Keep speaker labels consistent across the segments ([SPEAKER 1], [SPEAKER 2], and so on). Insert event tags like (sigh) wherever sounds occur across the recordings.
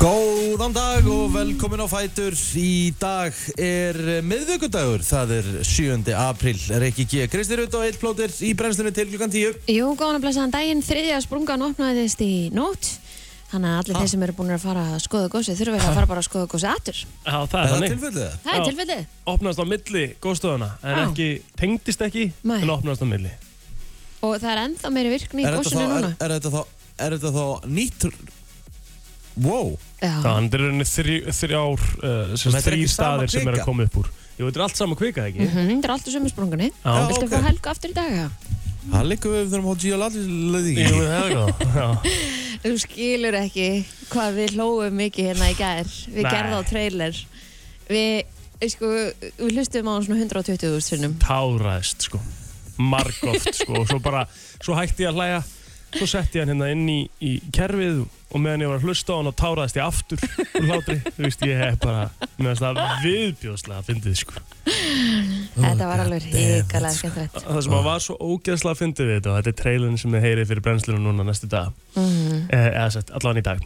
[SPEAKER 1] Góðan dag og velkomin á Fætur. Í dag er miðvöggundagur, það er 7. april. Rikki G. Kristi Rutt og Eitt Plóter í brennslunni til klukkan 10.
[SPEAKER 2] Jú, góðan að blessaðan daginn, þriðja sprungan opnaðist í nótt Þannig að
[SPEAKER 1] Ah.
[SPEAKER 2] allir þeir sem eru búin að fara að skoða gósið þurfa ekki að fara bara að skoða gósið aftur
[SPEAKER 3] Já, það er
[SPEAKER 1] Er það
[SPEAKER 3] þannig.
[SPEAKER 1] tilfellið það?
[SPEAKER 2] Það er
[SPEAKER 3] Já.
[SPEAKER 2] tilfellið
[SPEAKER 3] Opnast á milli góðstöðuna, en
[SPEAKER 2] Já.
[SPEAKER 3] ekki, tengdist ekki,
[SPEAKER 2] Nei.
[SPEAKER 3] en opnast á milli.
[SPEAKER 2] og það er ennþá meiri virkni í
[SPEAKER 1] Er þetta
[SPEAKER 2] gósinu
[SPEAKER 1] þá-
[SPEAKER 2] núna
[SPEAKER 1] er- Er þetta þá, er þetta þá nýtt... Wow.
[SPEAKER 2] Já,
[SPEAKER 3] Þannig er í rauninni þrj, þrjár, uh, sem
[SPEAKER 1] Þetta
[SPEAKER 3] sagt,
[SPEAKER 1] er ekki
[SPEAKER 3] þrjir
[SPEAKER 1] sama
[SPEAKER 3] staðir sem eru
[SPEAKER 1] kvika?
[SPEAKER 3] að koma upp úr. Jú, þetta er allt saman kvika, ekki?
[SPEAKER 2] Mhm, þetta er alltaf sömu sprungunni
[SPEAKER 3] Já.
[SPEAKER 2] Viltu
[SPEAKER 1] ok.
[SPEAKER 2] okay. fá helgu aftur í dag? eða?
[SPEAKER 1] Það liggur við þurfum að gíja laddi.
[SPEAKER 3] Jú, það er það. Já.
[SPEAKER 2] Þú skilur ekki hvað við hlóum mikið hérna í gær Við
[SPEAKER 3] Nei.
[SPEAKER 2] gerðum á trailer Við, sko, við hlustum á hann svona 120 sinnum
[SPEAKER 3] Táraðist, sko. Margoft, sko. Og svo bara, svo hætti ég að hlæja, svo setti ég hann hérna inn í, í kerfið og meðan ég var að hlusta á hann og táraðist ég aftur úr hlátri. Þú veist, ég hef bara, mér finnst það viðbjóðslega að fyndið, sko.
[SPEAKER 1] Oh,
[SPEAKER 2] Þetta var alveg hrikalega skemmtilegt
[SPEAKER 3] Það sem að var svo ógeðslega fyndið við þetta og þetta er trailin sem þið heyrið fyrir brennslunum núna næstu dag
[SPEAKER 2] Mhm.
[SPEAKER 3] eh, eða sett allan í dag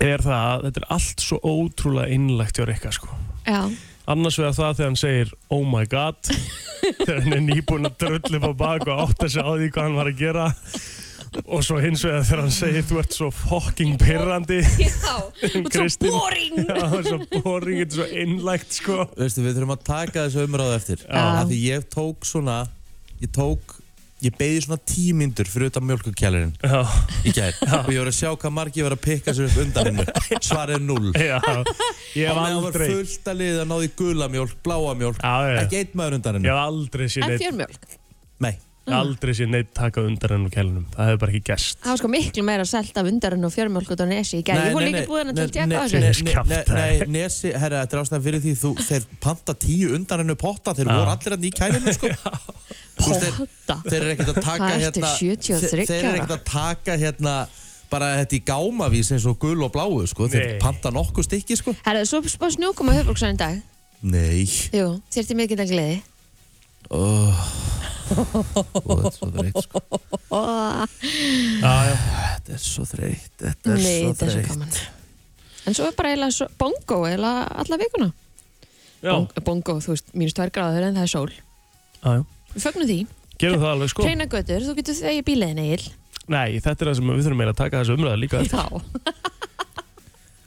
[SPEAKER 3] er það að þetta er allt svo ótrúlega innlegt hjá Rikka sko
[SPEAKER 2] Já,
[SPEAKER 1] eh,
[SPEAKER 3] annars vegar það þegar hann segir oh my god
[SPEAKER 2] (laughs)
[SPEAKER 3] þegar hann er nýbúinn að drullu upp á bak og átta sig á því hvað hann var að gera og svo hins vegar þegar hann segir þú ert svo fucking pirrandi (laughs)
[SPEAKER 2] já, þú ert svo
[SPEAKER 3] Kristín.
[SPEAKER 2] boring
[SPEAKER 3] Já, það er svo boring, þetta er svo innlegt sko
[SPEAKER 1] Veistu, við þurfum að taka þessu umræðu eftir.
[SPEAKER 2] Já.
[SPEAKER 1] Af Því ég tók svona, ég tók, ég beði svona tímyndur fyrir utan mjölkukjælirinn.
[SPEAKER 3] Já,
[SPEAKER 1] í gær og ég var að sjá hvað margi var að pikka sér upp undan hennu svarið er 0
[SPEAKER 3] já, ég hef
[SPEAKER 1] meðan var
[SPEAKER 3] aldrei
[SPEAKER 1] fullt að liða náði gula mjólk, bláa mjólk
[SPEAKER 3] Já, já,
[SPEAKER 1] ekki einn maður
[SPEAKER 3] ég
[SPEAKER 1] undan hennu
[SPEAKER 3] hef aldrei séð
[SPEAKER 2] En Mm. fjörmjölk
[SPEAKER 3] neitt
[SPEAKER 1] nei,
[SPEAKER 3] Ég hef aldrei sé neitt taka undar henn og kælunum það hefur bara ekki gerst
[SPEAKER 2] Það var sko miklu meira selt af undarinn og fjörmjölk út á nesi í gæði. Ég voru líka búin að til tjekka á þessu.
[SPEAKER 3] nei.
[SPEAKER 1] nei, nei, nei, nesi, herra, þetta er ástæðan fyrir því þú, þeir panta tíu undan hennu potta þeir
[SPEAKER 3] Já.
[SPEAKER 1] voru allir hann í kælinu
[SPEAKER 3] (laughs)
[SPEAKER 1] sko Þú veist, þeir,
[SPEAKER 2] Potta.
[SPEAKER 1] þeir eru ekkert að taka
[SPEAKER 2] Það er
[SPEAKER 1] hérna
[SPEAKER 2] eftir 73
[SPEAKER 1] þeir- þeir eru
[SPEAKER 2] ára.
[SPEAKER 1] ekkert að taka hérna bara þetta í gámavís eins og gul og bláu sko, þeir
[SPEAKER 3] Nei.
[SPEAKER 1] panta nokkuð stykki sko
[SPEAKER 2] Herðu, svo spá snjókum á höfbruksvæðin dag.
[SPEAKER 1] nei,
[SPEAKER 2] Jú, þyrfti mikið að gleði.
[SPEAKER 1] oh. og þetta er svo dreitt sko
[SPEAKER 3] Já, já.
[SPEAKER 1] Þetta er svo þreytt, þetta er
[SPEAKER 2] Nei,
[SPEAKER 1] svo
[SPEAKER 2] þetta er svo
[SPEAKER 1] þreytt.
[SPEAKER 2] gaman. En svo er bara eiginlega svo- bongo eiginlega alla vikuna.
[SPEAKER 3] Já,
[SPEAKER 2] Bong- Bongo, þú veist, mínus tvær gráður en það er sól.
[SPEAKER 3] já, já.
[SPEAKER 2] Við fögnum því.
[SPEAKER 3] Gerum það alveg sko
[SPEAKER 2] Hreina götur, þú getur þegið bíliðin eigil.
[SPEAKER 3] Nei, þetta er það sem við þurfum meira að taka þessu umræða líka
[SPEAKER 2] Já.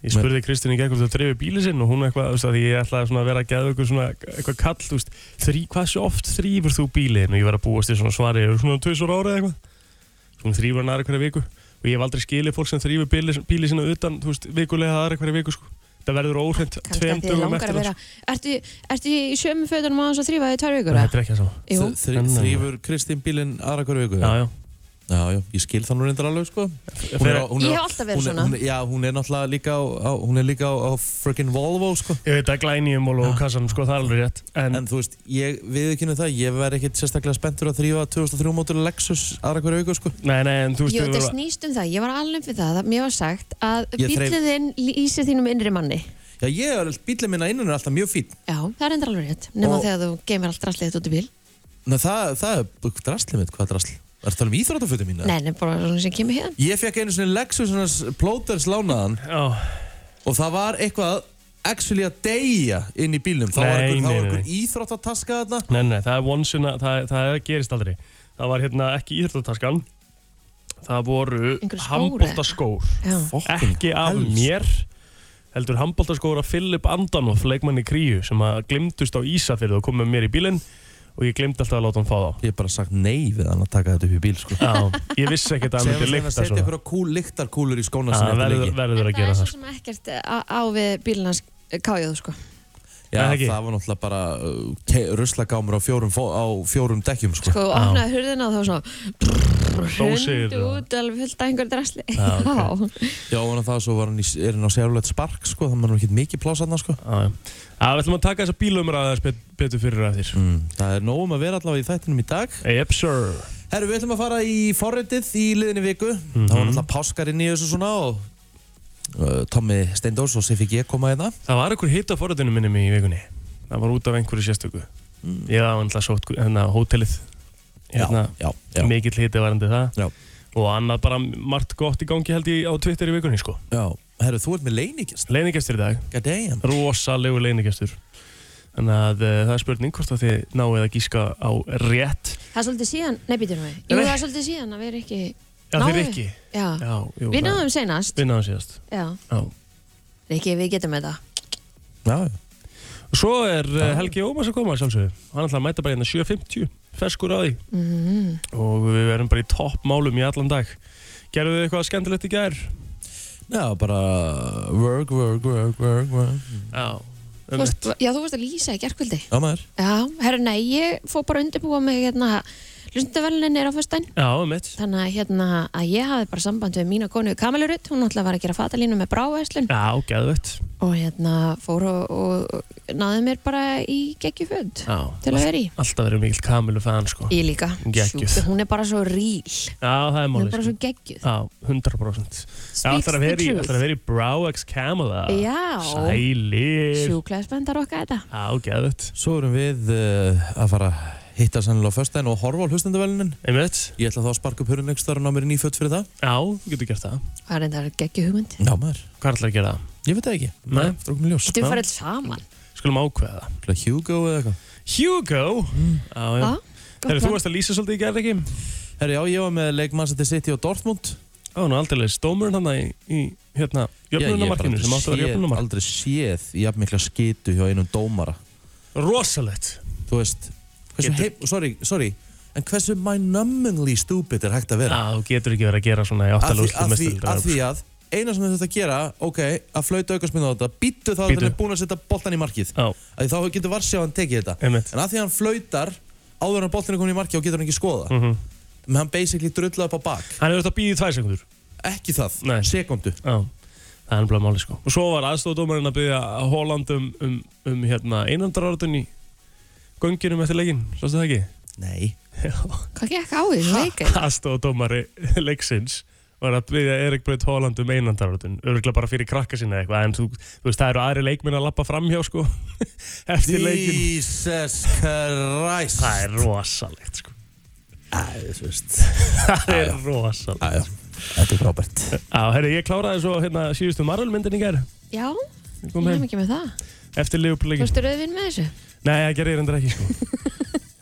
[SPEAKER 3] Ég spurði Kristín í gegnum þú dreifir bíli sinn og hún eitthvað, þú veist, að ég ætlaði svona að vera að geða ykkur svona eitthvað kall, þú veist þrý, Hvað svo oft þrýfur þú bílinn og ég var að búast í svona svari, eru svona tvisur ára eða eitthvað Svona þrýfur hann aðra hverja viku og ég hef aldrei skilið fólk sem þrýfur bíli, bíli sinna utan, þú veist, vikulega aðra hverja viku sko Það verður óhreint
[SPEAKER 2] Kannski að
[SPEAKER 3] tveim
[SPEAKER 2] þið
[SPEAKER 3] dögum
[SPEAKER 2] langar að
[SPEAKER 3] eftir
[SPEAKER 2] vera.
[SPEAKER 3] það, sko.
[SPEAKER 2] Ertu, ertu í sömu fötunum á hans að þrýfa því tvær vikur?
[SPEAKER 3] Nei,
[SPEAKER 2] eða?
[SPEAKER 3] Þetta er ekki að sama
[SPEAKER 2] Jú.
[SPEAKER 1] Þri, þrýfur Kristín bílinn aðra hverju
[SPEAKER 3] Já,
[SPEAKER 1] viku?
[SPEAKER 3] já.
[SPEAKER 1] já, já, ég skil það nú reyndar alveg, sko. Hún
[SPEAKER 3] Þegar-
[SPEAKER 1] á- hún
[SPEAKER 2] Ég
[SPEAKER 1] á-
[SPEAKER 2] hef alltaf verið
[SPEAKER 1] hún er-
[SPEAKER 2] svona.
[SPEAKER 1] Hún, já, hún er náttúrulega líka á, á, hún er líka á, á frökin Volvo, sko.
[SPEAKER 3] Ég veit að glænýjum og lókassanum, sko, það er alveg rétt. En,
[SPEAKER 1] En þú veist, ég viðkynna það, ég verð ekkert sérstaklega spenntur að þrýfa 2003 mótur Lexus aðra hverju viku, sko.
[SPEAKER 3] nei, nei, en þú veist,
[SPEAKER 2] Jú,
[SPEAKER 3] við
[SPEAKER 2] þetta
[SPEAKER 3] vorum-
[SPEAKER 2] snýst um það, ég var alveg fyrir það að mér var sagt að
[SPEAKER 1] Ég þreif-
[SPEAKER 2] bíliðin lýsir þínum innri manni
[SPEAKER 1] Já, ég er, bílinn minna innan er alltaf mjög fín.
[SPEAKER 2] Já, það er endur alveg rétt, nema
[SPEAKER 1] Og-
[SPEAKER 2] þegar þú geymir allt drastlið þetta út í bíl
[SPEAKER 1] Ná, það, það er drastlið mitt, hvað drasl? Er það um íþrótafötum mína?
[SPEAKER 2] Nei, nei, bara svona sem kemur hérna
[SPEAKER 1] Ég fekk einu svona Lexus, svona plóters lánaðan
[SPEAKER 3] Já,
[SPEAKER 1] og það var eitthvað actually að deyja inn í bílnum þá var
[SPEAKER 3] Nei,
[SPEAKER 1] einhver, þá var
[SPEAKER 3] nei,
[SPEAKER 1] einhver
[SPEAKER 3] nei.
[SPEAKER 1] íþróttataska þarna
[SPEAKER 3] Nei, nei, það er once in a, það, það gerist aldrei Það var hérna ekki íþjóttataskan Það voru
[SPEAKER 2] Einhverjir skór
[SPEAKER 3] handbóltaskór
[SPEAKER 2] Já,
[SPEAKER 1] Fokkin
[SPEAKER 3] Ekki af
[SPEAKER 1] helst.
[SPEAKER 3] mér Heldur handbóltaskór af Philip Andanoff, leikmanni kríu sem að glimtust á Ísafjörðu og kom með mér í bílinn og ég glimt alltaf að láta hann fá þá
[SPEAKER 1] ég hef bara sagt nei við hann að taka þetta upp í bíl sko.
[SPEAKER 3] Já, ég vissi ekkert að hann
[SPEAKER 1] Segðu
[SPEAKER 3] myndi
[SPEAKER 1] hann að
[SPEAKER 3] lykta
[SPEAKER 1] setja
[SPEAKER 3] svona
[SPEAKER 1] einhverja kúl, lyktarkúlur í skóna
[SPEAKER 3] Já,
[SPEAKER 1] sinni
[SPEAKER 3] verður,
[SPEAKER 1] eftir leiki
[SPEAKER 3] verður að
[SPEAKER 2] það er
[SPEAKER 3] gera það
[SPEAKER 2] svo sem ekkert eh, á, á við bílinas kájóð, sko
[SPEAKER 1] Já,
[SPEAKER 3] Nei, ekki.
[SPEAKER 1] það var náttúrulega bara uh, ruslagámur á fjórum, fó- á fjórum dekkjum sko.
[SPEAKER 2] Sko, opnaði hurðina og þá svona
[SPEAKER 3] Dósir
[SPEAKER 2] Hundi
[SPEAKER 3] og-
[SPEAKER 2] út alveg fullt af einhver drasli (laughs) Já,
[SPEAKER 3] Já,
[SPEAKER 1] Já, og það svo var hann í, er hann á sérulegt spark sko, það var nú ekkert mikið pláss hann sko.
[SPEAKER 3] Já, já. Já, við ætlum að taka þessa bílumra aðeins bet- betur fyrir að þér
[SPEAKER 1] mm, Það er nógum að vera allavega í þættinum í dag
[SPEAKER 3] Yep, sir
[SPEAKER 1] Herru, við ætlum að fara í forritið í liðinni viku
[SPEAKER 3] Mhm.
[SPEAKER 1] Það var náttúrulega páskar inn í þessu svona og uh, Tommi Steindós og Sifi G koma hérna
[SPEAKER 3] Það var einhver hitt á forutinu minnum í vikunni Það var út af einhverju sérstöku Ég var alltaf sótt hérna, hótelið hérna,
[SPEAKER 1] Mm. já, já, já.
[SPEAKER 3] Mikill hitti varandi það
[SPEAKER 1] Já.
[SPEAKER 3] Og annað bara margt gott í gangi held ég á Twitter í vikunni sko
[SPEAKER 1] já. Herru, þú ert með leinigjast
[SPEAKER 3] Leinigestur í dag
[SPEAKER 1] God damn
[SPEAKER 3] Rosalegu leinigestur Þannig að uh, það er spurning hvort að þið náið að gíska á rétt
[SPEAKER 2] Það er svolítið síðan, nei býtum við Jú,
[SPEAKER 3] Nei.
[SPEAKER 2] það er svolítið síðan að við erum ekki
[SPEAKER 3] Já, þið
[SPEAKER 2] Náum
[SPEAKER 3] er
[SPEAKER 2] við?
[SPEAKER 3] ekki
[SPEAKER 2] Já,
[SPEAKER 3] Já, jú,
[SPEAKER 2] við
[SPEAKER 3] það-
[SPEAKER 2] náðum seinast
[SPEAKER 3] Við náðum síðast
[SPEAKER 2] Já,
[SPEAKER 3] Já
[SPEAKER 2] Rikki, við getum þetta
[SPEAKER 1] Já,
[SPEAKER 3] Og Svo er uh, Helgi Ómars að koma sjálfsögðu Hann ætla að mæta bara hérna 7.50 Ferskur á því
[SPEAKER 4] Mhm.
[SPEAKER 2] mm.
[SPEAKER 3] Og við erum bara í toppmálum í allan dag Gerðu þið eitthvað skemmtilegt í gær?
[SPEAKER 1] Já, bara work, work, work, work, work
[SPEAKER 3] Já
[SPEAKER 2] Þú varst, Já, þú varst að lýsa í gerkvöldi
[SPEAKER 1] Já, maður
[SPEAKER 2] Já, herru, nei, ég fór bara að undirbúa mig hérna, hlustendavælinin er á föstudaginn
[SPEAKER 3] Já, mitt
[SPEAKER 2] Þannig að, hérna, að ég hafði bara samband við mína konu Kamelurut, hún náttúrulega var að gera fatalínu með brávæslun
[SPEAKER 3] Já, geðvett
[SPEAKER 2] og hérna fór og, og, og náði mér bara í geggjuföld
[SPEAKER 3] Já
[SPEAKER 2] til að vera í.
[SPEAKER 3] Alltaf verið mikill kamilu fan sko
[SPEAKER 2] Ég líka.
[SPEAKER 3] Geggjuð.
[SPEAKER 2] Sjúkt, Hún er bara svo ríl.
[SPEAKER 3] Já,
[SPEAKER 2] Hún
[SPEAKER 3] það er
[SPEAKER 2] er
[SPEAKER 3] málið
[SPEAKER 2] bara
[SPEAKER 3] sko.
[SPEAKER 2] svo geggjuð.
[SPEAKER 3] Já, 100% Já,
[SPEAKER 2] Speaks
[SPEAKER 3] ætlar að
[SPEAKER 2] the
[SPEAKER 3] vera í,
[SPEAKER 2] truth.
[SPEAKER 3] ætlar að vera í Browax Camela
[SPEAKER 2] Já.
[SPEAKER 3] Sælir
[SPEAKER 2] Sjúklega spenntar okkar þetta.
[SPEAKER 3] Já, geðvett
[SPEAKER 1] Svo erum við uh, að fara að hitta sennilega á föstudaginn og horfa á hlustendavælunin
[SPEAKER 3] Einmitt
[SPEAKER 1] Ég ætla þá að sparka upp hörun ekstra og ná mér í nýfött fyrir það
[SPEAKER 3] Já, þú getur gert það
[SPEAKER 2] Það er reyndar geggjuhugmynd.
[SPEAKER 1] Já, maður
[SPEAKER 3] Hvað ætlar að gera það?
[SPEAKER 1] Ég veit það ekki
[SPEAKER 3] Nei.
[SPEAKER 1] Strókum ljós
[SPEAKER 2] Getum við farið alls saman?
[SPEAKER 3] Skulum ákveða það
[SPEAKER 1] Ætla Hugo eða eitthvað
[SPEAKER 3] Hugo
[SPEAKER 1] Mm.
[SPEAKER 3] Já, já
[SPEAKER 2] Já,
[SPEAKER 3] Þegar
[SPEAKER 2] Ah, gott
[SPEAKER 3] þú
[SPEAKER 2] plan.
[SPEAKER 3] varst að lýsa svolítið í gerð ekki
[SPEAKER 1] Herri, já, ég var með leikmann sem til City og Dortmund
[SPEAKER 3] Já, nú aldrei stómurinn hann í, í hérna Jöfnunamarkinu sem áttu að vera jöfnunamark
[SPEAKER 1] jöfnunumark Aldrei séð jafn mikla skitu hjá einum dómara
[SPEAKER 3] Rosalett
[SPEAKER 1] Þú veist hversu
[SPEAKER 3] Getur-
[SPEAKER 1] heim, Sorry, sorry En hversu mind-numbingly stupid er hægt að vera
[SPEAKER 3] Já, þú getur ekki verið að gera svona í
[SPEAKER 1] Af því,
[SPEAKER 3] áttalúst
[SPEAKER 1] af því, af því að eina sem þetta gera, ok, að flauta aukastmynda á þetta býttu þá að
[SPEAKER 3] Bíddu.
[SPEAKER 1] hann er búin að setja boltan í markið
[SPEAKER 3] Já,
[SPEAKER 1] að þá getur varsjáðan tekið þetta
[SPEAKER 3] einmitt
[SPEAKER 1] en að því að hann flautar áður en boltin er komin í markið og getur hann ekki skoða
[SPEAKER 3] mm
[SPEAKER 1] menn hann basically drullað upp á bak
[SPEAKER 3] Hann hefur þetta að býða í tvær sekundur
[SPEAKER 1] ekki það,
[SPEAKER 3] Nei.
[SPEAKER 1] sekundu
[SPEAKER 3] Já, það er nefnilega máli sko Og svo var aðstofdómarinn að byggja Holland um, um, um hérna, einandarorðun í gönginum eftir leikinn, sástu það ekki?
[SPEAKER 1] nei,
[SPEAKER 2] Hvað gekk á því? Þú veikir.
[SPEAKER 3] Aðstofdómari leiksins var að byggja Erik Braut Holland um einandarorðun Örgulega bara fyrir krakka sína eða eitthvað En þú, þú veist, það eru aðri leikminn að lappa framhjá sko Eftir leikinn
[SPEAKER 1] Jesus Christ
[SPEAKER 3] Það er rosalegt sko
[SPEAKER 1] það
[SPEAKER 3] (laughs) Það er rosalegt
[SPEAKER 1] er þetta er frábært
[SPEAKER 3] Já, herri, ég kláraði svo hérna síðustu Marvel myndin í gær
[SPEAKER 2] Já,
[SPEAKER 3] Ég
[SPEAKER 2] ég
[SPEAKER 3] kom
[SPEAKER 2] nefn
[SPEAKER 3] heim
[SPEAKER 2] ekki með það.
[SPEAKER 3] Eftir Liverpool
[SPEAKER 2] Þú
[SPEAKER 3] leikin
[SPEAKER 2] ertu rauðvinn með þessu?
[SPEAKER 3] Nei, það gerði ég reyndar ekki
[SPEAKER 2] (laughs)
[SPEAKER 3] sko.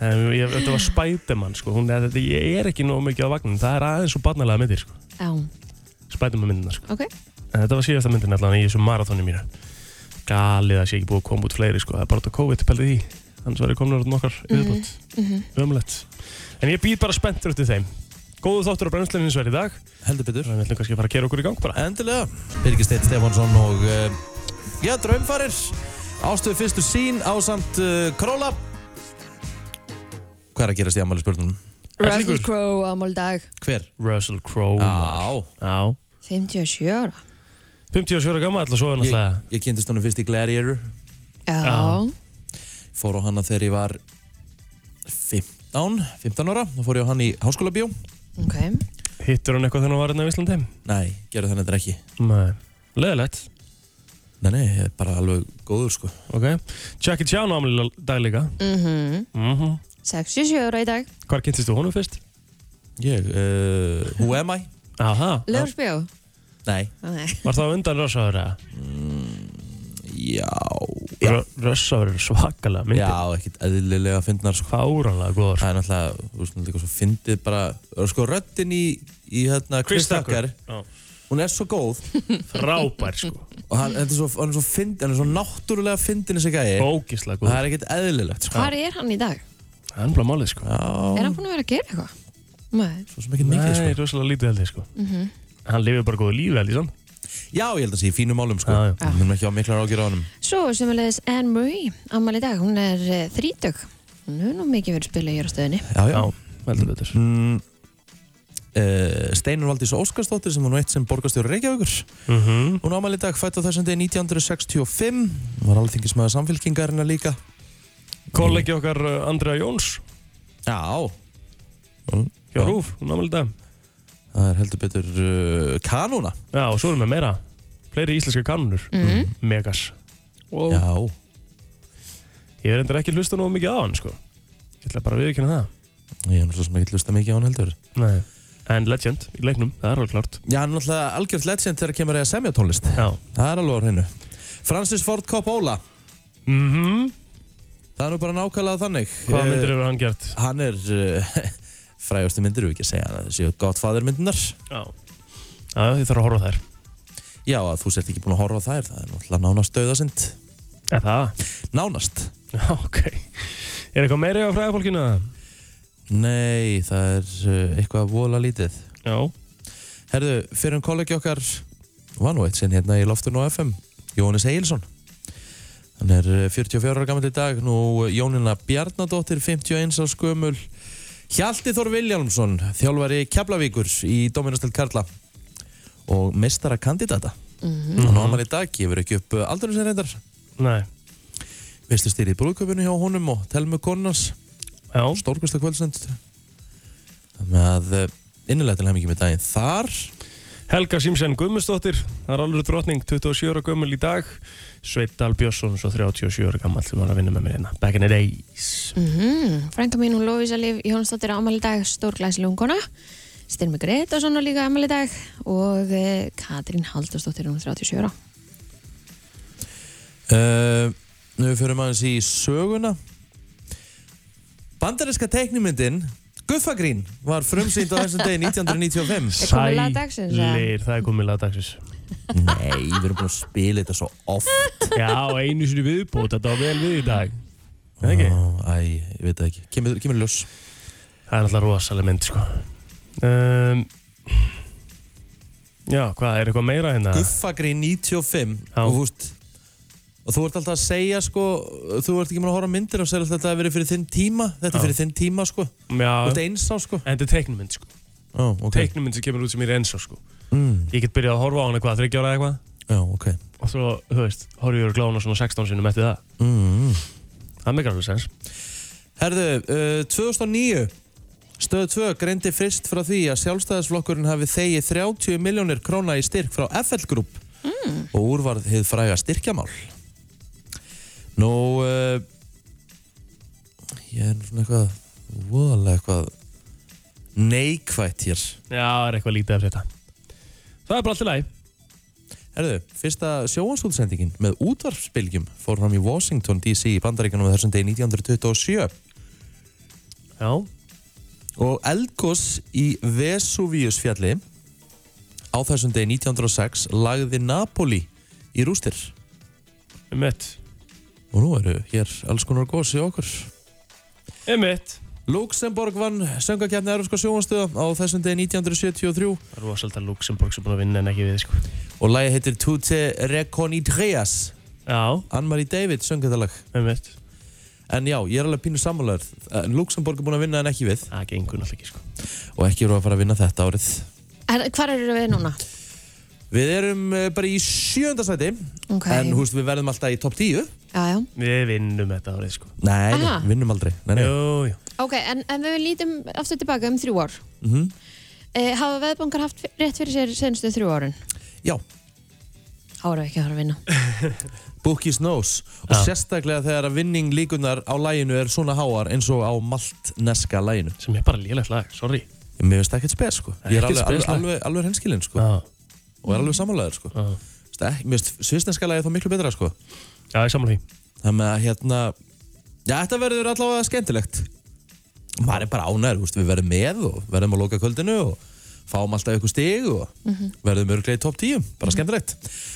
[SPEAKER 3] en, ég, Þetta var Spiderman sko. Hún, þetta, Ég er ekki nóg mikið á vagnin Það er aðeins og barnalega myndir sko.
[SPEAKER 2] Já,
[SPEAKER 3] Spiderman myndina sko.
[SPEAKER 2] ok.
[SPEAKER 3] En þetta var síðasta myndin allan í þessu marathóni mínu Galið að sé ekki búið að koma út fleiri sko. Það er bara út á COVID pælið í Annars var ég komin úr nokkar yfirbútt
[SPEAKER 2] mhm.
[SPEAKER 3] Ömulegt En ég býð bara spenntur eftir þeim Góðu þáttur á brennslunni hins vegar í dag
[SPEAKER 1] heldur betur
[SPEAKER 3] Þannig að við ætlum kannski að fara að gera okkur í gang bara
[SPEAKER 1] endilega, Birgir Steinn Stefánsson og uh, já, draumfarir ástöðu fyrstu sín á samt uh, Króla hvað er að gerast í ammali spurningum?
[SPEAKER 3] Hellingur.
[SPEAKER 2] Russell Crowe á máldag.
[SPEAKER 1] hver?
[SPEAKER 3] Russell Crowe
[SPEAKER 1] Já,
[SPEAKER 3] Já.
[SPEAKER 2] 57 ára.
[SPEAKER 3] 57 ára gammal og svo er
[SPEAKER 1] ég,
[SPEAKER 3] náttúrulega
[SPEAKER 1] ég kynntist honum fyrst í Gladiator
[SPEAKER 2] Já.
[SPEAKER 3] Já. fór á hana þegar ég var 15, 15 ára þá fór ég á hann í háskóla bjó
[SPEAKER 2] Ok.
[SPEAKER 3] Hittur hann eitthvað þegar hann var hérna í Íslandi?
[SPEAKER 1] nei, gerðu þannig þetta ekki
[SPEAKER 3] Nei Leðilegt
[SPEAKER 1] nei, nei, ég er bara alveg góður sko
[SPEAKER 3] Ok Jackie Chan á ámæli dag líka
[SPEAKER 2] Mhm.
[SPEAKER 3] mm
[SPEAKER 2] 67 ára í dag.
[SPEAKER 3] Hvar kynntist þú honum fyrst?
[SPEAKER 1] ég, uh, who am I?
[SPEAKER 3] Aha
[SPEAKER 2] Lörsbjó.
[SPEAKER 1] nei,
[SPEAKER 2] Nei.
[SPEAKER 3] Var það á undan Rössáður eða?
[SPEAKER 1] já já,
[SPEAKER 3] Rö- Rössáður er svakalega myndi
[SPEAKER 1] já ekkert eðlilega fyndnar sko
[SPEAKER 3] Fáralega góður
[SPEAKER 1] það er náttúrulega, þú veist, líka svo fyndið bara, sko röddin í, í hérna, Chris Tucker,
[SPEAKER 3] Já.
[SPEAKER 1] hún er svo góð
[SPEAKER 3] (laughs) Frábær sko
[SPEAKER 1] og hann, þetta er svo, hann er svo fyndið, hann er svo náttúrulega fyndin þessi gæi,
[SPEAKER 3] Ógislega
[SPEAKER 1] það
[SPEAKER 3] góður
[SPEAKER 1] er ekkert eðlilegt sko.
[SPEAKER 2] Hvar er hann í dag?
[SPEAKER 3] Það er ennblá málið sko
[SPEAKER 1] já,
[SPEAKER 2] Er hann búinn að vera að gera eitthvað? Nei. Mhm.
[SPEAKER 1] svo sem ekkert mikið sko.
[SPEAKER 3] Nei, rosalega lítið held ég sko Hann lifið bara góðu lífi held ég sann
[SPEAKER 1] já, ég held að sé í fínum málum sko,
[SPEAKER 3] Já, já.
[SPEAKER 1] við munum ekki á miklar ágjur á honum
[SPEAKER 2] Svo sem að leiðis Anne Marie Amal í dag, hún er eh, þrítug Hún hefur nú mikið verið að spila í jörgstöðinni
[SPEAKER 1] já, já,
[SPEAKER 3] Já, heldur betur
[SPEAKER 1] Mm, uh, Steinur Valdís Óskarsdóttir sem var nú eitt sem borgarstjóri Reykjavíkur
[SPEAKER 3] mm -hmm.
[SPEAKER 1] hún ámæli í dag fætt á þessum degi 1965 Hún var alþingismæða samfélkingarinnar líka
[SPEAKER 3] Kollegi okkar uh, Andrea Jóns
[SPEAKER 1] sko.
[SPEAKER 3] Mm.
[SPEAKER 1] já,
[SPEAKER 3] Hjá
[SPEAKER 1] Já.
[SPEAKER 3] Rúf, hún ámæli dag
[SPEAKER 1] það er heldur betur uh, kanúna
[SPEAKER 3] Já, og svo erum við meira Fleiri íslenska kanunur
[SPEAKER 2] mm.
[SPEAKER 3] Megas wow.
[SPEAKER 1] já,
[SPEAKER 3] Ég er endur ekki að hlusta nú mikið á hann sko Ég ætla bara að viðkynna það
[SPEAKER 1] ég er náttúrulega sem ekki hlusta mikið á hann heldur
[SPEAKER 3] Nei en legend í leiknum, það er alveg klart
[SPEAKER 1] Já, hann er náttúrulega algjörð legend þegar kemur að semja tónlist.
[SPEAKER 3] Já.
[SPEAKER 1] Það er alveg á hreinu. Francis Ford Coppola.
[SPEAKER 3] mm
[SPEAKER 1] Það er nú bara nákvæmlega þannig.
[SPEAKER 3] Hvaða myndir
[SPEAKER 1] Eh,
[SPEAKER 3] hefur hann gert?
[SPEAKER 1] Hann er uh, (laughs) frægastu myndir, við ekki að segja hann. Það séu gottfæður myndirnar.
[SPEAKER 3] Já Já, þið þarf að horfa á þær
[SPEAKER 1] Já, að þú sért ekki búin að horfa á þær. Það er náttúrulega nánast döðasind.
[SPEAKER 3] Er það?
[SPEAKER 1] Nánast?
[SPEAKER 3] Já, ok Er eitthvað meiri á fræðafólkinu? eða?
[SPEAKER 1] Nei, það er uh, eitthvað vola lítið.
[SPEAKER 3] Já
[SPEAKER 1] Herðu, fyrir um kollegi okkar var nú eitt sinn hérna í loftun og FM Jónis Egilson hann er eh, 44 ára gammal í dag nú eh, Jónina Bjarnadóttir 51 á skömul Hjalti Þór Viljámsson, þjálfari Keflavíkur í Dóminastöld Karla og mestara kandidata hann á amal í dag, gefur ekki upp aldurinn sem reyndar,
[SPEAKER 3] Mhm. Nei
[SPEAKER 1] veistu stýrið brúðköpunni hjá honum og telmu konans
[SPEAKER 3] Já
[SPEAKER 1] stórkvista kvöldsend þannig að eh, innilega til hefum ekki með daginn þar
[SPEAKER 3] Helga Simsen Gummustóttir, það er alveg drotning, 27 ára gömul í dag. Sveit Dahl Björnsson, svo 37 ára gammal, sem var að vinna með mér hérna. Back in the days.
[SPEAKER 2] Mm Frænka mín hún Lóisa Liv Jónsdóttir á amal í dag, stórglæsileg ungona. Styrmi Gretarsson á líka amal í dag og eh, Katrín Haldursdóttir hún 37 ára.
[SPEAKER 1] Uh, nú við förum aðeins í söguna Bandarinska teiknumyndin Guffagrín var frumsýnd á þessum
[SPEAKER 3] (laughs)
[SPEAKER 1] degi 1995
[SPEAKER 2] Er komið lag dagsins, eða?
[SPEAKER 3] Sælir, það er komið lagdagsins.
[SPEAKER 1] Nei, við erum búin að spila þetta svo oft
[SPEAKER 3] Já, einu sinni viðbót, þetta var vel við í dag. Er það
[SPEAKER 1] Æ,
[SPEAKER 3] ekki?
[SPEAKER 1] ég veit það ekki Kemur, kemur ljós
[SPEAKER 3] Það er alltaf rosaleg mynd, sko. Um, já, hvað, er eitthvað meira hérna?
[SPEAKER 1] Guffagrín 95
[SPEAKER 3] Já.
[SPEAKER 1] og, húst, og þú ert alltaf að segja sko, Þú ert ekki búin að horfa á myndir og segir alltaf að þetta hafi verið fyrir þinn tíma Þetta
[SPEAKER 3] Já.
[SPEAKER 1] er fyrir þinn tíma sko Þú ert
[SPEAKER 3] Já,
[SPEAKER 1] eins á sko
[SPEAKER 3] en þetta er teiknumynd, sko.
[SPEAKER 1] Ó, ok
[SPEAKER 3] Teiknumynd sem kemur út sem ég er eins og, sko.
[SPEAKER 1] mm,
[SPEAKER 3] Ég get byrjað að horfa á hana, hvað, 30 ára eða eitthvað?
[SPEAKER 1] Já, ok
[SPEAKER 3] og svo, þú veist, horfið ég að glána svona 16 sinum eftir það.
[SPEAKER 1] mm.
[SPEAKER 3] Það meikar alveg sens.
[SPEAKER 1] Herðu, uh, 2009 Stöð 2 greindi frist frá því að sjálfstæðisflokkurinn hafi þegið 30 miljónir króna í styrk frá FL Group og úrvarð hefði fræga styrkjamál. Nú, uh, ég er nú svona eitthvað, voðalega eitthvað neikvætt hér.
[SPEAKER 3] Já, það er eitthvað lítið af þetta. Það er bara allt í lagi.
[SPEAKER 1] Herðu, fyrsta sjóansúlsendingin með útvarpsbylgjum fór fram í Washington DC í bandaríkanum á þessum degi 1927.
[SPEAKER 3] Já.
[SPEAKER 1] og eldgoss í Vesuvius fjalli á þessum degi 1906 lagði Napoli í rústir
[SPEAKER 3] Emmett.
[SPEAKER 1] og nú eru hér alls konar goss í okkur
[SPEAKER 3] Emmett.
[SPEAKER 1] Luxemborg vann söngakefni Európska sjóanstöða á þessum degi 1973
[SPEAKER 3] Það er rosalda Luxemburg sem búin að vinna en ekki við, sko.
[SPEAKER 1] og lagi heitir Tutte Reconitreas
[SPEAKER 3] Já,
[SPEAKER 1] Ann-Marie David söng þetta lag
[SPEAKER 3] emmett.
[SPEAKER 1] en já, ég er alveg pínu sammálaður En Luxemborg er búin að vinna en ekki við
[SPEAKER 3] Það gengur náttúrulega ekki, sko.
[SPEAKER 1] og ekki eru að fara að vinna þetta árið
[SPEAKER 2] Er, hvar eru við núna?
[SPEAKER 1] Við erum eh, bara í sjönda sæti
[SPEAKER 2] Ok.
[SPEAKER 1] en húst við verðum alltaf í topp 10
[SPEAKER 2] Já, já.
[SPEAKER 3] Við vinnum þetta árið, sko.
[SPEAKER 1] Nei,
[SPEAKER 2] Aha.
[SPEAKER 1] nei, vinnum aldrei nei, nei.
[SPEAKER 3] Jú, jú.
[SPEAKER 2] Ok, en, en við lítum aftur tilbaka um þrjú ár.
[SPEAKER 1] Mm
[SPEAKER 2] E, hafa veðbankar haft rétt fyrir sér senstu þrjú árin?
[SPEAKER 1] Já,
[SPEAKER 2] Hára ekki að fara að vinna.
[SPEAKER 1] Bookies Knows og
[SPEAKER 3] Já.
[SPEAKER 1] sérstaklega þegar að vinning líkunar á læginu er svona háar eins og á maltneska læginu
[SPEAKER 3] Sem er bara lélegt lag, sorry.
[SPEAKER 1] Mér finnst ekkert spes sko Ég er
[SPEAKER 3] Ekkert
[SPEAKER 1] alveg, alveg,
[SPEAKER 3] spes, nei.
[SPEAKER 1] alveg, alveg henskilinn sko
[SPEAKER 3] Já,
[SPEAKER 1] og er alveg samanlegaður sko
[SPEAKER 3] já.
[SPEAKER 1] Veistu, ek- Mér finnst svisneska lægi þá miklu betra sko
[SPEAKER 3] Já, ég samar því.
[SPEAKER 1] Þannig að hérna Já, þetta verður allavega skemmtilegt Maður er bara ánæður, veist, við verðum með og verðum að loka kvöldinu og fáum alltaf ykkur stig og verðum örglega í topp 10, bara skemmtilegt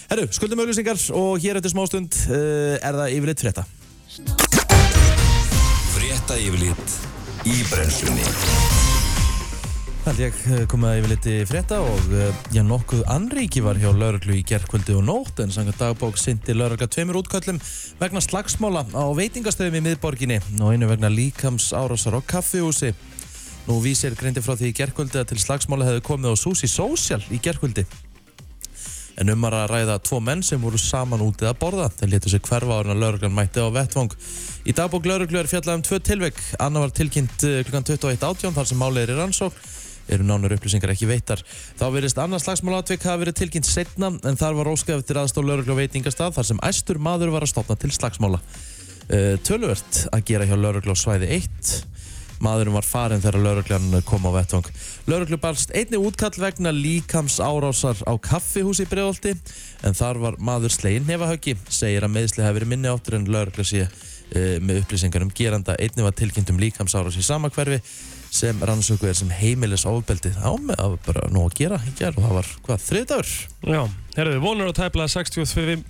[SPEAKER 1] Herru, skuldum auðlýsingar og hér eftir smástund uh, er það yfirleitt frétta
[SPEAKER 5] Frétta yfirlit í brennslunni
[SPEAKER 1] Það held ég eh, komaði yfir liti frétta og eh, já, nokkuð anríki var hjá lauruglu í gerðkvöldi og nótt en sanga dagbók sindi laurugla tveimur útköllum vegna slagsmála á veitingastöðum í miðborginni og einu vegna líkams árásar á kaffihúsi. Nú vísir greindi frá því í gerðkvöldi að til slagsmála hefði komið á Susi Social í gerðkvöldi. En um var að ræða tvo menn sem voru saman útið að borða. Þeir letu sig hverfa árin að lauruglan mætti á vettvang. Í dagbók lauruglu er fjallað um tvö tilvik. Anna var tilkynnt eh, klukkan 21.18 þar sem málið er í rannsók. Eru nánur upplýsingar ekki veittar. Þá verðist annars slagsmál atvik hafa verið tilkynnt setna en þar var óskað eftir aðstóð lauruglu á veitingastað þar sem æstur Eh, maður var að stopna til slagsmála. Uh, töluvert að gera hjá lauruglu á svæði 1 Maðurinn var farinn þegar lauruglan kom á vettvang. Lauruglu balst einni útkall vegna líkams árásar á kaffihús í Breiðholti en þar var maður slegin nefahöggi. Segir að meðsli hafi verið minni áttur en laurugla sé eh, með upplýsingar um geranda. Einni var tilkynnt um líkams árás í sama hverfi sem rannsöku er sem heimilis ofbeldi. Á með að bara nóg að gera í gerð og það var hvað þriðdagur?
[SPEAKER 3] Já, herðu, vonur að tæpla 65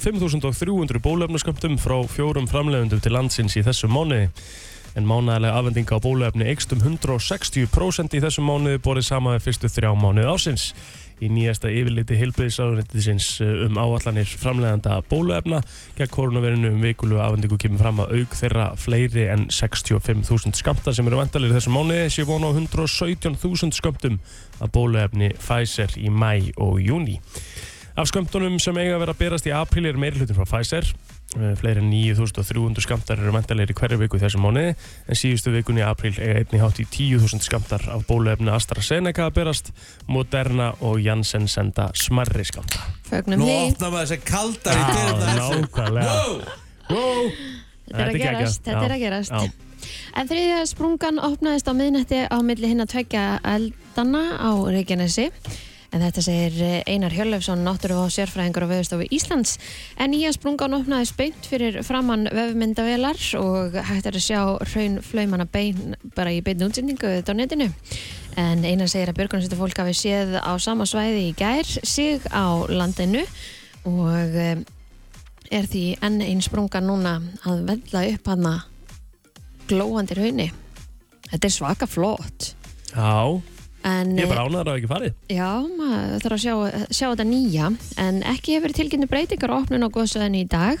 [SPEAKER 3] 65.300 bólefnasköptum frá fjórum framlegundum til landsins í þessum mánuði. En mánaðarlega afhending á bólefni eykst um 160% í þessum mánuði borið sama við fyrstu þrjá mánuði ásins. Í nýjasta yfirliti heilbriðisáðunitinsins um áallanir framleganda bólefna gegn koronavirinu um vikulu afhendingu kemur fram að auk þeirra fleiri en 65.000 skamta sem eru vandalir þessum mánuði sé von á 117.000 skamtum að bóluefni Pfizer í mæ og júni. Af skömmtunum sem eiga að vera að berast í apríl er meiri hlutin frá Pfizer. Eh, Fleiri en 9.300 skamtar eru mentalegir í hverju viku í þessum mánuði en síðustu vikunni í apríl eiga einni hátt í 10.000 skamtar af bóluefni AstraZeneca að berast, Moderna og Janssen senda smarri skamta.
[SPEAKER 2] Fögnum
[SPEAKER 1] Nú
[SPEAKER 2] því,
[SPEAKER 1] opnar maður þessi kaldar í dyrna þessu.
[SPEAKER 3] nákvæmlega. Wow!
[SPEAKER 2] þetta er að
[SPEAKER 3] geggjað.
[SPEAKER 2] gerast, þetta er að
[SPEAKER 3] Já,
[SPEAKER 2] gerast.
[SPEAKER 3] já.
[SPEAKER 2] En þriðja sprungan opnaðist á miðnætti á milli hinn að tvekja eldana á Reykjanesi. En þetta segir eh, Einar Hjörlefsson, náttúru og sérfræðingur á veðustofu Íslands. En nýja sprungan opnaðist beint fyrir framann vefmyndavélar og hægt er að sjá hraun flaumanna bein bara í beinu útsendingu auðvitað á netinu. En Einar segir að björgunarsýttu fólk hafi séð á sama svæði í gær sig á landinu og eh, er því enn einn sprunga núna að vella upp hana glóandi raunni. Þetta er svaka flott.
[SPEAKER 3] Já,
[SPEAKER 2] En,
[SPEAKER 3] ég er bara ánæður að hafa ekki farið.
[SPEAKER 2] Já, maður þarf að sjá, sjá þetta nýja en ekki hefur tilkynni breytingar á opnun á góðsöðinu í dag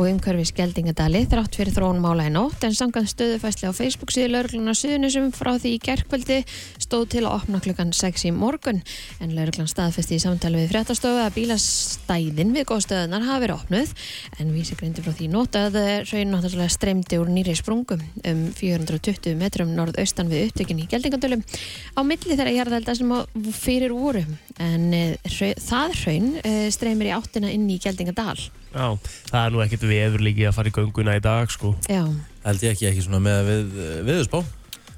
[SPEAKER 2] og umhverfi skeldingadali þrátt fyrir þróunmála í nótt en samkvæmt stöðufæsli á Facebook síðu lauruglunar suðunisum frá því í gerkvöldi stóð til að opna klukkan 6 í morgun en lauruglan staðfesti í samtali við fréttastofu að bílastæðin við góðstöðunar hafi verið opnuð en vísi greindi frá því í nótt að raun náttúrulega streymdi úr nýri sprungum um 420 metrum norðaustan við upptökin í geldingadölum á milli þeirra jarðelda sem á- fyrir voru en eh, hra- það hraun eh, streymir í áttina inn í geldingadal
[SPEAKER 3] Já, það er nú ekkert veður líki að fara í gönguna í dag, sko.
[SPEAKER 2] Já,
[SPEAKER 1] Held ég ekki ekki svona með við, viðspá.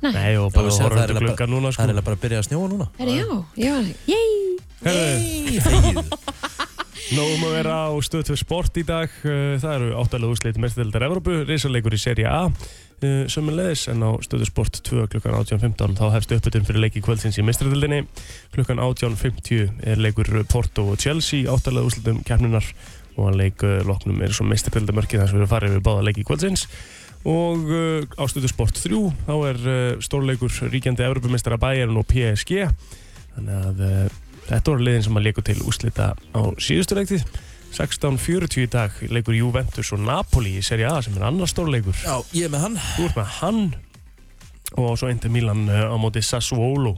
[SPEAKER 2] næ,
[SPEAKER 3] Nei, og
[SPEAKER 1] Já, við
[SPEAKER 3] bara
[SPEAKER 1] sjáum það
[SPEAKER 3] horfum
[SPEAKER 1] er
[SPEAKER 3] til
[SPEAKER 1] eiginlega
[SPEAKER 3] glugga núna,
[SPEAKER 1] Það er
[SPEAKER 3] sko.
[SPEAKER 1] eiginlega bara að byrja að snjóa núna.
[SPEAKER 2] herri já, já, yey
[SPEAKER 3] Herðu,
[SPEAKER 1] Nei, þegið.
[SPEAKER 3] Nóum um að vera á stöð til sport í dag Uh, Það eru áttalega úrslit mestildar Evrópu, risaleikur í seri A sömulegis en á stöðu sport 2 klukkan 18.15 þá hefst uppbytun fyrir leiki kvöldsins í mestradildinni klukkan 18.50 er leikur Porto og Chelsea áttalega úrslitum keppnunar og að leik uh, loknum er svo mestradildamörki þar sem við erum farið við báða leiki kvöldsins og uh, á stöðu sport 3 þá er uh, stórleikur ríkjandi Evrópumestara Bayern og PSG þannig að uh, Þetta voru liðin sem að leiku til úslita á síðustu leiktið. 16.40 í dag leikur Juventus og Napoli í Serie A sem er annar stórleikur.
[SPEAKER 1] Já, ég er með hann.
[SPEAKER 3] Þú ert með hann og svo Inter Milan eh, á móti Sassuolo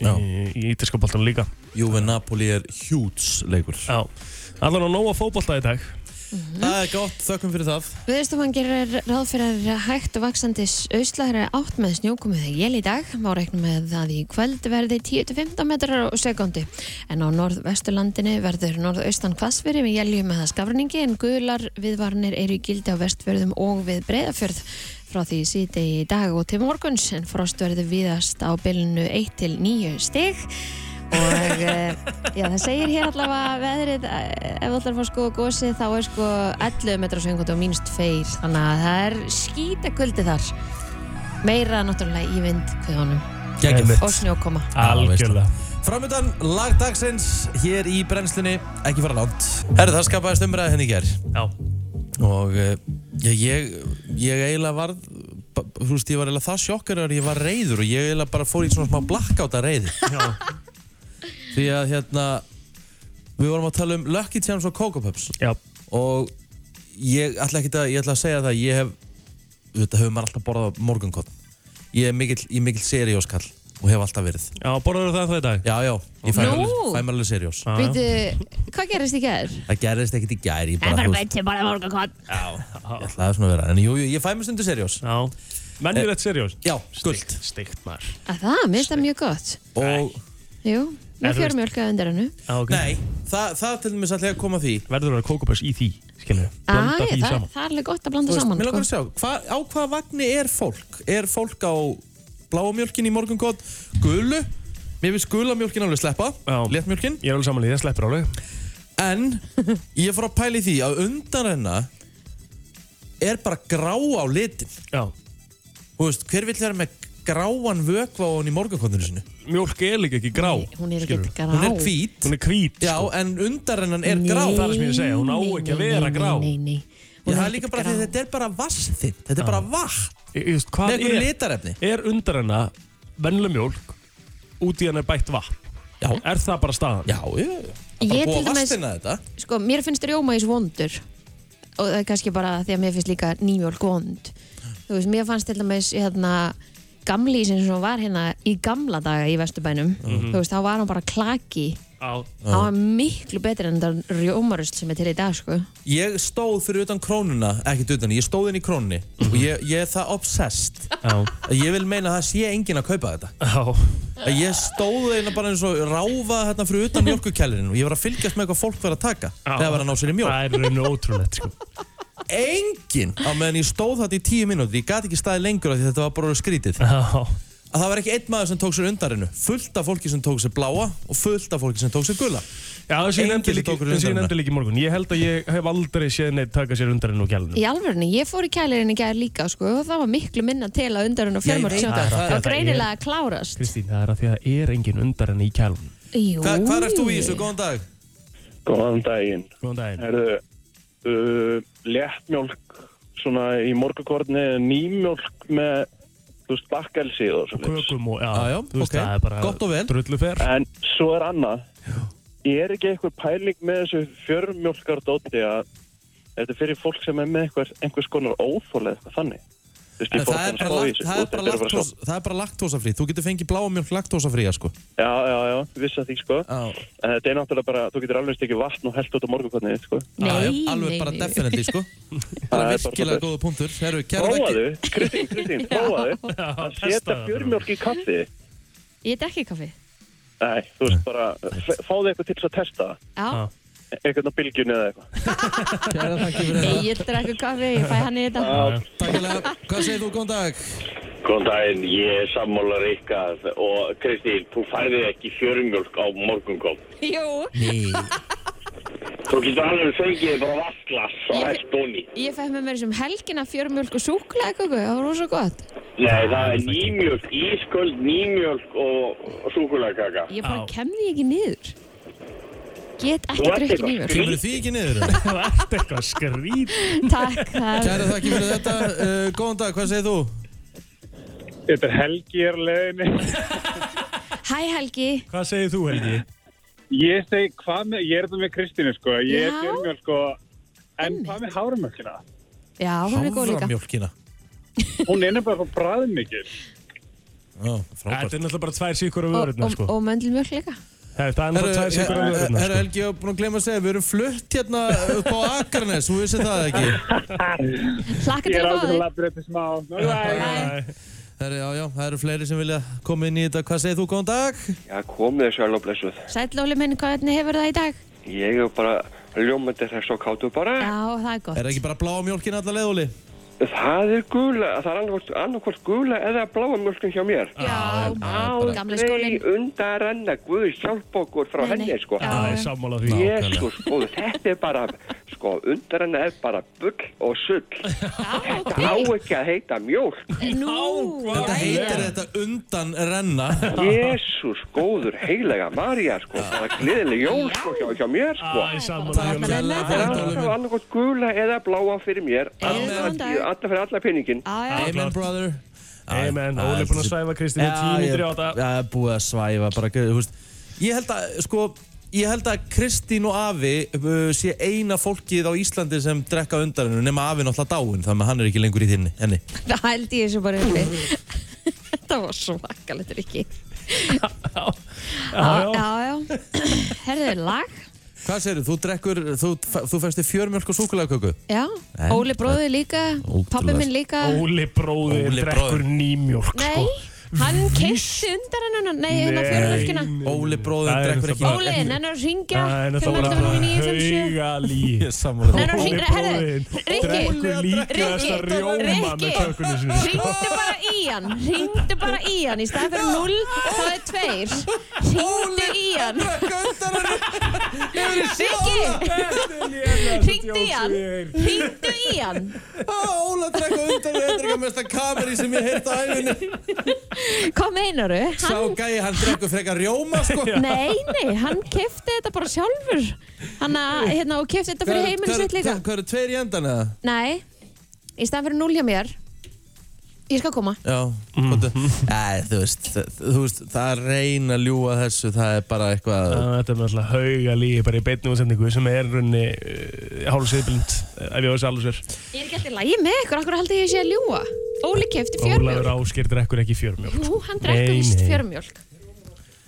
[SPEAKER 1] Já.
[SPEAKER 3] í, í ítirska boltan líka.
[SPEAKER 1] Juve Napoli er huge leikur.
[SPEAKER 3] Já. Allan á nóga fótbolta í dag.
[SPEAKER 1] Það er gott, þökkum fyrir það.
[SPEAKER 2] Viðstofan gerir ráð fyrir hægt og vaksandi auðslagri átt með snjókomu þegar jél í dag. Má reikna með að í kvöld verði 10-15 metrar á sekundi. En á norðvesturlandinu verður norðaustan hvassfyrir með jéljum eða skafringi en guðlar viðvarnir eru í gildi á vestfjörðum og við breyðafjörð frá því síti í dag og til morguns en frost verður viðast á bylunu 1 til 9 stig og eh, já, það segir hér allavega að veðrið, eh, ef allar fór sko gósið þá er sko 11 metra svengundi og mínst feil, þannig að það er skýta kuldi þar meira náttúrulega í vind kvöðunum
[SPEAKER 1] Gægjum.
[SPEAKER 2] og snjókoma
[SPEAKER 3] Algjörlega.
[SPEAKER 1] Framöndan lagdagsins hér í brennslunni, ekki fara langt. Herri, það skapaðist umræði henni í gerð.
[SPEAKER 3] Já.
[SPEAKER 1] Og eh, ég, ég, ég eiginlega varð, ba- þú veist, ég var eiginlega það sjokkar að ég var reyður og ég eiginlega bara fór í svona smá blackout að reyði.
[SPEAKER 3] Já.
[SPEAKER 1] Því að hérna, við vorum að tala um Lucky Charms og Coco Puffs.
[SPEAKER 3] Já.
[SPEAKER 1] og ég ætla ekki að, ég ætla að segja það ég hef, þetta hefur maður alltaf borðað morgunkott, ég er mikill, ég er mikill serióskall og hef alltaf verið
[SPEAKER 3] Já, borðar það það í dag?
[SPEAKER 1] já, já, ég fæ
[SPEAKER 2] Nú?
[SPEAKER 1] mér alveg, fæ mér alveg seriós
[SPEAKER 3] Já.
[SPEAKER 2] Veitu, hvað gerist í gerð?
[SPEAKER 1] það gerðist ekkert í gær, ég bara, þú veist,
[SPEAKER 2] til bara morgunkott
[SPEAKER 1] ég ætla að svona vera en jú, jú, ég fæ mér stundu seriós Eh,
[SPEAKER 3] Já. Mennjulegt seriós.
[SPEAKER 1] já, gullt
[SPEAKER 3] Steikt maður.
[SPEAKER 2] Að það, mér finnst það mjög gott
[SPEAKER 1] og
[SPEAKER 2] Jú,
[SPEAKER 3] En
[SPEAKER 2] Með
[SPEAKER 3] þú veist-
[SPEAKER 2] fjörmjölka undir hannu.
[SPEAKER 3] Ah, okay.
[SPEAKER 1] Nei, það, það til dæmis ætla ég að koma að því
[SPEAKER 3] Verður það kókubars í því, skilur við?
[SPEAKER 2] Ah,
[SPEAKER 3] Blanda
[SPEAKER 2] ég,
[SPEAKER 3] því
[SPEAKER 2] það,
[SPEAKER 3] saman.
[SPEAKER 2] það er alveg gott að
[SPEAKER 1] Þú
[SPEAKER 2] blanda
[SPEAKER 1] veist,
[SPEAKER 2] saman.
[SPEAKER 1] Mér langar að
[SPEAKER 2] Sko.
[SPEAKER 1] sjá, hva, á hvaða vagni er fólk? Er fólk á bláumjölkin í morgungótt, gulu? Mér finnst gula mjölkin alveg sleppa,
[SPEAKER 3] Já.
[SPEAKER 1] léttmjölkin
[SPEAKER 3] Ég er alveg samanlega, það sleppur alveg.
[SPEAKER 1] En (laughs) ég fór að pæla í því að undan hennar er bara grá á litin
[SPEAKER 3] Já.
[SPEAKER 1] Þú veist, hver vill vera með gráan vökva á henni í morgunkottinu sinu?
[SPEAKER 3] Mjólk er líka ekki grá.
[SPEAKER 2] Hún er
[SPEAKER 3] skilurðu.
[SPEAKER 2] ekki grá.
[SPEAKER 1] Hún er hvít,
[SPEAKER 3] Hún er hvít, sko.
[SPEAKER 1] já, en undan hennar er grá
[SPEAKER 2] Nei,
[SPEAKER 3] það er sem ég er að segja, hún á
[SPEAKER 2] nei,
[SPEAKER 3] ekki að
[SPEAKER 2] nei,
[SPEAKER 3] vera
[SPEAKER 2] nei,
[SPEAKER 3] grá.
[SPEAKER 2] Nei, nei, nei.
[SPEAKER 1] Já,
[SPEAKER 2] Hún
[SPEAKER 1] það er
[SPEAKER 2] ekkert
[SPEAKER 1] líka bara
[SPEAKER 2] grá.
[SPEAKER 1] því að þetta er bara vatn Þetta er bara vatn
[SPEAKER 3] Ég, ég veist,
[SPEAKER 1] með
[SPEAKER 3] hvað
[SPEAKER 1] einhverju
[SPEAKER 3] er,
[SPEAKER 1] litarefni
[SPEAKER 3] er undar hennar vennileg mjólk, út í hennar bætt vatn?
[SPEAKER 1] Já,
[SPEAKER 3] Er það bara staðan?
[SPEAKER 1] já, ég, það er
[SPEAKER 2] Ég
[SPEAKER 1] bara búið
[SPEAKER 2] til
[SPEAKER 1] að
[SPEAKER 2] dæmis-
[SPEAKER 1] vastina þetta
[SPEAKER 2] Sko, mér finnst rjómaís vondur og það er kannski bara því að mér finnst líka nýmjólk vond. Þú veist, mér fannst til dæmis hérna gamlísin sem hún var hérna í gamla daga í Vesturbænum.
[SPEAKER 1] Mhm.
[SPEAKER 2] Þú veist, þá var hún bara klaki.
[SPEAKER 3] Já.
[SPEAKER 2] Það var miklu betri en það rjómarust sem er til í dag, sko.
[SPEAKER 1] Ég stóð fyrir utan krónuna, ekkert utan, ég stóð inn í krónunni
[SPEAKER 3] Mhm.
[SPEAKER 1] og ég, ég er það obsessed
[SPEAKER 3] Já.
[SPEAKER 1] að ég vil meina að það sé enginn að kaupa þetta
[SPEAKER 3] Já.
[SPEAKER 1] að ég stóð einna bara eins og ráfa hérna fyrir utan mjölkukælirinn og ég var að fylgjast með hvað fólk var að taka
[SPEAKER 3] Já.
[SPEAKER 1] þegar var að ná sér í mjölk
[SPEAKER 3] Það er rauninu ótrúlegt, sko.
[SPEAKER 1] enginn á meðan ég stóð þetta í tíu mínútur ég gat ekki staðið lengur af því þetta var bara skrítið
[SPEAKER 3] Já.
[SPEAKER 1] að það var ekki einn maður sem tók sér undarinu fullt af fólki sem tók sér bláa og fullt af fólki sem tók sér gula
[SPEAKER 3] Já, það sé ég
[SPEAKER 1] Enginn
[SPEAKER 3] nefndi
[SPEAKER 1] sem
[SPEAKER 3] líki,
[SPEAKER 1] tók sér
[SPEAKER 3] þessi ég
[SPEAKER 1] undan
[SPEAKER 3] nefndi líki í morgun. Ég held að ég hef aldrei séð neitt taka sér undarinn og gælunum.
[SPEAKER 2] Í alvörni, ég fór í kælirinn í gær líka, sko, og það var miklu minna til að undarinn og
[SPEAKER 1] Ég
[SPEAKER 2] fjármjólk
[SPEAKER 1] veit
[SPEAKER 2] sem
[SPEAKER 1] það,
[SPEAKER 2] það
[SPEAKER 1] það
[SPEAKER 2] var
[SPEAKER 1] er-
[SPEAKER 2] greinilega að klárast.
[SPEAKER 3] Kristín, það er að því að það er engin undarinn í kælunum.
[SPEAKER 2] Jú.
[SPEAKER 1] Hva, hvað ert þú í þessu? Góðan dag
[SPEAKER 6] Góðan daginn.
[SPEAKER 3] Góðan daginn.
[SPEAKER 6] Herðu, uh, léttmjólk svona í morgukorni nýmjólk með þú veist, bakkelsi og svona.
[SPEAKER 3] Kökum og, já,
[SPEAKER 1] Já, já,
[SPEAKER 3] þú veist,
[SPEAKER 1] ok.
[SPEAKER 3] það er bara
[SPEAKER 1] Gott og vel.
[SPEAKER 3] drullufer.
[SPEAKER 6] En svo er annað. Ég er ekki eitthvað pæling með þessu fjörmjólkardóti að þetta er fyrir fólk sem er með einhver, einhvers konar óþóla eitthvað þannig. Þú veist,
[SPEAKER 1] En
[SPEAKER 6] ég fór
[SPEAKER 1] það er
[SPEAKER 6] að
[SPEAKER 1] bara,
[SPEAKER 6] spá í þessu
[SPEAKER 1] lak- það er
[SPEAKER 6] og þetta er
[SPEAKER 1] bara,
[SPEAKER 6] bara
[SPEAKER 1] laktós,
[SPEAKER 6] svo.
[SPEAKER 1] það er bara laktósafrí þú getur fengið bláa mjölk laktósafríja sko
[SPEAKER 6] Já, já, já, vissi að því sko. En þetta er náttúrulega bara, þú getur alveg stekið vatn og held út á morgunkornið, sko.
[SPEAKER 2] Nei,
[SPEAKER 1] Já, já,
[SPEAKER 2] nei,
[SPEAKER 1] alveg bara
[SPEAKER 2] nei.
[SPEAKER 1] definitely
[SPEAKER 2] (laughs)
[SPEAKER 1] sko
[SPEAKER 6] Það
[SPEAKER 1] bara
[SPEAKER 6] er bara
[SPEAKER 1] virkilega
[SPEAKER 6] svoleiðis.
[SPEAKER 1] góða punktur Heru, kæra,
[SPEAKER 6] Prófaðu,
[SPEAKER 1] þakkir.
[SPEAKER 6] Kristín, Kristín,
[SPEAKER 3] (laughs)
[SPEAKER 6] prófaðu að setja
[SPEAKER 3] testaðu það.
[SPEAKER 6] fjörmjólk í kaffi.
[SPEAKER 2] Ég drekki kaffi.
[SPEAKER 6] Nei, þú veist bara, f- fáðu eitthvað til þess að testa það.
[SPEAKER 2] Já.
[SPEAKER 3] Já.
[SPEAKER 6] E- Eitthvað á bylgjunni eða eitthvað.
[SPEAKER 1] Kæra þakkir fyrir
[SPEAKER 2] Nei,
[SPEAKER 1] þetta.
[SPEAKER 2] ég drekku kaffi, ég fæ hann í þetta. (laughs)
[SPEAKER 1] Takk hérlega. Hvað segir þú, góðan dag?
[SPEAKER 7] Góðan daginn, ég er sammála Rikka og Kristín, þú færði ekki fjörumjólk á morgungóm.
[SPEAKER 2] Jú,
[SPEAKER 7] Þú getur alveg fengið bara vasklas og hægt onni.
[SPEAKER 2] ég fæ með mér sem um helgina fjörmjölk og súklaði það var rosa gott.
[SPEAKER 7] Nei, það er nýmjölk, ísköld, nýmjölk og, og súkulagkaka.
[SPEAKER 2] Ég bara
[SPEAKER 3] Já.
[SPEAKER 2] kem því ekki niður. Get
[SPEAKER 7] Þú
[SPEAKER 2] ekki
[SPEAKER 7] ert
[SPEAKER 2] drukkið
[SPEAKER 7] eitthvað
[SPEAKER 2] nýmjölk.
[SPEAKER 1] Kemur því ekki
[SPEAKER 3] (laughs)
[SPEAKER 1] niður? eða?
[SPEAKER 3] Það ert eitthvað skrít.
[SPEAKER 2] (laughs) Takk, það
[SPEAKER 1] Kæra þakkir fyrir
[SPEAKER 2] (laughs)
[SPEAKER 1] þetta. Uh, góðan dag, hvað segir þú?
[SPEAKER 8] Þetta er Helgi er á leiðinni.
[SPEAKER 2] Hæ Helgi.
[SPEAKER 3] Hvað segir þú, Helgi?
[SPEAKER 8] Ég segi, hvað með, ég er þetta með Kristínu sko, ég er
[SPEAKER 2] Já.
[SPEAKER 8] fjörmjöl sko, en
[SPEAKER 2] Einmitt.
[SPEAKER 8] hvað með hárumjölkina?
[SPEAKER 2] Já, hún er góð líka.
[SPEAKER 1] mjölkina.
[SPEAKER 8] Hún er nefnilega bara bræðin mikið.
[SPEAKER 1] Já,
[SPEAKER 3] Þetta
[SPEAKER 1] frábært.
[SPEAKER 3] er náttúrulega bara tvær síkur af
[SPEAKER 2] Og,
[SPEAKER 3] vörurnar,
[SPEAKER 2] og,
[SPEAKER 3] sko.
[SPEAKER 2] og möndlumjölk líka.
[SPEAKER 3] Það er náttúrulega tvær síkur af
[SPEAKER 1] Herra
[SPEAKER 3] vörurnar,
[SPEAKER 1] herra
[SPEAKER 3] sko.
[SPEAKER 1] Helgi, ég var búin að gleyma að segja, við erum flutt hérna upp á Akarnes, þú vissir það ekki.
[SPEAKER 6] (laughs)
[SPEAKER 2] Hlakka
[SPEAKER 8] Ég
[SPEAKER 2] til
[SPEAKER 8] er
[SPEAKER 2] að
[SPEAKER 8] ákveð
[SPEAKER 2] fá
[SPEAKER 8] að
[SPEAKER 2] þig.
[SPEAKER 8] labba upp í smá. Bye bye.
[SPEAKER 1] Herra, já, já, það eru fleiri sem vilja koma inn í þetta. Hvað segir þú, góðan dag?
[SPEAKER 9] Já, komið þið sjálf og blessuð.
[SPEAKER 2] Sætlóli minn, hvernig hefur það í dag?
[SPEAKER 9] Ég er bara ljómandi þess og kátu bara.
[SPEAKER 2] Já, það er
[SPEAKER 1] Er
[SPEAKER 2] gott. (laughs)
[SPEAKER 1] ekki bara bláa mjölkina alla leiðúli?
[SPEAKER 9] Það er gula, það er annarkvort, annarkvort gula eða bláa mjölkun hjá mér.
[SPEAKER 2] Já, gamla
[SPEAKER 9] Nei,
[SPEAKER 2] skólinn.
[SPEAKER 9] undaranna, guð hjálp okkur frá
[SPEAKER 2] Nei, nei.
[SPEAKER 9] henni, sko.
[SPEAKER 2] Já.
[SPEAKER 3] Það er sammála því.
[SPEAKER 9] Jésús, góðu, þetta er bara, sko, undaranna er bara bull og sull.
[SPEAKER 2] Já, ok.
[SPEAKER 9] Á ekki að heita mjólk.
[SPEAKER 2] Nú,
[SPEAKER 1] Þetta heitir þetta undan renna.
[SPEAKER 9] Jésús, góður, heilaga Marja, sko, það er gleðileg jól, sko, hjá, hjá mér, sko.
[SPEAKER 3] Það er sammála
[SPEAKER 1] Takk
[SPEAKER 3] því.
[SPEAKER 2] Renna.
[SPEAKER 1] hérlega
[SPEAKER 9] Það
[SPEAKER 1] fyrir
[SPEAKER 9] er
[SPEAKER 1] þetta, Óli
[SPEAKER 9] alltaf
[SPEAKER 1] minn.
[SPEAKER 9] annarkvort gula eða bláa fyrir mér.
[SPEAKER 2] góðan dag.
[SPEAKER 9] Alltaf fyrir alla peningin.
[SPEAKER 2] já, já.
[SPEAKER 1] Amen, brother.
[SPEAKER 3] Amen. Óli er búin að svæfa Kristínu
[SPEAKER 1] Já,
[SPEAKER 3] tíu
[SPEAKER 1] ég-
[SPEAKER 3] mítri á þetta.
[SPEAKER 1] Já, ég er búið að svæfa bara, þú veist Ég held að, sko, ég held að Kristín og Afi uh, sé eina fólkið á Íslandi sem drekka undarinu nema Afi náttúrulega dáinn, þannig að hann er ekki lengur í þinni, henni
[SPEAKER 2] Það held ég þessu bara uppi. (laughs) Þetta var svakalegt
[SPEAKER 1] (laughs)
[SPEAKER 2] rikki.
[SPEAKER 3] Já, já.
[SPEAKER 2] Já, já. Herðið lag.
[SPEAKER 1] Hvað segirðu, þú drekkur, þú, þú fæstu fjörmjölk og súkulegköku?
[SPEAKER 2] Já.
[SPEAKER 1] En-
[SPEAKER 2] Óli bróðið líka.
[SPEAKER 1] Ótrúlega.
[SPEAKER 2] Pabbi minn líka.
[SPEAKER 3] Óli bróðir
[SPEAKER 1] Óli bróðir.
[SPEAKER 3] drekkur nýmjólk
[SPEAKER 2] Nei.
[SPEAKER 3] sko.
[SPEAKER 2] Hann kisti undan hennan, nei, hennan fjörmjölkina.
[SPEAKER 1] Óli bróðir
[SPEAKER 3] Það er
[SPEAKER 1] drekkur
[SPEAKER 3] náttúrulega
[SPEAKER 1] ekki
[SPEAKER 2] Óli, hennar að Hérna ringja,
[SPEAKER 3] Það er
[SPEAKER 2] hennar
[SPEAKER 3] náttúrulega
[SPEAKER 2] að
[SPEAKER 3] bara
[SPEAKER 2] ringa 957.
[SPEAKER 3] haugalí
[SPEAKER 1] Ég er sammála
[SPEAKER 2] Nei,
[SPEAKER 1] því.
[SPEAKER 2] nei, hringir-
[SPEAKER 3] Óli
[SPEAKER 2] herðu,
[SPEAKER 3] bróðinn
[SPEAKER 2] Rikki,
[SPEAKER 3] drekkur líka þessa
[SPEAKER 2] Rikki,
[SPEAKER 3] rjóma með
[SPEAKER 2] Rikki.
[SPEAKER 3] kökunni sinni
[SPEAKER 2] Ringdu bara í hann, ringdu bara í hann Í staðan fyrir 0, þá er 2 Ringdu í hann Rikki, ringdu í hann Ringdu í hann
[SPEAKER 1] Óla drekka undan við þetta er ekki að mesta kameri sem ég heyrta á æfinni
[SPEAKER 2] Hvað meinaru?
[SPEAKER 1] Sá
[SPEAKER 2] Hann,
[SPEAKER 1] gæi, hann drekkur frekar rjóma sko
[SPEAKER 2] nei, nei, hann kefti þetta bara sjálfur Hann að, hérna, og kefti þetta fyrir heiminn sitt líka
[SPEAKER 1] Hvað eru tveir í endan eða?
[SPEAKER 2] Nei, í staðan fyrir 0 hjá mér Ég skal koma
[SPEAKER 1] Já,
[SPEAKER 2] Mhm.
[SPEAKER 1] komdu Nei, þú veist, þ- þú veist, það er reyn að ljúa þessu Það er bara eitthvað
[SPEAKER 3] Þetta er náttúrulega haugalí bara í beinni útsendingu sem er runni uh, hálfsviðblind ef ég á þessu alveg sér
[SPEAKER 2] Ég er ekki alltaf lægi með ykkur, akkur haldið ég sé að ljúa Óli kefti
[SPEAKER 3] Ólafur
[SPEAKER 2] fjörmjólk
[SPEAKER 3] Ásker drekkur ekki fjörmjólk
[SPEAKER 2] Jú, hann
[SPEAKER 3] Nei,
[SPEAKER 2] drekkur vist
[SPEAKER 3] nei.
[SPEAKER 2] fjörmjólk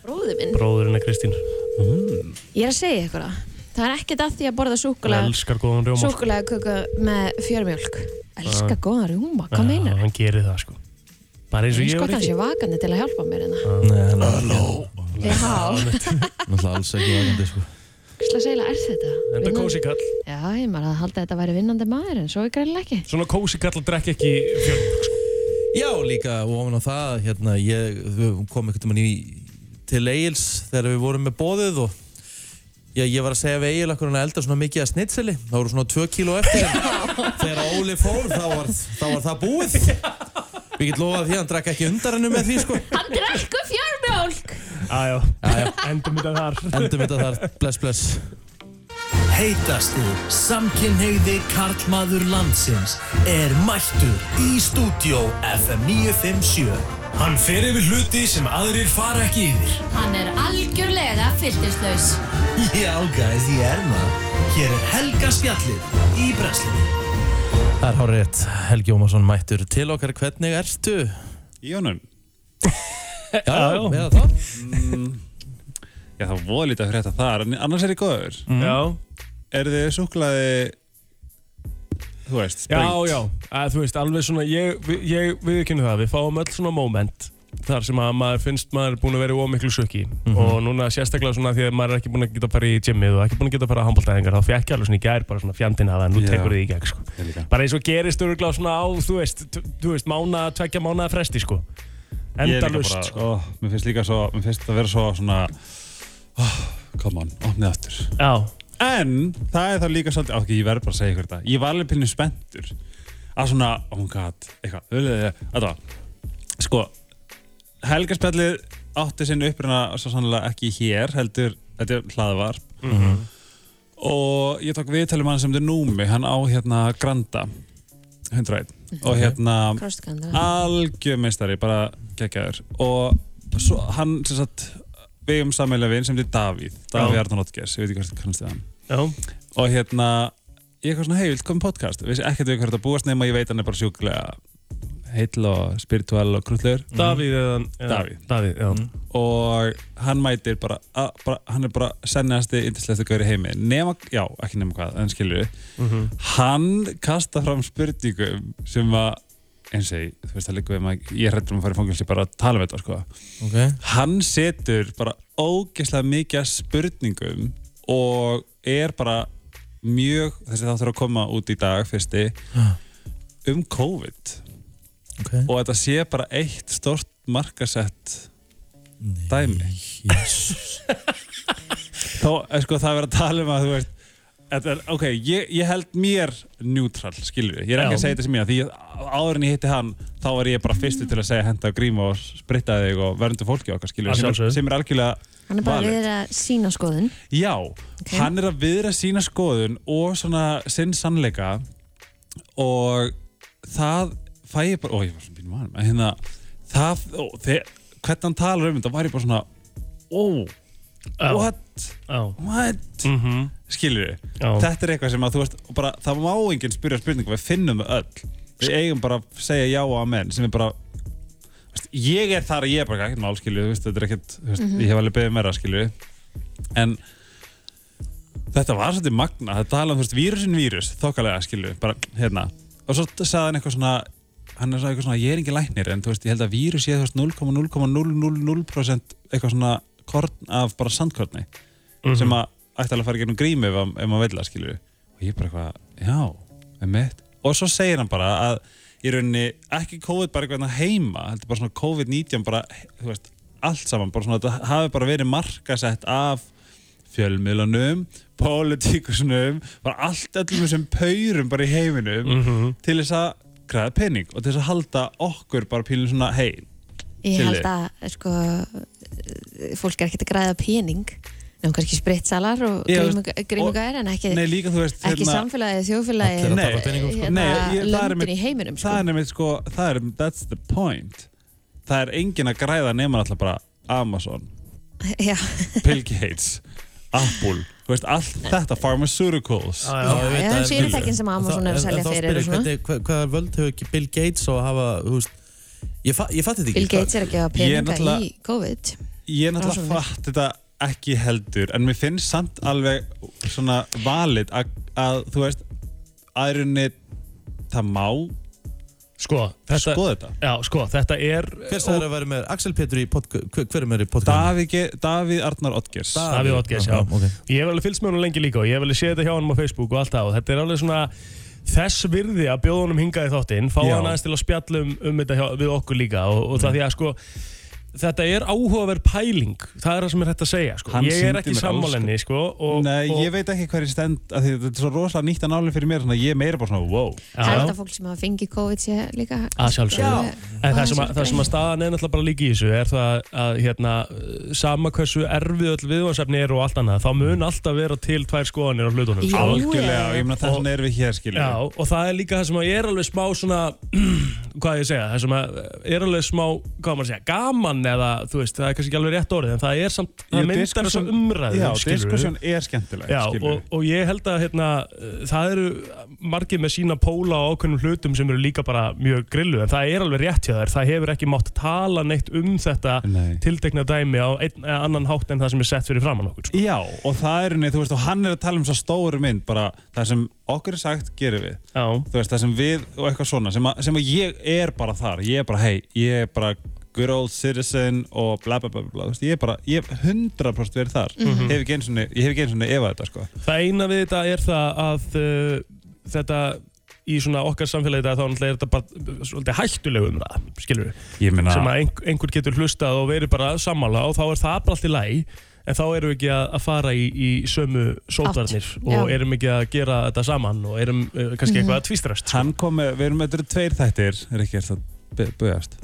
[SPEAKER 2] Bróður minn
[SPEAKER 3] Bróðurinn er Kristín
[SPEAKER 2] Ég er að segja ykkur það Það er ekkert að því að borða
[SPEAKER 3] Hún
[SPEAKER 2] súkulega
[SPEAKER 3] elskar góðan rjóma sko.
[SPEAKER 2] Súkulega með fjörmjólk Elskar góða rjúma, hvað
[SPEAKER 3] Já,
[SPEAKER 2] meinar
[SPEAKER 3] Hann gerir það sko Bara eins og
[SPEAKER 2] Ég
[SPEAKER 3] ég
[SPEAKER 2] sko
[SPEAKER 3] og
[SPEAKER 2] að hann sé
[SPEAKER 3] Rikki
[SPEAKER 2] vakandi til að hjálpa mér hérna
[SPEAKER 1] Nei, hann er ekki
[SPEAKER 2] Já,
[SPEAKER 1] Náttúrulega alls ekki vakandi sko
[SPEAKER 2] slags eiginlega er þetta
[SPEAKER 3] Enda
[SPEAKER 2] Vinnan-
[SPEAKER 3] kósi kall
[SPEAKER 2] Já, ég maður að halda að þetta væri vinnandi maður en svo er greinlega ekki
[SPEAKER 3] Svona kósi kall að drekka ekki fjörmjólk sko.
[SPEAKER 1] Já, líka og ofan á það, hérna, ég við kom einhvern veginn í til Egil's þegar við vorum með bóðið og já, ég var að segja við Egil akkur hann að elda svona mikið að snitseli, það voru svona 2 kíló eftir en þegar Óli fór þá var, þá var það búið Við getum lofað því að hann drakk ekki undar hennu með því sko
[SPEAKER 2] Hann drekkur fjörmjólk
[SPEAKER 3] Æjá, endum þetta þar
[SPEAKER 1] Endum þetta þar, bless bless
[SPEAKER 10] Heitastu samkynheyði karlmaður landsins er mættur í stúdió FM 957. Hann fer yfir hluti sem aðrir fara ekki yfir.
[SPEAKER 2] Hann er algjörlega fylltislaus
[SPEAKER 10] Já, guys, ég er maður. Hér er Helga Spjallið í Breslinni.
[SPEAKER 1] Það er hárið, Helgi Ómarsson mættur til okkar, hvernig ertu?
[SPEAKER 4] Jónum,
[SPEAKER 1] Já, já, eða það
[SPEAKER 4] já það voru lítið að frétta þar en annars er ég góður
[SPEAKER 3] Já,
[SPEAKER 4] Er þið súklaði þú veist,
[SPEAKER 3] já,
[SPEAKER 4] sprengt
[SPEAKER 3] já að, Þú veist, alveg svona Ég, við- ég viðkynna það, við fáum öll svona moment Þar sem að maður finnst maður búin að vera ómiklu sökki
[SPEAKER 4] Mhm.
[SPEAKER 3] Og núna sérstaklega svona því að maður er ekki búin að geta að fara í gymmið Og ekki búin að geta að fara að handbóltæðingar Þá fekk ég alveg svona í gær bara svona fjandinn að það Nú
[SPEAKER 4] Já.
[SPEAKER 3] tekur þið í gegn sko
[SPEAKER 4] Ég líka.
[SPEAKER 3] Bara eins og gerist öruglega svona á, þú veist, t- þú veist Mána, tveggja mánaða fresti sko
[SPEAKER 4] Ég er líka
[SPEAKER 3] Endalust
[SPEAKER 4] bara,
[SPEAKER 3] sko
[SPEAKER 4] ó, Mér finnst líka svo, mér finnst það vera svo svona oh, Come on, opnið aftur
[SPEAKER 3] Já,
[SPEAKER 4] En það er það líka svolítið, ok, ég verð bara að segja ykkur þetta Ég var alveg pínu spenntur Að svona, oh my god, eitthvað þú veist, Þetta var, sko Helgarspjallið átti sinni uppruna svo sannlega ekki hér heldur, þetta er hlaðvarp
[SPEAKER 3] Mhm.
[SPEAKER 4] og ég tók viðtalið mann sem þetta er Númi, hann á hérna Granda 101 og hérna
[SPEAKER 2] Krostkandara
[SPEAKER 4] algjör meistari, bara geggjaður og svo hann sem sagt við um sammeila vin sem þetta er Davíð Davíð
[SPEAKER 3] Já.
[SPEAKER 4] Arnón Ottgers, ég veit ekki hvað þetta kannast við hann
[SPEAKER 3] já,
[SPEAKER 4] og hérna ég eitthvað svona, hei, vilt koma í podcast við ekkert við hverju þetta búast nema ég veit hann er bara sjúklega heill og spirituell og krullegur
[SPEAKER 3] Mhm. Davíð eða eða-
[SPEAKER 4] Davíð.
[SPEAKER 3] Davíð, já
[SPEAKER 4] og hann mætir bara, a, bara hann er bara senniðasti yndislegasti gaur í heimi nema, já, ekki nema hvað, en skilur
[SPEAKER 3] Mhm.
[SPEAKER 4] hann kasta fram spurningum sem að eins og ég, þú veist það líka við maður ég hrættur um að fara í fangilsi bara að tala um þetta sko.
[SPEAKER 1] Ok,
[SPEAKER 4] hann setur bara ógeðslega mikið af spurningum og er bara mjög, þessi þáttur að koma út í dag fyrsti, um COVID
[SPEAKER 1] ok
[SPEAKER 4] og þetta sé bara eitt stort markasett dæmi (laughs) þá, eh, sko, það er verið að tala um að þú veist Þetta er, ok, ég, ég held mér neutral, skilur við, ég er ekki
[SPEAKER 3] Já.
[SPEAKER 4] að segja þetta sem ég því að áður en ég hitti hann, þá var ég bara fyrstu til að segja henda og gríma og spritta þig og verndu fólki okkar, skilur
[SPEAKER 3] Að
[SPEAKER 4] við, sem,
[SPEAKER 3] sjálfsögðu.
[SPEAKER 4] er- sem er algjörlega
[SPEAKER 2] Hann er bara
[SPEAKER 4] valid.
[SPEAKER 2] við að sína skoðun
[SPEAKER 4] Já, hann er að viðra sína skoðun og svona sinn sannleika og það fæ ég bara, ó ég var svona bínu mann en hérna, það, ó, þe, hvernig hann talar um þetta var ég bara svona ó,
[SPEAKER 3] Já.
[SPEAKER 4] what,
[SPEAKER 3] Já,
[SPEAKER 4] what
[SPEAKER 3] mhm
[SPEAKER 4] skilur við,
[SPEAKER 3] Já.
[SPEAKER 4] þetta er eitthvað sem að þú veist, bara, það má enginn spyrja spurningum við finnum það öll, við eigum bara að segja já og amen, sem er bara þú veist, ég er þar að ég er bara ekkert mál skilur, við, þú veist, þetta er ekkert, þú veist, ég hef alveg beðið meira skilur, við. en þetta var svolítið magna, það tala um, þú veist, vírusin vírus þokkalega skilur, við, bara, hérna og svo sagði hann eitthvað svona hann er svona eitthvað svona, ég er engin læknir en þú veist, ég held að vírus sé þú veist 0,0,000% eitthvað svona korn af bara sandkorni sem að ætti alveg að fara í gegnum grími ef, að- ef maður vilja, skilur við og ég bara eitthvað, já, emitt og svo segir hann bara að í rauninni ekki COVID bara eitthvað hérna heima heldur bara svona COVID-19 bara, þú veist, allt saman, bara svona þetta hafi bara verið markasett af fjölmiðlanum, pólitíkusnum bara allt öllum þessum paurum bara í heiminum til þess að græða pening og til þess að halda okkur bara pílinn svona, hei,
[SPEAKER 2] Ég
[SPEAKER 4] Silli.
[SPEAKER 2] held að sko, eh, fólk er ekkert að græða pening Nefnum kannski spritsalar og
[SPEAKER 4] Já,
[SPEAKER 2] grímuga- grímuga er en ekki,
[SPEAKER 4] nei líka þú veist
[SPEAKER 2] ekki
[SPEAKER 4] hérna-
[SPEAKER 2] samfélagið, þjófélagið
[SPEAKER 4] Allir að tapa peningum, sko. Nei, ég- það er
[SPEAKER 2] löndin
[SPEAKER 4] einmitt-
[SPEAKER 2] í heiminum sko.
[SPEAKER 4] það er nefnilegt sko, það er, that's the point það er engin að græða nema alltaf bara
[SPEAKER 1] (laughs)
[SPEAKER 4] Amazon,
[SPEAKER 2] (laughs) Já,
[SPEAKER 4] Bill Gates Apple, þú veist, allt þetta pharmaceuticals
[SPEAKER 1] Já, já, ég veit
[SPEAKER 2] Já,
[SPEAKER 1] að-
[SPEAKER 2] en fyrirtækin sem Amazon er að
[SPEAKER 1] En-
[SPEAKER 2] selja
[SPEAKER 1] en þá
[SPEAKER 2] fyrir
[SPEAKER 1] spyr
[SPEAKER 2] og
[SPEAKER 1] ég,
[SPEAKER 2] svona.
[SPEAKER 1] hvernig- hva- Hvaða völd hefur ekki Bill Gates og hafa, þú veist Ég, fa ég fatti þetta ekki
[SPEAKER 2] Bill Gates er að gefa
[SPEAKER 4] Ég
[SPEAKER 2] peninga í
[SPEAKER 4] náttúrulega-
[SPEAKER 2] COVID
[SPEAKER 4] ég er náttúrulega
[SPEAKER 2] Rannsóknir.
[SPEAKER 4] fatt þetta ekki heldur en mér finnst samt alveg svona valid að, að þú veist aðrunni það má
[SPEAKER 3] sko, þetta-
[SPEAKER 4] skoða þetta
[SPEAKER 3] Já, sko, þetta er
[SPEAKER 1] Hver sagði að vera með Axel Pétur í podcast hver, hver er með í podcast?
[SPEAKER 4] Davíð, Ge- Davíð Arnar Oddgers
[SPEAKER 3] Davíð Oddgeirs, já. Ég hef alveg fylgst með honum lengi líka og ég hef alveg séð þetta hjá honum á Facebook og allt það og þetta er alveg svona þess virði að bjóða honum hingað í þáttinn, fá
[SPEAKER 4] Já.
[SPEAKER 3] hann aðeins til að spjalla um, um þetta hjá, við okkur líka og, og
[SPEAKER 1] Mm.
[SPEAKER 3] það því að sko þetta er áhugaverð pæling, það er það sem er hægt að segja sko.
[SPEAKER 4] Hann
[SPEAKER 3] ég er
[SPEAKER 4] sýndi
[SPEAKER 3] ekki
[SPEAKER 4] mér alls
[SPEAKER 3] sammálenni sko og,
[SPEAKER 4] Nei,
[SPEAKER 3] og,
[SPEAKER 4] ég veit ekki hvað ég stend að þetta er svo rosalega nýtt að náli fyrir mér þannig að ég er meira bara svona, wow
[SPEAKER 2] Ég held að fólk sem hafa fengið COVID sé líka
[SPEAKER 3] Að sjálfsögðu.
[SPEAKER 2] alveg-
[SPEAKER 3] En það
[SPEAKER 2] að
[SPEAKER 3] sem, að, það sem að staðan er náttúrulega bara líka í þessu er það að, að hérna, sama hversu erfið öll viðvarsefni eru og allt annað þá mun alltaf vera til tvær skoðanir á hlutunum sko.
[SPEAKER 4] Algjörlega, og ég meina þess
[SPEAKER 3] Og-
[SPEAKER 4] vegna erum við hér skilja
[SPEAKER 3] Já, og það er líka það sem að ég er alveg smá svona, (clears throat) hvað ég segja, það sem að er alveg smá, hvað maður segja, gaman eða, þú veist, það er kannski ekki alveg rétt orðið, en það er samt, það myndar þess að umræðu,
[SPEAKER 4] Já,
[SPEAKER 3] skilurðu.
[SPEAKER 4] diskusjón er skemmtileg
[SPEAKER 3] Já, og, og ég held að hérna, uh, það eru margir með sína póla á ákveðnum hlutum sem eru líka bara mjög grillu en það er alveg rétt hjá þær, það hefur ekki mátt tala neitt um þetta
[SPEAKER 4] Nei.
[SPEAKER 3] tiltekna dæmi á einn eða annan hátt en það sem er sett fyrir framann okkur sko.
[SPEAKER 4] Já, og það er henni, þú veist, og hann er að tala um svo stóru mynd, bara það sem okkur er sagt gerum við,
[SPEAKER 3] Já.
[SPEAKER 4] þú veist, það sem við og eitthvað svona, sem að, sem að ég er bara þar ég er bara, hei, ég er bara good old citizen og bla bla bla bla, bla þú veist, ég er bara, ég hef 100% verið þar
[SPEAKER 3] Mhm.
[SPEAKER 4] hef ekki einu sinni, ég hef ekki einu sinni efað þetta, sko
[SPEAKER 3] Það eina við þetta er það að uh, þetta í svona okkar samfélagi í dag þá náttúrulega er þetta bara uh, svolítið hættuleg umræða, skilur
[SPEAKER 4] Ég meina-
[SPEAKER 3] sem að ein, einhver getur hlustað og verið bara sammála og þá er það bara allt í lægi en þá erum við ekki að, að fara í, í sömu sótarnir og
[SPEAKER 4] já.
[SPEAKER 3] erum ekki að gera þetta saman og erum uh, kannski eitthvað að tvistrast
[SPEAKER 4] Hann kom með, við erum með þetta eru tveir þættir er ekki eftir að bögast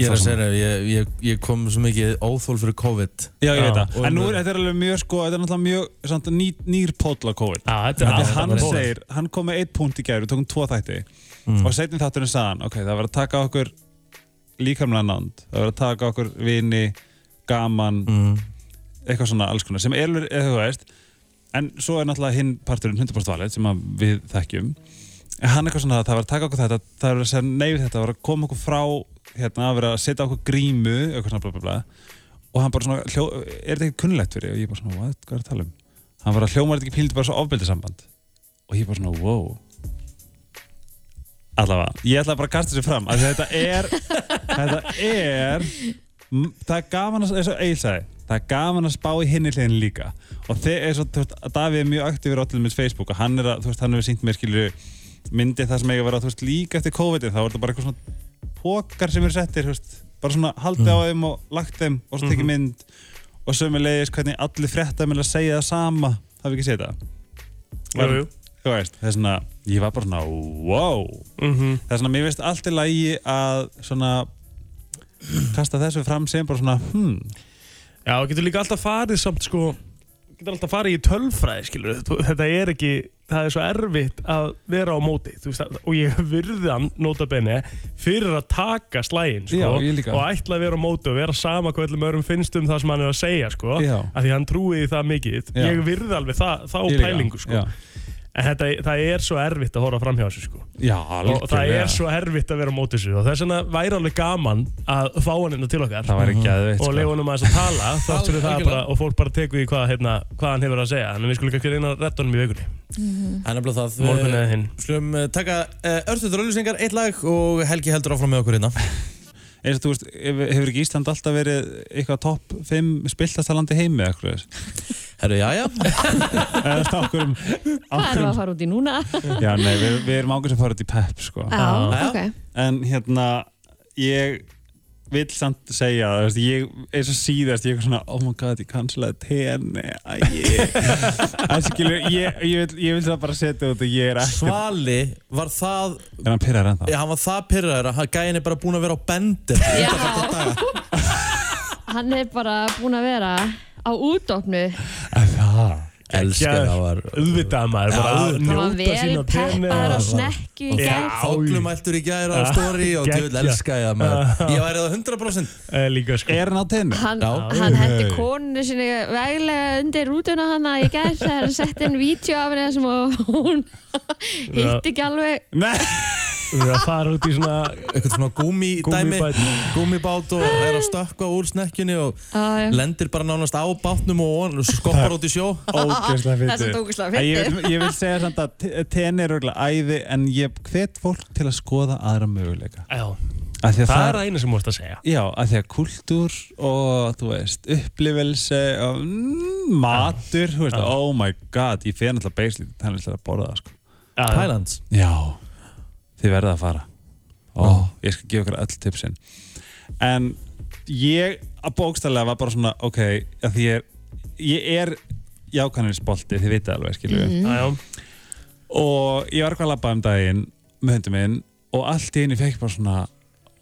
[SPEAKER 1] Ég er að segja þér, ég, ég, ég kom svo mikið óþól fyrir COVID
[SPEAKER 4] Já, ég veit
[SPEAKER 1] Og
[SPEAKER 4] það. En nú er
[SPEAKER 1] umræðu.
[SPEAKER 4] þetta er alveg mjög, sko, þetta er náttúrulega mjög samt, ný, nýr póll á COVID. Já,
[SPEAKER 3] þetta er alveg
[SPEAKER 4] Hann
[SPEAKER 3] bara póll.
[SPEAKER 4] segir, hann kom með eitt punkt í gæri, við tókum tvo þætti og setjum þátturinn saðan, ok, það var að taka okkur líkamlega nánd, það var að taka okkur vini, gaman, eitthvað svona alls konar, sem er, alveg- eða þú veist, en svo er náttúrulega hinn parturinn 100% valið sem að við þekkjum. En hann eitthvað svona, það var að taka okkur þetta, það var að segja nei við þetta, það var að koma okkur frá, hérna, að vera að setja okkur grímu, eitthvað svona bla bla bla og hann bara svona, hljó, er þetta ekki kunnilegt fyrir þig? og ég bara svona, what, hvað er það að tala um hann var að hljóma þetta ekki pílítið bara svo ofbeldisamband og ég bara svona, wow allavega, ég ætla bara að kasta sér fram af því að þetta er þetta er m- það er gaman að, eins og Egil sagði það er gaman að spá í hinni hliðin líka og þegar, eins og, þú veist, Davíð er mjög aktífur á allir minns Facebook og hann er að, þú veist, hann hefur sínt mér skilur myndið það sem eiga að vera, þú veist, líka eftir COVID-ið, þá er þetta bara eitthvað svona pókar sem eru settir, þú veist, bara svona haldið á þeim og lagt þeim og svo tekið mynd og sömulegis hvernig allir fréttamil að segja það sama, það við ekki segja það
[SPEAKER 3] Jú, jú.
[SPEAKER 4] Þú veist, það er svona, ég var bara svona, wow
[SPEAKER 1] Mhm.
[SPEAKER 4] Það er svona, mér veist allt í lagi að svona kasta þessu fram sem bara svona, hmm
[SPEAKER 3] Já, og getur líka alltaf farið samt sko getur alltaf farið í tölfræði skilur þetta er ekki, það er svo erfitt að vera á móti, þú veist að, og ég virði hann nota bene fyrir að taka slægin sko,
[SPEAKER 4] Já, ég líka.
[SPEAKER 3] og ætla að vera á móti og vera sama hvað öllum öðrum finnst um það sem hann er að segja sko,
[SPEAKER 4] Já.
[SPEAKER 3] að því hann trúi því það mikið
[SPEAKER 4] Já.
[SPEAKER 3] ég virði alveg það, þá
[SPEAKER 4] Ég líka,
[SPEAKER 3] pælingu sko.
[SPEAKER 4] já.
[SPEAKER 3] En þetta, það er svo erfitt að horfa framhjá þessu sko.
[SPEAKER 4] Já,
[SPEAKER 3] Og það er svo erfitt að vera á móti þessu Og þess vegna væri alveg gaman að fá hann inn til okkar Mhm.
[SPEAKER 4] Það væri geðveikt,
[SPEAKER 3] Og
[SPEAKER 4] sko.
[SPEAKER 3] leiða honum aðeins að
[SPEAKER 4] (laughs)
[SPEAKER 3] tala Þáttur við það
[SPEAKER 4] Algjörlega.
[SPEAKER 3] bara Og fólk bara tekur í hvað, hérna, hvað hann hefur að segja En við skulum ekki reyna að retta honum í vikunni Mm-hmm.
[SPEAKER 1] Mhm. En nefnilega það
[SPEAKER 3] Morgun eða hinn
[SPEAKER 1] Slum taka uh, örstuður auðlýsingar, eitt lag og Helgi heldur áfram með okkur hérna.
[SPEAKER 4] (laughs) eins og þú veist, hefur hefur ekki Ísland alltaf verið eitthvað topp 5 spiltasta landi heimi eða eitthvað
[SPEAKER 1] Herru, já, já
[SPEAKER 4] (laughs) Eða þetta okkur um
[SPEAKER 2] Hvað erum við að fara út í núna?
[SPEAKER 4] Já, nei, við, við erum ákveðs að fara út í pepp, sko
[SPEAKER 2] Já, Já. ok.
[SPEAKER 4] En hérna, ég vil samt segja það, veist, ég eins og síðast, ég er svona, oh my god, ég kanslaði tenni, (laughs) æ, ég En skilur, ég, ég, vil, ég vil það bara setja út og ég er ekki
[SPEAKER 1] Svali var það
[SPEAKER 4] Er hann pyrraður ennþá?
[SPEAKER 1] Já, hann var það pyrraður að hann- gæinn er bara búinn að vera á bendir
[SPEAKER 2] Hann er bara búin að vera á útdóknu
[SPEAKER 1] Elskar það var
[SPEAKER 3] Uðvitað maður, bara
[SPEAKER 1] Já,
[SPEAKER 3] að
[SPEAKER 2] Hann
[SPEAKER 1] auðvitað.
[SPEAKER 2] var
[SPEAKER 3] njóta
[SPEAKER 2] vel
[SPEAKER 3] sín á tenni
[SPEAKER 2] peppaður á
[SPEAKER 3] og-
[SPEAKER 2] snekju í
[SPEAKER 1] Já,
[SPEAKER 2] gerð
[SPEAKER 1] Þoklumæltur í gæra á
[SPEAKER 3] Ah,
[SPEAKER 1] stóri og djöfull
[SPEAKER 3] geggjað.
[SPEAKER 1] elska ég það maður Ég væri það
[SPEAKER 3] (laughs)
[SPEAKER 1] 100%
[SPEAKER 3] Líka sko
[SPEAKER 4] Er hann á tenni?
[SPEAKER 2] Hann,
[SPEAKER 1] Já.
[SPEAKER 2] hann hendi konu sinni veglega undir rútuna hana í gerð þegar hann sett inn vídeo af henni sem að
[SPEAKER 1] (laughs)
[SPEAKER 2] hún hitti ekki alveg
[SPEAKER 4] Nei
[SPEAKER 3] Við erum að fara út í svona
[SPEAKER 1] Eitthvað svona gúmi dæmi
[SPEAKER 3] Gúmmíbát.
[SPEAKER 1] Gúmibát og er að stökkva úr snekkjunni og
[SPEAKER 2] Já, já.
[SPEAKER 1] lendir bara nánast á bátnum og ofan og skoppar út í sjó
[SPEAKER 4] ógeðslega
[SPEAKER 2] Það er
[SPEAKER 4] fyndið.
[SPEAKER 2] samt ógeðslega
[SPEAKER 4] En Ég,
[SPEAKER 2] fyndið.
[SPEAKER 4] vil- ég vil segja samt að te- tenni er örgulega æði en ég hvet fólk til að skoða aðra möguleika.
[SPEAKER 3] Já.
[SPEAKER 4] Af því að
[SPEAKER 3] Það
[SPEAKER 4] það
[SPEAKER 3] er að eina sem múst að segja
[SPEAKER 4] Já, af því að kultúr og, þú veist, upplifelse og mm, matur, þú veist, oh my god, ég fyrir alltaf beislítið tænlislega að borða það, sko.
[SPEAKER 1] Thailands
[SPEAKER 4] Já, þið verða að fara. Ó, ég skal gefa ykkur öll tipsin. En ég, að bókstælega var bara svona, ok, að því ég er, ég er jákaninsbolti, þið vitið alveg, skilju.
[SPEAKER 3] Mhm. Já, já.
[SPEAKER 4] Og ég var eitthvað að labba um daginn með hundum minn og allt í einu fekk ég bara svona,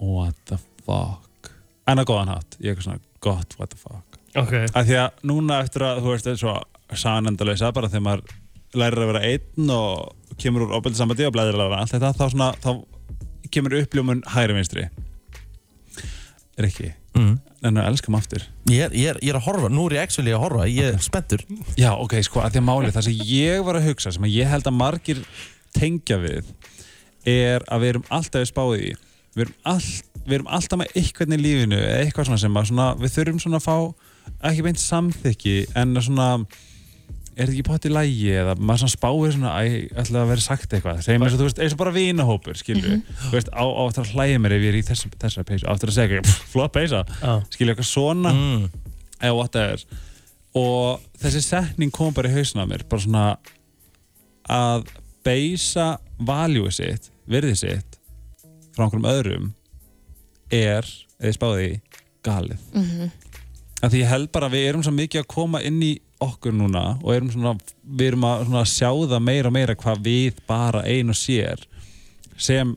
[SPEAKER 4] what the fuck. En að góðan hátt, ég er eitthvað svona, gott, what the fuck.
[SPEAKER 3] Ok.
[SPEAKER 4] Af því að núna eftir að, þú veist, það er svo sanendalösa, bara þegar maður lærir að vera einn og kemur úr opildið sambandi og blæðir að vera allt þetta, þá svona, þá kemur uppljómun hægri vinstri. Rikki,
[SPEAKER 1] Mm.
[SPEAKER 4] en að elska maður aftur.
[SPEAKER 1] Ég er, ég, er, ég er að horfa, nú er ég actually að horfa, ég er spenntur
[SPEAKER 4] Já, ok, sko, að því að máli það sem ég var að hugsa, sem að ég held að margir tengja við er að við erum alltaf í spáði í við erum, all, við erum alltaf með eitthvað í lífinu eða eitthvað svona sem að svona, við þurfum svona að fá ekki beint samþykki en að svona er þetta ekki pott í lægi eða maður svona spáir svona æ, ætla að vera sagt eitthvað segjum eins og þú veist, eins og bara vinahópur, skilju þú veist, á, á aftur að hlæja mér ef ég er í þessum þessar peysu, á aftur að segja eitthvað, pff, flott peysa
[SPEAKER 3] Já.
[SPEAKER 4] skilju eitthvað svona eða whatever og þessi setning kom bara í hausna mér bara svona að beisa value sitt virði sitt frá einhverjum öðrum er, eða spáði í, galið
[SPEAKER 11] Mhm.
[SPEAKER 4] að því ég held bara að við erum svo mikið að koma inn í okkur núna og erum svona, við erum að svona sjá það meira og meira hvað við bara ein og sér sem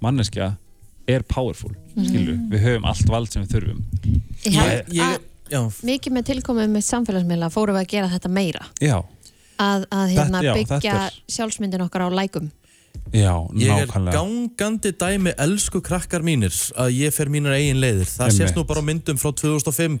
[SPEAKER 4] manneskja er powerful skilu, við höfum allt vald sem við þurfum
[SPEAKER 2] Mhm. Ég held
[SPEAKER 1] ég, já.
[SPEAKER 2] Mikið með tilkomið með samfélagsmiðla fórum við að gera þetta meira
[SPEAKER 4] já,
[SPEAKER 2] að, að hérna,
[SPEAKER 1] Þetta- já,
[SPEAKER 2] byggja
[SPEAKER 1] þetta er-
[SPEAKER 2] sjálfsmyndin okkar á lækum
[SPEAKER 4] já,
[SPEAKER 1] Ég er
[SPEAKER 4] nákvæmlega
[SPEAKER 1] gangandi dæmi elsku krakkar mínir að ég fer mínar eigin leiðir. Það
[SPEAKER 4] Einmitt.
[SPEAKER 1] sést nú bara á myndum frá 2005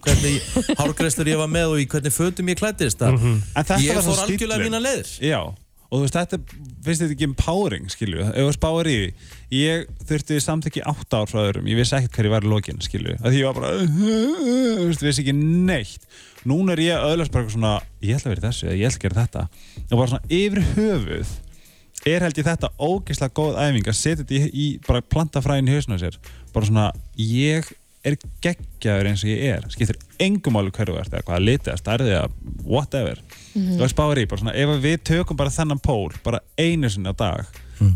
[SPEAKER 4] (laughs)
[SPEAKER 1] hvernig hárgreslur ég var með og í hvernig fötum ég klættist. Mm
[SPEAKER 4] Mhm. En þetta
[SPEAKER 1] Ég
[SPEAKER 4] var
[SPEAKER 1] fór
[SPEAKER 4] svo
[SPEAKER 1] algjörlega
[SPEAKER 4] stíllinn.
[SPEAKER 1] mínar leiðir.
[SPEAKER 4] Já, og þú veist, þetta finnst þetta ekki empowering, skilju, ef þú spáir í því ég þurfti samþykki átt ár frá öðrum, ég vissi ekkert hver ég var í lokin, skilju að því ég var bara, uh, uh, uh, þú veist, vissi ekki neitt núna er ég öðlast bara eitthvað svona, ég ætla að vera í þessu, eða ég ætla að gera þetta og bara svona yfir höfuð er held ég þetta ógeðslega góð æfing að setja þetta í, í bara planta fræðin í hausinu sér bara svona, ég er geggjaður eins og ég er skiptir engum áli hverju ert eða hvaða liti eða stærði eða whatever
[SPEAKER 11] Mhm.
[SPEAKER 4] og ég spáir í, bara svona, ef að við tökum bara þennan pól bara einu sinni á dag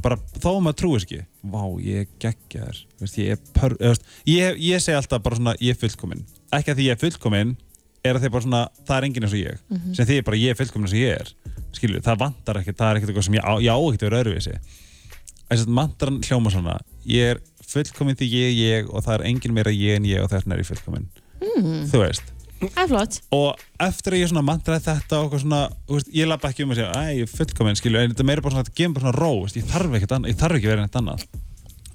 [SPEAKER 4] bara þó að maður trúis ekki vá, ég er geggjaður veist, ég, er pör, eða, veist, ég, ég segi alltaf bara svona, ég er fullkomin ekki að því ég er fullkomin er að því bara svona, það er enginn eins og ég
[SPEAKER 11] Mhm.
[SPEAKER 4] sem því er bara ég er fullkomin eins og ég er skilju, það vantar ekkert, það er ekkert eitthvað sem ég á, ég á ekkert að vera öðruvísi þess að mantran hljóma svona ég er fullkomin því ég er ég og það er enginn meira ég en ég og þess er ég fullkomin
[SPEAKER 2] mm.
[SPEAKER 4] þú veist
[SPEAKER 2] Það er flott
[SPEAKER 4] og eftir að ég svona mantraði þetta og eitthvað svona, þú veist, ég lappa ekki um að segja æ, ég er fullkomin, skilju, en þetta er meira bara svona þetta gefur bara svona ró, veist, ég þarf ekkert annað, ég þarf ekki verið neitt annað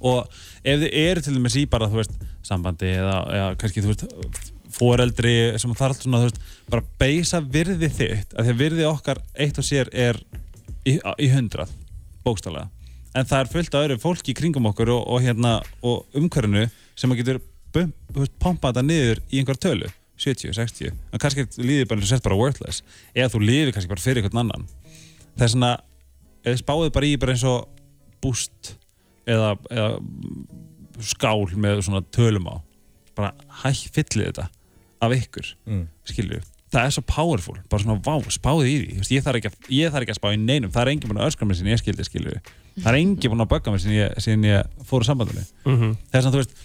[SPEAKER 4] og ef þið eru til dæmis í bara, þú veist, sambandi eða, eða kannski, þú veist, foreldri sem þarf allt svona, þú veist, bara beisa virði þitt, af því að virði okkar eitt og sér er í, á- í hundrað, bókstálega en það er fullt af öðru fólki í kringum okkur og, og hérna, og umhverfinu sem að getur bum, þú veist, pompa þetta niður í einhver tölu, 70, 60 en kannski líður bara, þú sért bara worthless eða þú líður kannski bara fyrir einhvern annan það er svona, eða spáðu bara í bara eins og búst eða, eða skál með svona tölum á bara hæ, fyllið þetta af ykkur, mm. skilju það er svo powerful, bara svona vá, spáðu í því Þú veist, ég þarf, ekki að, ég þarf ekki að spá í neinum það er engin búin að öskra mér sinni ég skildi, skilju það er engin búin að bögga mér sinni ég, sinni ég fór úr sambandinu
[SPEAKER 3] Mhm.
[SPEAKER 4] það er svona, þú veist,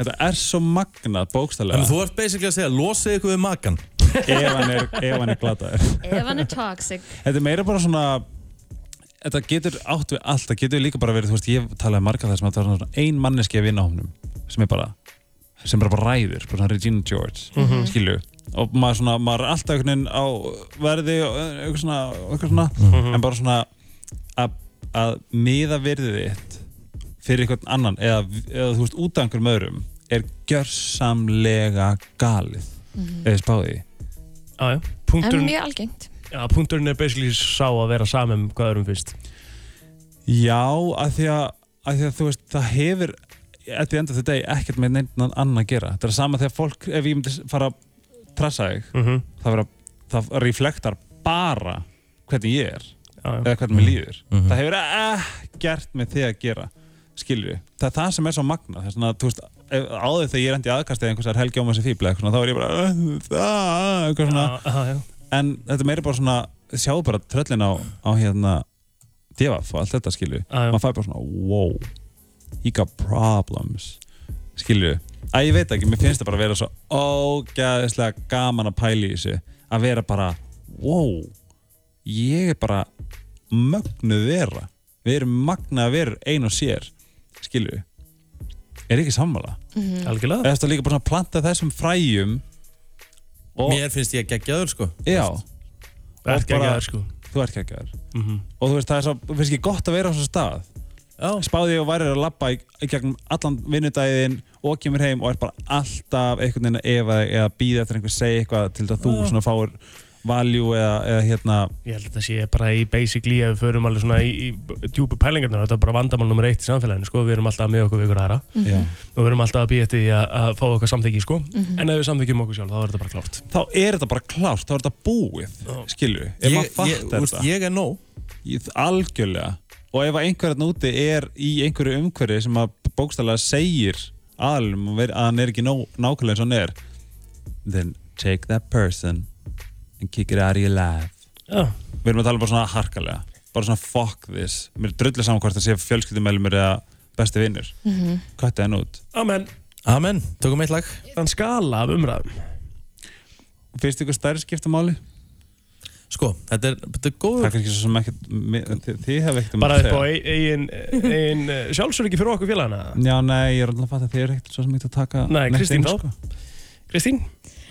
[SPEAKER 4] þetta er svo magnað bókstælega
[SPEAKER 1] Þannig þú ert basically
[SPEAKER 4] (laughs)
[SPEAKER 1] að segja, losið ykkur við makan
[SPEAKER 4] ef hann er, ef hann er glataður
[SPEAKER 2] Ef hann er toxic
[SPEAKER 4] Þetta er meira bara svona Þetta getur átt við allt, það getur líka bara verið, þú veist, ég talaði marga það sem að það var svona ein manneski að vinna hófnum sem er bara, sem bara bara ræður, bara svona Regina George,
[SPEAKER 3] Mhm.
[SPEAKER 4] skilju og maður svona, maður er alltaf einhvern veginn á verði og eitthvað svona, eitthvað svona en bara svona að, að miða verðið þitt fyrir einhvern annan eða, eða þú veist, út af einhverjum öðrum er gjörsamlega galið
[SPEAKER 2] Mhm.
[SPEAKER 4] eða spáðið
[SPEAKER 3] Já, já.
[SPEAKER 2] En
[SPEAKER 3] Punkturinn,
[SPEAKER 2] mjög algengt
[SPEAKER 3] já, punkturinn er basically sá að vera saman um hvað öðrum finnst.
[SPEAKER 4] Já, af því að, af því að þú veist, það hefur at the end of the day ekkert með neitt annan að gera. Það er sama þegar fólk, ef ég myndi fara að trassa þig,
[SPEAKER 3] Mhm.
[SPEAKER 4] það, vera, það reflektar bara hvernig ég er eða hvernig mér líður. Það hefur ekkert með þig að gera, skilju. Það er það sem er svo magna. Það er svona, þú veist, ef- áður þegar ég er endi aðkast eða einhversar helgi á maður sem fíbl eða eitthvað svona, þá er ég bara, "Ugh, það, Ah, eitthvað svona.
[SPEAKER 3] Já, já.
[SPEAKER 4] En þetta er meira bara svona, sjáðu bara tröllin á, á hérna, divaf og allt þetta skilju
[SPEAKER 3] Ah,
[SPEAKER 4] maður fær bara svona, wow he got problems skilju, að ég veit ekki, mér finnst það bara að vera svo ógæðislega gaman að pæla í þessu, að vera bara wow, ég er bara mögnuð vera við erum magnað að vera ein og sér skilju er ekki sammála
[SPEAKER 2] Mhm.
[SPEAKER 3] Algjörlega.
[SPEAKER 4] eða þetta líka bara svona að planta þessum fræjum og,
[SPEAKER 1] Mér finnst ég geggjaður sko
[SPEAKER 4] já
[SPEAKER 3] Þú ert
[SPEAKER 4] Og bara-
[SPEAKER 3] geggjaður, sko. Mhm.
[SPEAKER 4] þú ert geggjaður og þú veist það er svo, finnst ekki gott að vera á þessum stað
[SPEAKER 1] Já.
[SPEAKER 4] spáði ég og værið að labba í, í gegnum allan vinnudæðin og kemur heim og er bara alltaf einhvern veginn að efa þig eða býða eftir einhver segi eitthvað til þetta þú
[SPEAKER 3] Já.
[SPEAKER 4] svona fáir value eða, eða hérna
[SPEAKER 3] Ah. Ég held að það sé bara í basically ef við förum alveg svona í, í djúpu pælingarnar þetta er bara vandamál nummer eitt í samfélaginu sko. við erum alltaf með okkur við ykkur aðra
[SPEAKER 4] Já.
[SPEAKER 3] og við erum alltaf að býja eftir því að, að fá okkar samþyggi sko. en ef við samþyggjum okkur sjálf þá er þetta bara klárt
[SPEAKER 4] þá er þetta bara klárt, þá er þetta búið skilju, ef
[SPEAKER 1] Ég-
[SPEAKER 4] maður
[SPEAKER 1] ég-
[SPEAKER 4] fattar
[SPEAKER 1] úrst,
[SPEAKER 4] þetta
[SPEAKER 1] ég er nóg
[SPEAKER 4] algjörlega og ef einhverjarn úti er í einhverju umhverju sem að bókstælega segir aðlum að hann er ekki nó, nákvæmlega eins og hann er then take that person and kick it out of your life
[SPEAKER 3] Já.
[SPEAKER 4] við erum að tala bara svona harkalega bara svona fuck this mér er drullið saman hvort það sé fjölskyldumælumir eða besti vinnur
[SPEAKER 3] Mhm.
[SPEAKER 4] kvætti hann út
[SPEAKER 3] Amen
[SPEAKER 1] Amen, tökum eitt lag
[SPEAKER 3] Þann skala af umræðum
[SPEAKER 4] Fyrst ykkur stærri skiptumáli?
[SPEAKER 1] Sko, þetta er, þetta er góður
[SPEAKER 4] Það er kannski svo sem ekkert mi- þið, þið hef ekkert um
[SPEAKER 3] bara
[SPEAKER 4] að
[SPEAKER 3] upp á e-
[SPEAKER 4] segja.
[SPEAKER 3] ein, ein, ein eh, sjálfsöryggi fyrir okkur félagana
[SPEAKER 4] Já, nei, ég er alltaf að fatta að þið er ekkert svo sem ekkert að taka
[SPEAKER 3] Nei,
[SPEAKER 4] neitt
[SPEAKER 3] Kristín
[SPEAKER 4] inn, sko.
[SPEAKER 3] þá Kristín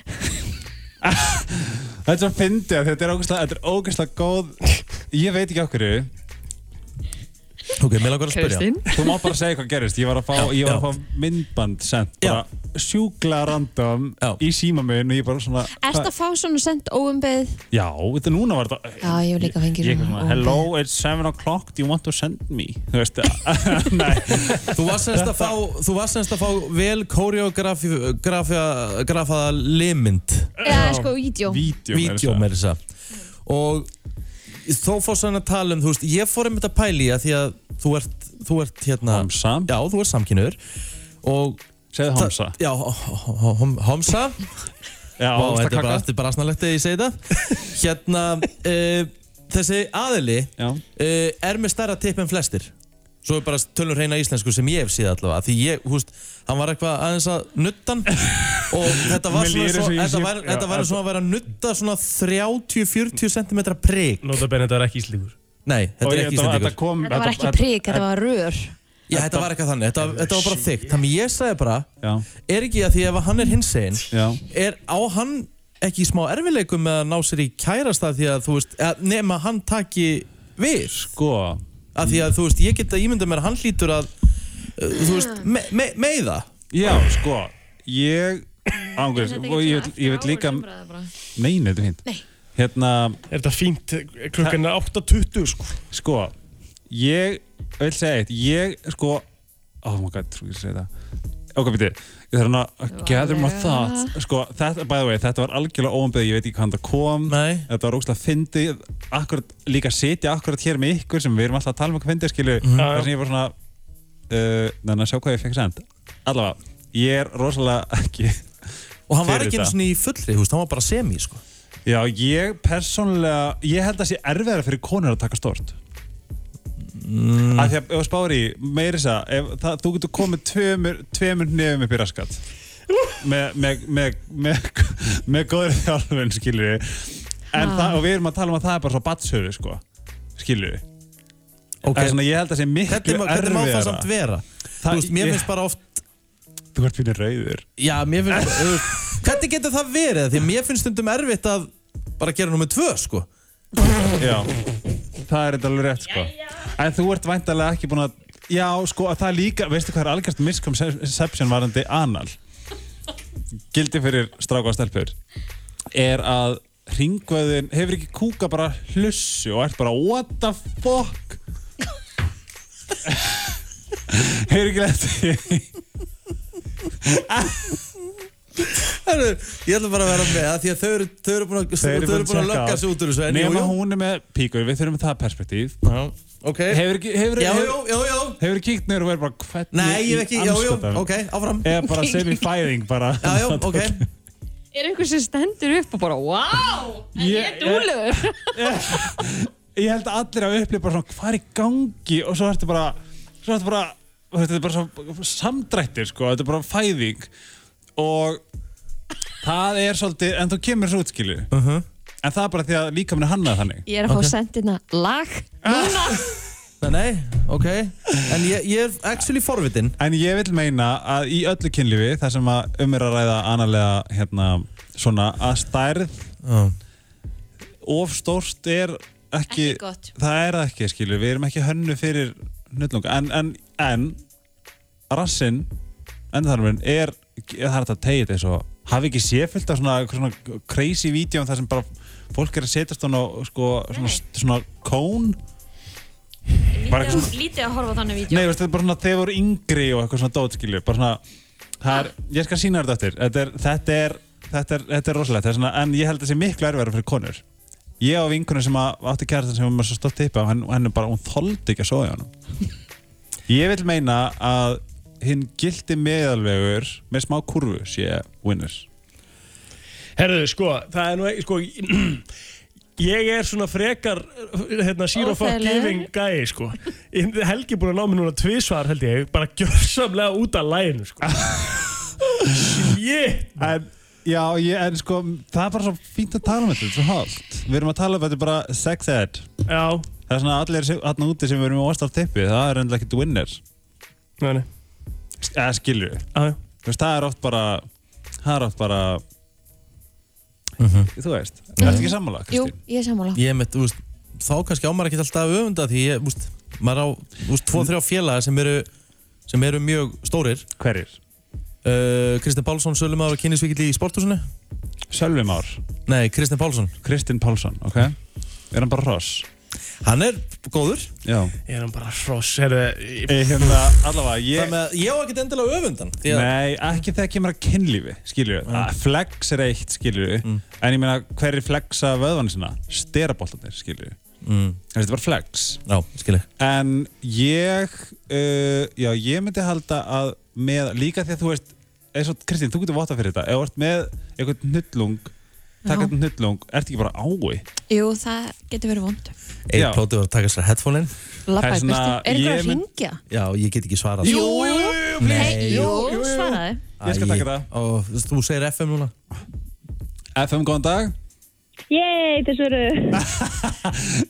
[SPEAKER 4] (laughs) Þetta er svo fyndið að þetta er ógeðslega, þetta er ógeðslega góð Ég veit ekki okkur
[SPEAKER 1] Ok, mér langar að spyrja. Kristín?
[SPEAKER 4] Þú má bara segja hvað gerist, ég var að fá,
[SPEAKER 1] Já,
[SPEAKER 4] ég var
[SPEAKER 1] já.
[SPEAKER 4] að fá myndband sent bara sjúkla random í síma minn og ég bara svona
[SPEAKER 2] Er þetta að fá svona sendt óumbeð?
[SPEAKER 4] Já, þetta núna var þetta
[SPEAKER 2] Já, ég hef líka fengið
[SPEAKER 4] Ég er
[SPEAKER 2] svona
[SPEAKER 4] svona, hello, it's 7 o'clock, do you want to send me? Þú veist,
[SPEAKER 1] Þú varst semst að fá, þú varst semst að fá vel koreografaða limynd.
[SPEAKER 2] Já, sko, vídeo.
[SPEAKER 4] Vídeó
[SPEAKER 2] meira að segja.
[SPEAKER 1] meira þess að. Og þó fórst hann að tala um, þú veist, ég fór einmitt að pæli í að því að þú ert, þú ert hérna...
[SPEAKER 4] Homsa.
[SPEAKER 1] Já, þú ert samkynur. Og...
[SPEAKER 4] Segðu homsa.
[SPEAKER 1] Já, ho- ho- hom- homsa.
[SPEAKER 4] Já,
[SPEAKER 1] Vá,
[SPEAKER 4] homsakaka.
[SPEAKER 1] þetta er bara, þetta er bara snarlegt þegar ég segi þetta. Hérna,
[SPEAKER 3] (laughs)
[SPEAKER 1] uh, þessi aðili uh, er með stærra tipp en flestir. Svo er bara tölur reyna íslensku sem ég hef síða allavega. Því ég, hú veist, hann var eitthvað aðeins að nutta hann og þetta var
[SPEAKER 3] Mér
[SPEAKER 1] svona,
[SPEAKER 3] líður
[SPEAKER 1] svo,
[SPEAKER 3] eins og ég
[SPEAKER 1] þetta
[SPEAKER 3] sé-
[SPEAKER 1] var,
[SPEAKER 3] já,
[SPEAKER 1] þetta var
[SPEAKER 3] þetta-
[SPEAKER 1] svona að vera að nutta svona 30-40 cm prik.
[SPEAKER 3] Nota benni þetta er ekki íslíkur
[SPEAKER 1] Nei, þetta
[SPEAKER 3] Og
[SPEAKER 1] er
[SPEAKER 3] ég-
[SPEAKER 1] ekki
[SPEAKER 3] þetta var-
[SPEAKER 1] íslendingur.
[SPEAKER 3] þetta kom-
[SPEAKER 2] Þetta var ekki prík, þetta var rör.
[SPEAKER 1] Já, þetta var eitthvað þannig. Þetta, þetta var bara þykkt. Þannig ég sagði bara,
[SPEAKER 4] Já.
[SPEAKER 1] er ekki að því ef hann er hinsegin,
[SPEAKER 4] Já.
[SPEAKER 1] er á hann ekki í smá erfileikum með að ná sér í kærasta því að þú veist, að nema hann taki við
[SPEAKER 4] sko
[SPEAKER 1] að því að þú veist, ég get að ímynda mér að hann hlýtur að uh, þú veist, me, me, meiða
[SPEAKER 4] Já, sko, ég ángur, og ég, vil- ég veit líka Nei, nei, þetta er fínt Hérna
[SPEAKER 3] Er þetta fínt eh, klukkan 8.20 sko
[SPEAKER 4] Sko, ég vil segja eitt Ég sko Oh my god, trú ég að segja það Ok, býttu, ég þarf hann að gather my
[SPEAKER 3] Varlega.
[SPEAKER 4] thoughts Sko, þetta, by the way, þetta var algjörlega óanbyggð Ég veit ekki hvaðan það kom Nei. Þetta var ógstlega fyndið akkurat, Líka sitja akkurat hér með ykkur sem við erum alltaf að tala um hvað fyndið skilju
[SPEAKER 3] Mhm.
[SPEAKER 4] Þar sem ég var svona uh, Þannig að sjá hvað ég fekk send Allavega, ég er rosalega ekki
[SPEAKER 1] Og hann var
[SPEAKER 4] fyrir
[SPEAKER 1] ekki
[SPEAKER 4] þetta.
[SPEAKER 1] eins og í fullri, þú veist, hann var bara semi, sko.
[SPEAKER 4] Já, ég persónulega, ég held að sé erfiðara fyrir konur að taka stort. Mm. Af því að ef þú spáir í, meiri þess að, ef það- þú getur komið tveimur, tveimur nefum upp í raskat. Með, með, með, með, með góðri þjálfun, skilur við. En
[SPEAKER 3] Ha.
[SPEAKER 4] það, og við erum að tala um að það er bara svo batshöru, sko. Skilur við.
[SPEAKER 1] Ok.
[SPEAKER 4] Það er svona, ég held að sé miklu
[SPEAKER 1] Hvernig má-
[SPEAKER 4] erfiðara.
[SPEAKER 1] hvernig má það samt vera? Þú veist, mér finnst bara oft...
[SPEAKER 4] Þú ert fyrir rauður.
[SPEAKER 1] Já, mér finnst... þú veist, Hvernig getur það verið? Því að mér finnst stundum erfitt að bara gera nummið tvö, sko.
[SPEAKER 4] Já, það er þetta alveg rétt sko En þú ert væntalega ekki búin að Já, sko, að það er líka, veistu hvað er algjörst misconception varandi anal Gildi fyrir stráka og stelpur Er að ringvöðin hefur ekki kúka bara hlussu og ert bara what the fuck (laughs) Hefur ekki lett því
[SPEAKER 1] Herru, ég ætla bara að vera með það því að þau eru, þau eru búin að, þau eru búin að lögga sig út úr þessu. en jú,
[SPEAKER 4] Nefna
[SPEAKER 1] jú.
[SPEAKER 4] hún er með píkur, við þurfum það perspektív Já,
[SPEAKER 1] ok
[SPEAKER 4] Hefur ekki, hefur,
[SPEAKER 1] Já,
[SPEAKER 4] hefur,
[SPEAKER 1] jú, jú, jú.
[SPEAKER 4] Hefur kíkt niður og verið bara hvernig
[SPEAKER 1] Nei, ég hef
[SPEAKER 4] í
[SPEAKER 1] ekki- jú, jú,
[SPEAKER 4] andskotanum?
[SPEAKER 1] ok, áfram.
[SPEAKER 4] Eða
[SPEAKER 1] (laughs)
[SPEAKER 4] bara semi-fæðing bara Já, já, (laughs) ok
[SPEAKER 2] Er einhver sem stendur upp og bara, wow, en ég er
[SPEAKER 4] Ég-
[SPEAKER 2] dúluður.
[SPEAKER 4] (laughs) Ég held að allir að upplifa bara svona hvað er í gangi og svo ertu bara svo ertu bara, þetta er bara svo samdrættir sko, þetta er bara fæðing og það er svolítið, en þú kemur svo útskilu
[SPEAKER 1] Uh-huh.
[SPEAKER 4] -huh. en það er bara því að líka minni hannað þannig
[SPEAKER 2] Ég er að fá
[SPEAKER 4] Ok.
[SPEAKER 2] okay. sendina lag núna.
[SPEAKER 1] Nei, nei, ok En ég, ég er actually forvitin
[SPEAKER 4] En ég vil meina að í öllu kynlífi þar sem að um er að ræða annarlega hérna, svona að stærð
[SPEAKER 1] Já.
[SPEAKER 4] of stórt er ekki,
[SPEAKER 2] Ekki gott.
[SPEAKER 4] það er það ekki skilju, við erum ekki hönnu fyrir nullunga, en, en, en rassinn, endarmurinn er, það er hægt að tegja þetta eins og hafi ekki séfyllt af svona, einhver svona crazy vídeo þar sem bara fólk er að setjast á sko, svona, svona kón bara eitthvað svona
[SPEAKER 2] Lítið að horfa á þannig vídeo.
[SPEAKER 4] Nei, veist, þetta er bara svona þegar voru yngri og eitthvað svona dót, skilju, bara svona, það er, ég skal sína þér þetta eftir, þetta er, þetta er, þetta er, þetta er rosalegt, þetta er svona, en ég held að það sé miklu erfiðara fyrir konur. Ég á vinkunum sem að, átti kærastan sem var með svo stótt tippa og henn, henn bara, hún þoldi ekki að sofa hjá hann. Ég vil meina að hinn gildi meðalvegur með smá kurvu sé winners.
[SPEAKER 3] Herðu, sko, það er nú ekki, sko (clears throat) Ég er svona frekar hérna, zero fuck
[SPEAKER 11] Óþægilegur.
[SPEAKER 3] giving guy, sko Ég- Helgi er búin að ná mér núna tvisvar, held ég bara (laughs) gjörsamlega út af læginu,
[SPEAKER 1] (laughs)
[SPEAKER 3] sko Shit
[SPEAKER 4] En, já, ég, en sko, það er bara svo fínt að tala um þetta, þetta er svo hálft. Við erum að tala um þetta bara sex ed.
[SPEAKER 3] Já.
[SPEAKER 4] Það er svona allir sem- þarna úti sem við erum með óstaf tippi, það er endilega ekkert winner.
[SPEAKER 3] Nei, nei.
[SPEAKER 4] Eða skilur við.
[SPEAKER 3] Já, já.
[SPEAKER 4] Þú veist, það er oft bara, það er oft bara, þú veist, mm ertu ekki sammála,
[SPEAKER 2] Jú,
[SPEAKER 4] Kristín?
[SPEAKER 2] ég er sammála.
[SPEAKER 1] Ég með, þú veist, þá kannski ámar ekki alltaf að öfunda því ég, þú veist, maður á, þú veist, tvo, þrjá félaga sem eru sem eru mjög stórir
[SPEAKER 4] Hverjir?
[SPEAKER 1] Uh, Kristinn Pálsson, Sölumár og kynnisvíkill í sporthúsinu
[SPEAKER 4] Sölvi Már?
[SPEAKER 1] Nei, Kristinn Pálsson
[SPEAKER 4] Kristinn Pálsson, ok Er hann bara hross?
[SPEAKER 1] Hann er góður
[SPEAKER 4] Já
[SPEAKER 3] Ég er hann bara hross, herðu ég...
[SPEAKER 4] Ég, hérna, allavega, ég-
[SPEAKER 1] Þannig að ég á ekkert endilega öfundan
[SPEAKER 4] Nei, ekki þegar kemur að kynlífi, skilju mm. Flex er eitt, skilju En ég meina, hverjir flexa vöðvann sinna? Steraboltarnir, skilju
[SPEAKER 1] mm.
[SPEAKER 4] Þetta er bara flex
[SPEAKER 1] Já, skilji
[SPEAKER 4] En ég, uh, já, ég myndi halda að með, líka því að þú veist eins og Kristín, þú getur vota fyrir þetta ef þú ert með eitthvað nullung taka
[SPEAKER 2] Já.
[SPEAKER 4] eitthvað nullung, ert ekki bara ái (laughs)
[SPEAKER 2] Jú, það getur verið vond.
[SPEAKER 1] Eitt plótið var að taka sér headphone-in
[SPEAKER 2] Lappa í burtu. Er ykkur að hringja?
[SPEAKER 1] Já, ég get ekki svarað
[SPEAKER 2] Jú, jú, jú, jú,
[SPEAKER 1] Nei.
[SPEAKER 2] jú, jú, svaraði.
[SPEAKER 4] Ég skal taka það
[SPEAKER 1] Og þú segir FM núna
[SPEAKER 4] FM, góðan dag
[SPEAKER 12] Yey, þessu eru
[SPEAKER 4] (laughs)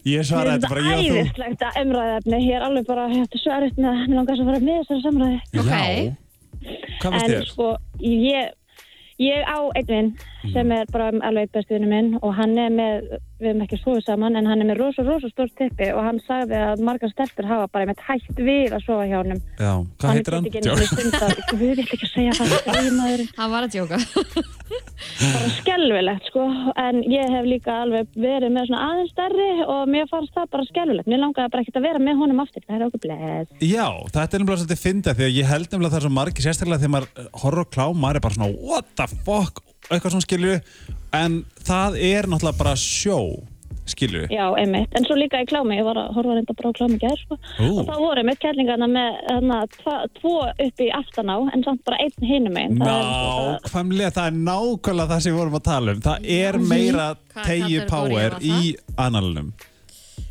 [SPEAKER 4] Ég svara þetta bara ég og þú
[SPEAKER 12] æðislegt að umræðaefni Ég er alveg bara hættu svo erfitt með að mér langar svo að fara með þessari samræði
[SPEAKER 4] Já, Hvað finnst
[SPEAKER 12] En
[SPEAKER 4] þér?
[SPEAKER 12] sko, ég, ég á einn vinn
[SPEAKER 4] Mhm.
[SPEAKER 12] sem er bara alveg bestu vinnu minn og hann er með, við erum ekki svoðu saman en hann er með rosa, rosa stórt tippi og hann sagði að margar stelpur hafa bara með hægt við að sofa hjá honum
[SPEAKER 4] Já, hvað heitir hann?
[SPEAKER 12] Hann getur ekki einu sinni stundað, Guð, ég ætla ekki að segja það, það er maður
[SPEAKER 2] Hann var að djóka.
[SPEAKER 12] bara skelvilegt sko en ég hef líka alveg verið með svona aðeins stærri og mér fannst það bara skelvilegt mér langaði bara ekkert að vera með honum aftur það er okkur bless
[SPEAKER 4] (laughs) Já, þetta er nefnilega svolítið fynda því að ég held nefnilega það er svo margir sérstaklega þegar maður eh, horfir á klám, maður er bara svona what the fuck, eitthvað svona skilju en það er náttúrulega bara sjó skilju
[SPEAKER 12] já, einmitt, en svo líka í klámi ég var að horfa reynda bara á klámi gær sko.
[SPEAKER 4] Ú.
[SPEAKER 12] og það voru einmitt kærlingarna með hana, tva, tvo upp í aftan á en samt bara einn hinum einn
[SPEAKER 4] Nákvæmlega, það er nákvæmlega það sem við vorum að tala um það er meira
[SPEAKER 12] Hvað
[SPEAKER 4] tegi
[SPEAKER 12] kallar þú
[SPEAKER 4] power
[SPEAKER 12] orðið á það?
[SPEAKER 4] í analunum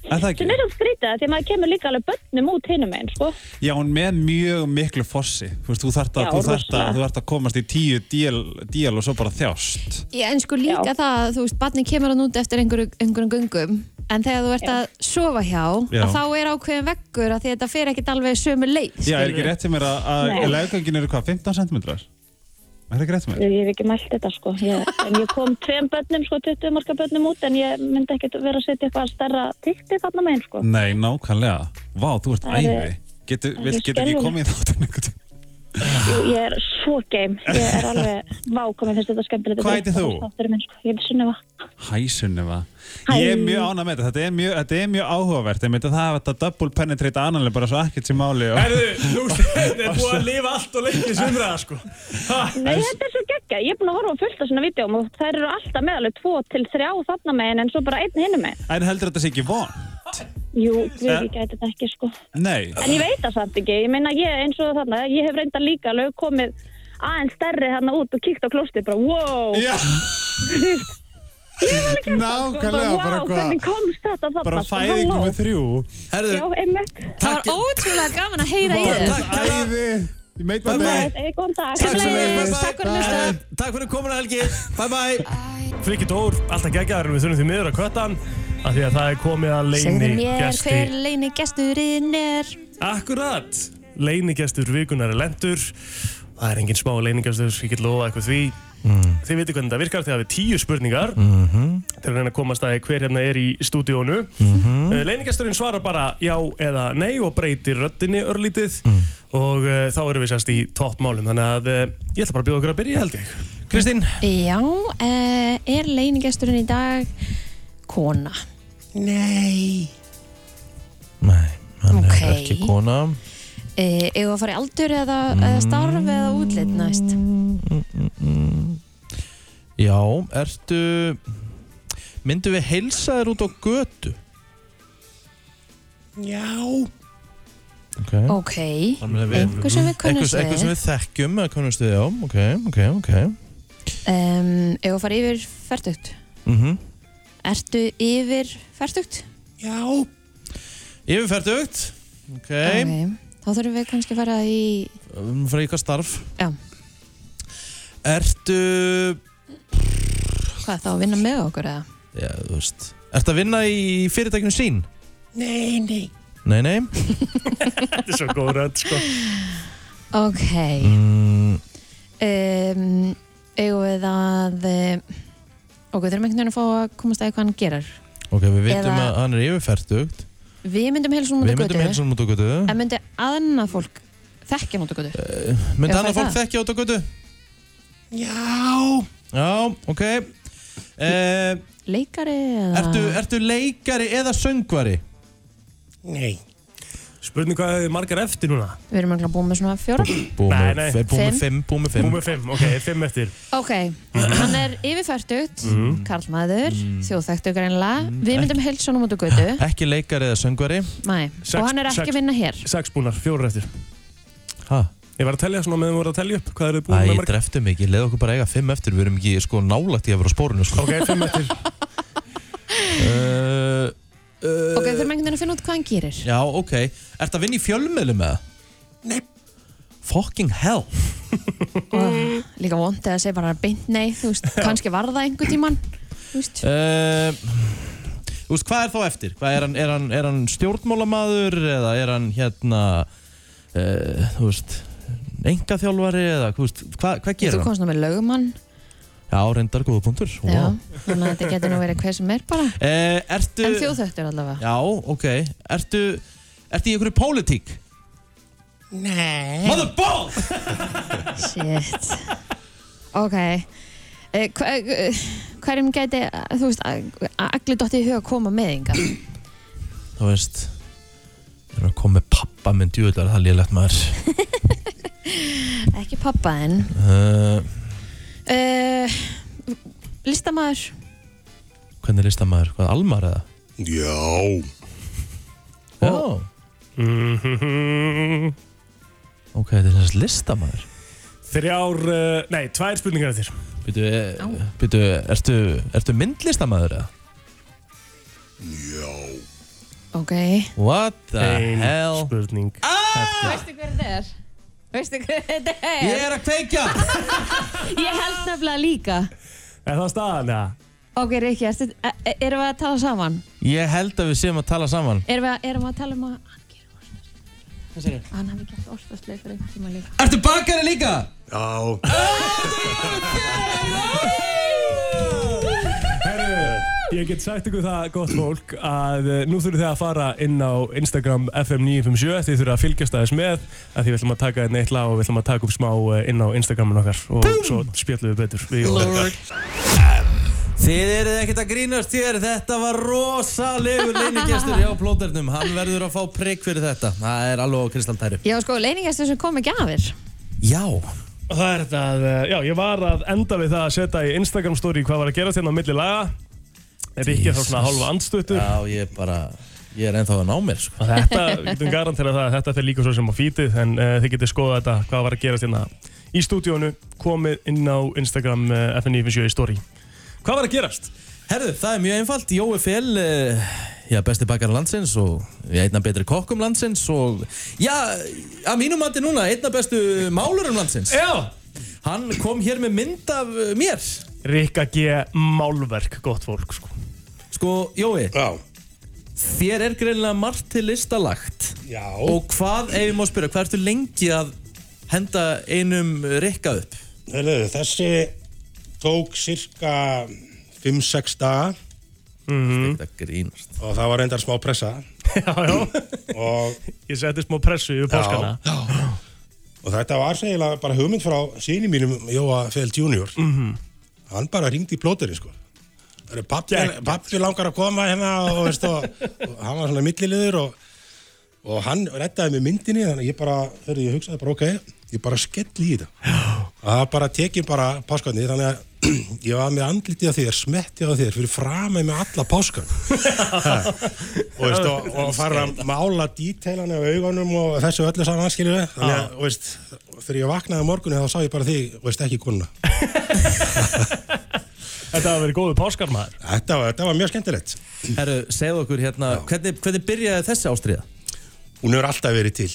[SPEAKER 4] En það
[SPEAKER 12] sem
[SPEAKER 4] ekki,
[SPEAKER 12] er svo skrítið því maður kemur líka alveg börnum út hinum einn sko.
[SPEAKER 4] já hún með mjög miklu fossi, þú veist, þú þarft að,
[SPEAKER 12] Já,
[SPEAKER 4] þú þarft að,
[SPEAKER 12] rosalega.
[SPEAKER 4] þú þarft að komast í tíu díl, díl og svo bara þjást
[SPEAKER 2] Já, en sko líka það að þú veist, barni kemur hann út eftir einhverju- einhverjum göngum en þegar þú ert að sofa hjá
[SPEAKER 4] Já.
[SPEAKER 2] að þá er ákveðin veggur að því þetta fer ekkit alveg sömu leið Sko.
[SPEAKER 4] Já, er ekki rétt sem er að, að
[SPEAKER 12] Nei.
[SPEAKER 4] leggöngin eru hvað, 15 cm? Er það ekki rétt sem er?
[SPEAKER 12] ég hef ekki mælt þetta sko ég, en ég kom tveim börnum sko 20 marka börnum út en ég myndi ekkert vera að setja eitthvað stærra tikti þarna meginn sko
[SPEAKER 4] Nei, nákvæmlega. Vá, þú ert
[SPEAKER 12] Það er-
[SPEAKER 4] æði. Getur
[SPEAKER 12] það er
[SPEAKER 4] vill- getur ekki
[SPEAKER 12] skelfilegt.
[SPEAKER 4] komið í þáttan einhvern tímann?
[SPEAKER 12] Jú, ég er svo geim ég er alveg vákomið finnst þetta skemmtilegt
[SPEAKER 4] Hvað heitir þú?
[SPEAKER 12] Þátturinn minn, sko. ég er Sunneva
[SPEAKER 4] Hæ, Sunneva.
[SPEAKER 12] Hæ.
[SPEAKER 4] Ég er mjög ánað með þetta. Þetta er mjög, þetta er mjög áhugavert. Ég myndi að það að þetta double penetrate analinn bara svo ekkert sem máli. Og...
[SPEAKER 10] Herðu, þú
[SPEAKER 3] (laughs)
[SPEAKER 10] þetta er búið að lifa allt og lengi sumra, sko.
[SPEAKER 12] Nei, þetta er svo geggja, ég er búin að horfa á fullt af svona vídjum og þær eru alltaf með alveg tvo til þrjá þarna meginn en svo bara einn hinum meginn
[SPEAKER 4] En heldur þetta sé ekki von?
[SPEAKER 12] Jú, við
[SPEAKER 4] Eh.
[SPEAKER 12] ég gæti þetta ekki sko
[SPEAKER 4] Nei.
[SPEAKER 12] En ég veit það samt ekki, ég meina ég eins og þarna, ég hef reynda líka alveg komið aðeins stærri þarna út og kíkt á klostið bara wow (laughs)
[SPEAKER 4] Já. Nákvæmlega, bara
[SPEAKER 12] wow,
[SPEAKER 4] hvað-
[SPEAKER 12] hvernig komst þetta þarna
[SPEAKER 4] Bara
[SPEAKER 12] sko,
[SPEAKER 4] fæðing
[SPEAKER 12] halló.
[SPEAKER 4] með þrjú.
[SPEAKER 12] Já, einmitt
[SPEAKER 2] Það var ótrúlega gaman að heyra í þér
[SPEAKER 4] Æði. Ég meit
[SPEAKER 1] Bye,
[SPEAKER 4] maður
[SPEAKER 1] bye.
[SPEAKER 4] þegar.
[SPEAKER 12] Eða góðan dag
[SPEAKER 1] Takk sem
[SPEAKER 2] Sömuleiðis,
[SPEAKER 1] leiðis,
[SPEAKER 2] takk fyrir að hlusta.
[SPEAKER 1] Bye. Takk fyrir komuna Helgi, bye bye
[SPEAKER 3] Friki Dór, alltaf geggjaður, en við þurfum því miður að kvötta hann af því að það er komið að
[SPEAKER 2] Segðu
[SPEAKER 3] leini
[SPEAKER 2] mér
[SPEAKER 3] gesti.
[SPEAKER 2] hver leini gesturinn er
[SPEAKER 3] Akkurat, leinigestur vikunar er lendur Það er engin smá leinigestur, ég get lofa eitthvað því Þið veitir hvernig það virkar, þið hafið tíu spurningar til að reyna að komast að því hver hérna er í stúdíónu mm -hmm. Leinigesturinn svarar bara já eða nei og breytir röddinni örlítið og uh, þá erum við sérst í toppmálum þannig að uh, ég ætla bara að bjóða okkur að byrja held ég Kristín,
[SPEAKER 2] Já, eh, er leini gesturinn í dag kona? Nei
[SPEAKER 1] Hann
[SPEAKER 2] Ok.
[SPEAKER 1] er ekki kona
[SPEAKER 2] Eh, Eða að fara í aldur eða, eða starf eða útlit næst
[SPEAKER 1] Mm, Já, ertu Myndu við heilsa þér út á götu?
[SPEAKER 2] Já
[SPEAKER 1] Ok,
[SPEAKER 2] Ok, einhver sem við kunnumst
[SPEAKER 1] Einhver- Einhver sem við
[SPEAKER 2] við
[SPEAKER 1] þekkjum eða kunnumst við, já, ok, ok, ok
[SPEAKER 2] um, Ef að fara yfir færtugt
[SPEAKER 1] mm -hmm.
[SPEAKER 2] Ertu yfir færtugt? Já
[SPEAKER 1] Yfirferdugt Ok, okay.
[SPEAKER 2] Þá þurfum við kannski að fara í
[SPEAKER 1] Frá ykkar starf
[SPEAKER 2] Já.
[SPEAKER 1] Ertu
[SPEAKER 2] Hvað þá að vinna með okkur eða?
[SPEAKER 1] Já, þú veist Ertu að vinna í fyrirtækinu sín?
[SPEAKER 2] Nei, nei
[SPEAKER 1] Nei,
[SPEAKER 2] (laughs)
[SPEAKER 1] nei
[SPEAKER 3] þetta er svo góð rödd sko
[SPEAKER 2] Ok
[SPEAKER 1] mm,
[SPEAKER 2] um, Eigum við að eh, Ok, þurfum einhvern veginn að fá að komast að því hvað hann gerar
[SPEAKER 1] Ok, við veitum
[SPEAKER 2] Eða-
[SPEAKER 1] að hann er yfirferdugt
[SPEAKER 2] Við myndum heilsa hún út
[SPEAKER 1] Við
[SPEAKER 2] á
[SPEAKER 1] myndum
[SPEAKER 2] götu
[SPEAKER 1] hérna heilsa hann út á götu Eh,
[SPEAKER 2] En myndi annað fólk þekkja hún út á götu
[SPEAKER 1] Myndi
[SPEAKER 2] Ef
[SPEAKER 1] annað
[SPEAKER 2] það er
[SPEAKER 1] fólk
[SPEAKER 2] það.
[SPEAKER 1] þekkja út á götu?
[SPEAKER 2] Já
[SPEAKER 1] Já, ok uh,
[SPEAKER 2] Leikari eða
[SPEAKER 1] ertu, ertu leikari eða söngvari?
[SPEAKER 3] Nei Spurning hvað hefur margar eftir núna?
[SPEAKER 2] Við erum ekki búin með svona fjóra
[SPEAKER 1] Mm.
[SPEAKER 3] Nei, nei.
[SPEAKER 1] Búmi
[SPEAKER 2] Fimm.
[SPEAKER 1] 5, búmi 5
[SPEAKER 3] Búmið fimm, ok, fimm eftir
[SPEAKER 2] Ok, hann er yfirfærtugt
[SPEAKER 1] Mhm.
[SPEAKER 2] Karlmaður, mm. þjóðþekktu greinlega
[SPEAKER 1] Mm.
[SPEAKER 2] Við myndum heilsa hún út á götu
[SPEAKER 1] (laughs) Ekki leikari eða söngvari
[SPEAKER 2] Nei,
[SPEAKER 3] Sex-
[SPEAKER 2] og hann er ekki
[SPEAKER 3] sex-
[SPEAKER 2] að vinna hér
[SPEAKER 3] Sex búnar, fjórar eftir
[SPEAKER 1] Hæ?
[SPEAKER 3] Ég var að telja svona meðan við vorum að telja upp Hvað eru búin
[SPEAKER 1] Æ,
[SPEAKER 3] með
[SPEAKER 1] ég
[SPEAKER 3] margar?
[SPEAKER 1] dreftum ekki, leið okkur bara eiga fimm eftir Við erum ekki sko nálægt í að vera á spórinu sko.
[SPEAKER 3] Ok, fimm eftir
[SPEAKER 1] (laughs) uh,
[SPEAKER 2] Ok, þurfum einhvern veginn að finna út hvað hann gerir
[SPEAKER 1] Já, ok Ertu að vinna í fjölmiðlu með það? Nei Fucking hell Mm.
[SPEAKER 2] og líka vondið að segja bara beint nei, þú veist, kannski var það einhver tíman þú veist,
[SPEAKER 1] uh, Þú veist, hvað er þá eftir? Hvað er hann, er hann, er hann stjórnmálamaður eða er hann hérna uh, Þú veist engaþjálfari eða þú veist, hvað, hvað gerir
[SPEAKER 2] þú
[SPEAKER 1] hann?
[SPEAKER 2] komst nú með lögumann
[SPEAKER 1] Já, reyndar góða punktur
[SPEAKER 2] já,
[SPEAKER 1] wow.
[SPEAKER 2] þannig að þetta getur nú verið hver sem er bara
[SPEAKER 1] uh, Ertu
[SPEAKER 2] en þjóðþöttur allavega
[SPEAKER 1] Já, ok Ertu, ertu í einhverju pólitík?
[SPEAKER 2] nei
[SPEAKER 1] Mother ball!
[SPEAKER 2] shit ok Eh, hva- eh, Hverjum gæti, þú veist, allir dotti í huga að koma með enga?
[SPEAKER 1] Þú veist, það er að koma með pappa minn djúðlar, það er lélegt maður.
[SPEAKER 2] Ekki pappa en.
[SPEAKER 1] Uh,
[SPEAKER 2] Uh, listamaður,
[SPEAKER 1] hvernig er listamaður? Hvað, Almar eða? Já. Já.
[SPEAKER 3] Mm,
[SPEAKER 1] Ok, þetta er sem sagt listamaður.
[SPEAKER 3] Þrjár, uh, nei, tvær spurningar eftir
[SPEAKER 1] Býtu, eh, býtu, ertu, ertu myndlistamaður eða?
[SPEAKER 2] ok.
[SPEAKER 1] What the
[SPEAKER 3] Ein
[SPEAKER 1] hell? Ah!
[SPEAKER 3] spurning.
[SPEAKER 2] Veistu hver þetta er? Veistu hver þetta er?
[SPEAKER 1] Ég er að kveikja!
[SPEAKER 2] (laughs) Ég held nefnilega líka.
[SPEAKER 3] Er það staðan eða?
[SPEAKER 2] Ok, Rikki, ertu- e- e- erum við að tala saman?
[SPEAKER 1] Ég held að við séum að tala saman.
[SPEAKER 2] Erum við að, erum við að tala um að hann gerir orðspil?
[SPEAKER 1] Hvað segir þú?
[SPEAKER 2] Hann hafi gert orðspil fyrir einhvern tíma líka.
[SPEAKER 1] Ertu bakari líka?
[SPEAKER 11] Já
[SPEAKER 3] Ég get sagt ykkur það gott fólk að eh, nú þurfið þið að fara inn á Instagram FM957 þið þurfið að fylgjast aðeins með að því við ætlum að taka einn eitt lag og við ætlum að taka upp smá eh, inn á Instagramin okkar og svo spjallum við betur við Jón.
[SPEAKER 1] Þið eruð ekkert að grínast hér, þetta var rosalegur leinigestur hjá plóternum. Hann verður að fá prigg fyrir þetta. Það er alveg á kristaltæru.
[SPEAKER 2] Já, sko, leiningastur sem kom ekki af þér.
[SPEAKER 1] Já.
[SPEAKER 3] Og það er þetta að, eh, já, ég var að enda við það að setja í Instagram story hvað var að gera þérna á milli laga er ekki þá svona hálfa andstuttur
[SPEAKER 1] Já, ég er bara, ég er ennþá að ná mér, sko.
[SPEAKER 3] Og þetta, við getum garantera það að þetta fyrir líka svo sem á fítið en uh, þið getur skoða þetta, hvað var að gerast hérna í stúdíónu, komið inn á Instagram uh, FN957 story Hvað var að gerast?
[SPEAKER 1] Herðu, það er mjög einfalt. Jói Fél, eh, já, besti bakkar landsins og já, einna betri kokkum landsins og já, að mínum mati núna, einna bestu málurum landsins.
[SPEAKER 3] Já.
[SPEAKER 1] Hann kom hér með mynd af eh, mér.
[SPEAKER 3] Rikka G. Málverk, gott fólk sko.
[SPEAKER 1] Sko, Jói. Já. Þér er greinilega margt til listalagt.
[SPEAKER 11] Já.
[SPEAKER 1] Og hvað, ef ég má spyrja, hvað ertu lengi að henda einum rikka upp?
[SPEAKER 11] Hörðu, þessi tók cirka 5-6 daga
[SPEAKER 3] Mhm.
[SPEAKER 1] mm -hmm.
[SPEAKER 11] og það var reyndar smá pressa
[SPEAKER 3] Já, já
[SPEAKER 11] og
[SPEAKER 3] Ég setti smá pressu yfir páskana
[SPEAKER 11] já. og þetta var segilega bara hugmynd frá síni mínum Jóa Feld Junior
[SPEAKER 3] Mhm.
[SPEAKER 11] hann bara ringdi í plóterinn sko Það eru, pappi, pappi langar að koma hérna og, veist, og, og hann var svona milliliður og, og hann rettaði með myndinni þannig að ég bara, hörru, ég hugsaði bara ok ég bara skell í þetta og það var bara tekið bara páskarni þannig að (clears throat) ég var með andlitið á þér, smettið á þér fyrir framið með alla páskan og, veist, og, og fara að mála dítelana á augunum og þessu öllu saman anskiljum við þannig að, og veist, þegar ég vaknaði á morgunni þá sá ég bara þig, og veist, ekki konuna
[SPEAKER 3] Þetta var verið góðu páskar maður
[SPEAKER 11] Þetta var, þetta var mjög skemmtilegt
[SPEAKER 1] Herru, segðu okkur hérna, hvernig, hvernig byrjaði þessi ástriða?
[SPEAKER 11] Hún hefur alltaf verið til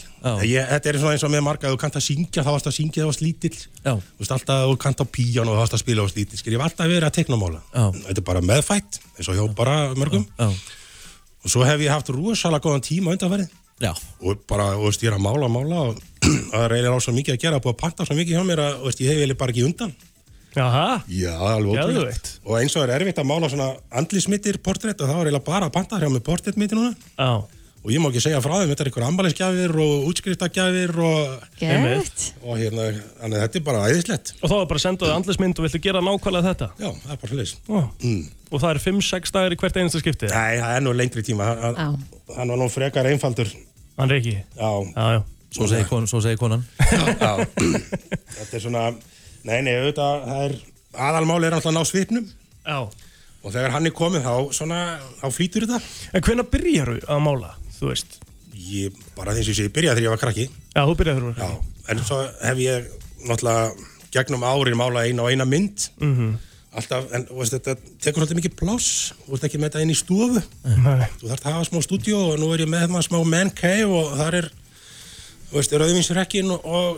[SPEAKER 11] ég, Þetta er svona eins og með marga að þú kannt að syngja þá varst að syngja þá varst lítill
[SPEAKER 1] Já.
[SPEAKER 11] Þú veist alltaf að þú kannt á píjan og þá varst að spila þá varst lítill Skil, Ég hef alltaf verið að teknamála
[SPEAKER 1] Já.
[SPEAKER 11] Þetta er bara meðfætt eins og hjá bara mörgum
[SPEAKER 1] Já.
[SPEAKER 11] Og svo hef ég haft rosalega góðan tíma undanfærið
[SPEAKER 1] Já.
[SPEAKER 11] Og bara, þú veist, ég er að mála og mála og (clears throat) það er eiginlega á svo mikið að gera búið að panta svo mikið hjá mér að, þú veist, ég hef eiginlega bara ekki undan
[SPEAKER 3] Jaha
[SPEAKER 11] Já, það er alveg ótrúlegt Og eins og er erfitt að mála svona andlismittir portrétt og það var eiginlega bara að panta hjá mig portréttmittir núna
[SPEAKER 3] Já
[SPEAKER 11] Og ég má ekki segja frá þeim, þetta er einhver ammælisgjafir og útskriftagjafir og...
[SPEAKER 3] Geðveikt.
[SPEAKER 11] Og hérna, þannig að þetta er bara æðislegt
[SPEAKER 3] Og þá var bara að senda þau andlismynd og viltu gera nákvæmlega þetta
[SPEAKER 11] Já, það er bara hlis
[SPEAKER 3] mm. Og það er 5-6 dagar í hvert einasta skipti
[SPEAKER 11] Nei, það er nú lengri tíma Hann,
[SPEAKER 2] hann,
[SPEAKER 11] hann var nú frekar einfaldur
[SPEAKER 3] Hann Rikki
[SPEAKER 11] Já,
[SPEAKER 3] já, já.
[SPEAKER 1] Svo segir konan, svo segir konan.
[SPEAKER 11] Já. Þetta er svona, nei, nei, auðvitað, það er, aðalmáli er alltaf að ná svipnum
[SPEAKER 3] Já
[SPEAKER 11] Og þegar hann er komið þá, svona, þá flýtur þetta
[SPEAKER 3] En hvenær byrjar þú að mála, þú veist?
[SPEAKER 11] Ég, bara þess að ég segi, byrjaði þegar ég var krakki
[SPEAKER 3] Já, þú byrjaði þú
[SPEAKER 11] Já, en svo hef ég náttúrulega gegnum árin málað eina og eina mynd
[SPEAKER 3] mm -hmm.
[SPEAKER 11] alltaf, en þú veist, þetta tekur svolítið mikið pláss þú veist ekki með þetta inn í stofu
[SPEAKER 3] Nei.
[SPEAKER 11] þú þarf að hafa smá stúdíu og nú er ég með maður smá man cave og þar er þú veist, rauðvinsrekkin og, og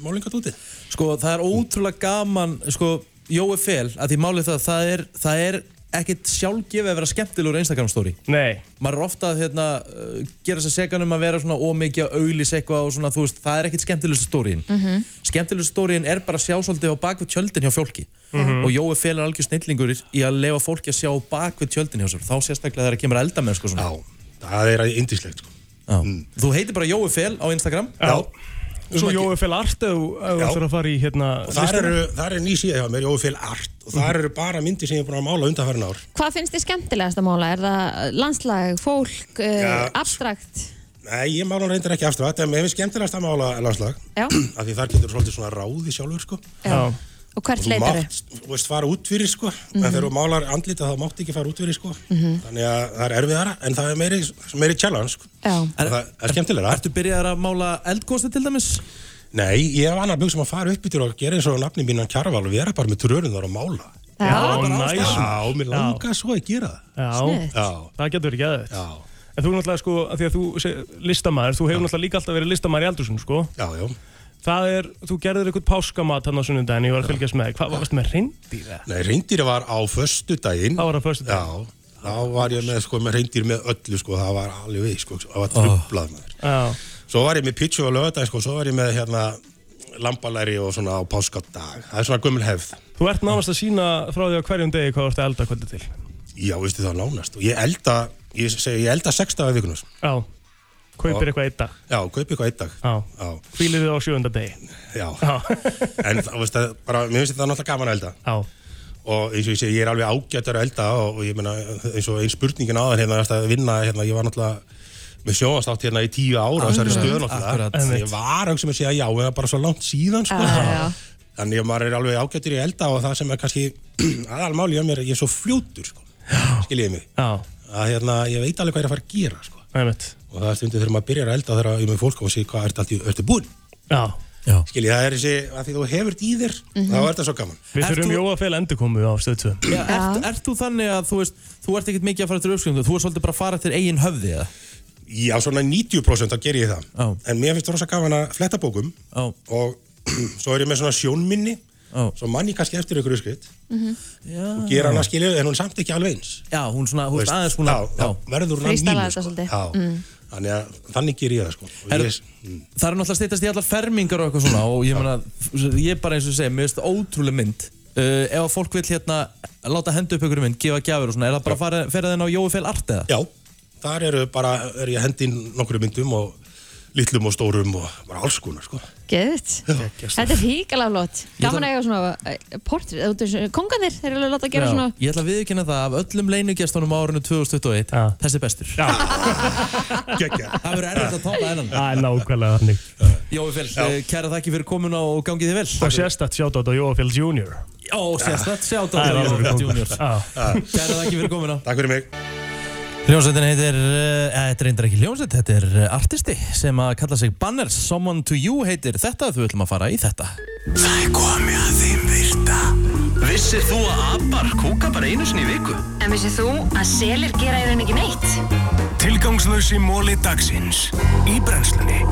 [SPEAKER 11] málingatútið
[SPEAKER 1] Sko, það er ótrúlega gaman, sko, Jói Fél, að því málið það, það er, það er ekkit sjálfgefið að vera skemmtilegur Instagram-stóri.
[SPEAKER 3] Nei.
[SPEAKER 1] Maður er ofta að hérna, uh, gera sér segan um að vera svona ómikið að auglýs eitthvað og svona, þú veist, það er ekkit skemmtilegust stóriðin.
[SPEAKER 10] Mhm.
[SPEAKER 1] Skemmtilegust stóriðin er bara að sjá svolítið á bakvið tjöldin hjá fjólki.
[SPEAKER 10] Mhm.
[SPEAKER 1] Og Jói Fél er algjör snillingur í- í að lefa fólki að sjá bakvið tjöldin hjá sér. Þá sérstaklega þegar það kemur eldamenn, sko, svona.
[SPEAKER 11] Já, það er indislegt, sko.
[SPEAKER 1] Þú heitir bara Jói Fél á Instagram.
[SPEAKER 3] Já. Svo
[SPEAKER 11] Um að ge-
[SPEAKER 3] Jói Fél Art ef ef þú
[SPEAKER 11] Já.
[SPEAKER 3] ætlar að fara í hérna
[SPEAKER 11] Og þar,
[SPEAKER 3] listina. Mhm.
[SPEAKER 11] eru, þar er ný síða hjá mér, Jói Fél Art og þar eru bara myndir sem ég er búin að mála undanfærin ár
[SPEAKER 2] Hvað finnst þið skemmtilegast að mála? Er það landslag, fólk, uh,
[SPEAKER 11] Já.
[SPEAKER 2] abstrakt?
[SPEAKER 11] Nei, ég mála reyndar ekki afstrakt en mér finnst skemmtilegast að mála landslag
[SPEAKER 2] Já.
[SPEAKER 11] (clears throat) af því þar getur þú svolítið svona ráði sjálfur sko.
[SPEAKER 2] Já. Og hvert
[SPEAKER 11] þú
[SPEAKER 2] leitar
[SPEAKER 11] mátt, þú veist, fara út fyrir sko en
[SPEAKER 2] Mhm.
[SPEAKER 11] þegar þú málar andlita þá mátt ekki fara út fyrir sko
[SPEAKER 2] Mhm.
[SPEAKER 11] þannig að það er erfiðara en það er meiri, meiri challenge sko.
[SPEAKER 2] Já.
[SPEAKER 11] er, það er skemmtilegra Ertu byrjaðar að mála eldgóðstu til dæmis? Nei, ég hef annar bygg sem að fara upp yfir og gera eins og nafni mín hann Kjarval og vera bara með trörun þar og mála
[SPEAKER 2] Já,
[SPEAKER 11] næs. Já, mér langar svo að gera
[SPEAKER 3] það
[SPEAKER 11] Sniðugt.
[SPEAKER 3] Já, það getur verið geðið En þú er náttúrulega sko, að því að þú sé listamaður, þú hefur náttúrulega líka alltaf verið listamaður í aldursun, sko
[SPEAKER 11] Já, já
[SPEAKER 3] Það er, þú gerðir eitthvað páskamat hann á sunnundaginn, ég var að fylgjast með, þér. hvað varst með reyndýr?
[SPEAKER 11] Nei, reyndýri var á föstu daginn Það var á föstu daginn Já, þá var ég með, sko, með reyndýr með öllu sko, það var alveg við, sko, það var trublað maður
[SPEAKER 3] Já,
[SPEAKER 11] Svo var ég með pítsu á lögadaginn, sko, svo var ég með hérna lambalæri og svona á páskadag Það er svona gömul hefð
[SPEAKER 3] þú ert nánast að sína frá því á hverjum degi hvað þú ert að elda kvöldi til
[SPEAKER 11] Já, veistu það nánast og ég elda, ég segi, ég elda sex dagar vikunus
[SPEAKER 3] Já, kaupir eitthvað eitt dag
[SPEAKER 11] Já, kaupi eitthvað eitt dag Já,
[SPEAKER 3] Hvílir þið á sjöunda degi
[SPEAKER 11] já. en það, veist, það, bara, mér finnst þetta náttúrulega gaman að elda
[SPEAKER 3] Já.
[SPEAKER 11] og eins og ég segi, ég er alveg ágættur að elda og, og ég meina, eins og einn spurningin áður hérna, þú veist, að vinna, hérna, ég var náttúrulega með sjóðastátt hérna í tíu
[SPEAKER 3] Ah,
[SPEAKER 11] ára
[SPEAKER 10] Akkurat,
[SPEAKER 11] þessari stöð náttúrulega,
[SPEAKER 10] akkurat.
[SPEAKER 11] Þannig ég var auðvitað sem að segja já, en það er bara svo langt síðan sko. þannig að maður er alveg ágættur í að elda og það sem er kannski (clears throat) aðalmáli á mér, ég er svo fljótur sko. skiljiði mig
[SPEAKER 3] já.
[SPEAKER 11] að hérna, ég veit alveg hvað ég er að fara að gera sko. og það er stundir þegar maður byrjar að elda þegar ég er með fólk og sé hvað ertu, alltaf, ertu búinn
[SPEAKER 3] Já.
[SPEAKER 11] skiljiði, það er þessi, að því þú hefur í þér
[SPEAKER 1] Mhm.
[SPEAKER 11] þá er þetta svo gaman
[SPEAKER 3] Við þurfum Jóa fél endurkomu á stöðtu
[SPEAKER 1] Já, ert, ert þú þannig að þú, veist, þú ert ekkert mikið að fara eftir uppskriftum, þú ert svolítið bara að fara eftir eigin höfði eða?
[SPEAKER 11] Já, svona 90% þá ger ég það
[SPEAKER 1] Já.
[SPEAKER 11] En mér finnst rosa gaman að fletta bókum
[SPEAKER 1] Já.
[SPEAKER 11] Og (clears throat) svo er ég með svona sjónminni Já. Svo mann ég kannski eftir ykkur skritt
[SPEAKER 1] Já.
[SPEAKER 11] Og gera hana skilju, en hún samt ekki alveg eins
[SPEAKER 1] Já, hún svona, hún
[SPEAKER 11] Veist,
[SPEAKER 1] veist, aðeins svona
[SPEAKER 11] já, já, verður hún að
[SPEAKER 2] Freestala
[SPEAKER 11] mínu
[SPEAKER 2] þetta
[SPEAKER 11] sko.
[SPEAKER 2] svolítið.
[SPEAKER 11] Já.
[SPEAKER 2] Mm.
[SPEAKER 11] Þannig að þannig ger ég það sko. Og
[SPEAKER 1] Er-
[SPEAKER 11] ég,
[SPEAKER 1] Það er náttúrulega steytast í allar fermingar og eitthvað svona og ég meina, ég er bara eins og segja, mér finnst það ótrúlega mynd uh, Ef að fólk vil hérna láta hendu upp ykkur mynd, gefa gjafir og svona, er það bara að fara, fara þenn á Jói Fél Art eða?
[SPEAKER 11] Já, þar eru bara, er ég að hendi inn nokkru myndum og litlum og stórum og bara alls konar sko.
[SPEAKER 2] Geðvitt. Þetta er híkalega flott.
[SPEAKER 1] Ég
[SPEAKER 2] Gaman
[SPEAKER 1] ætla-
[SPEAKER 2] að eiga svona eh, portrið. Konganir, þeir eru alveg láta að gera svona...
[SPEAKER 1] Ég ætla að viðkynna það af öllum leinugestunum á árinu 2021, ja. þessi er bestur
[SPEAKER 11] (laughs)
[SPEAKER 1] Já, Það verður erfitt að toppa þennan
[SPEAKER 3] Það er nákvæmlega þannig
[SPEAKER 1] Jói Fél, eh, kæra þakki fyrir komuna og gangið þið vel
[SPEAKER 3] Og sérstætt sjátt á þetta Jóa fél junior
[SPEAKER 1] Já, sérstætt, sjátt á
[SPEAKER 3] Það er
[SPEAKER 1] Jói
[SPEAKER 3] alveg
[SPEAKER 1] Fél
[SPEAKER 3] kóngur.
[SPEAKER 1] Junior
[SPEAKER 3] Já.
[SPEAKER 1] Kæra þakki fyrir komuna
[SPEAKER 11] Takk fyrir mig
[SPEAKER 1] Hljómsveitin heitir, eh, þetta er reyndar ekki hljómsveit, þetta er eh, artisti sem að kalla sig Banners, Someone to You heitir þetta, þú ætlum að fara í þetta.
[SPEAKER 10] Það er komið að þeim virta Vissir þú að abar kúka bara einu sinni í viku?
[SPEAKER 13] En vissið þú að selir gera í rauninni ekki neitt?
[SPEAKER 10] Tilgangslösi móli dagsins Í brennslunni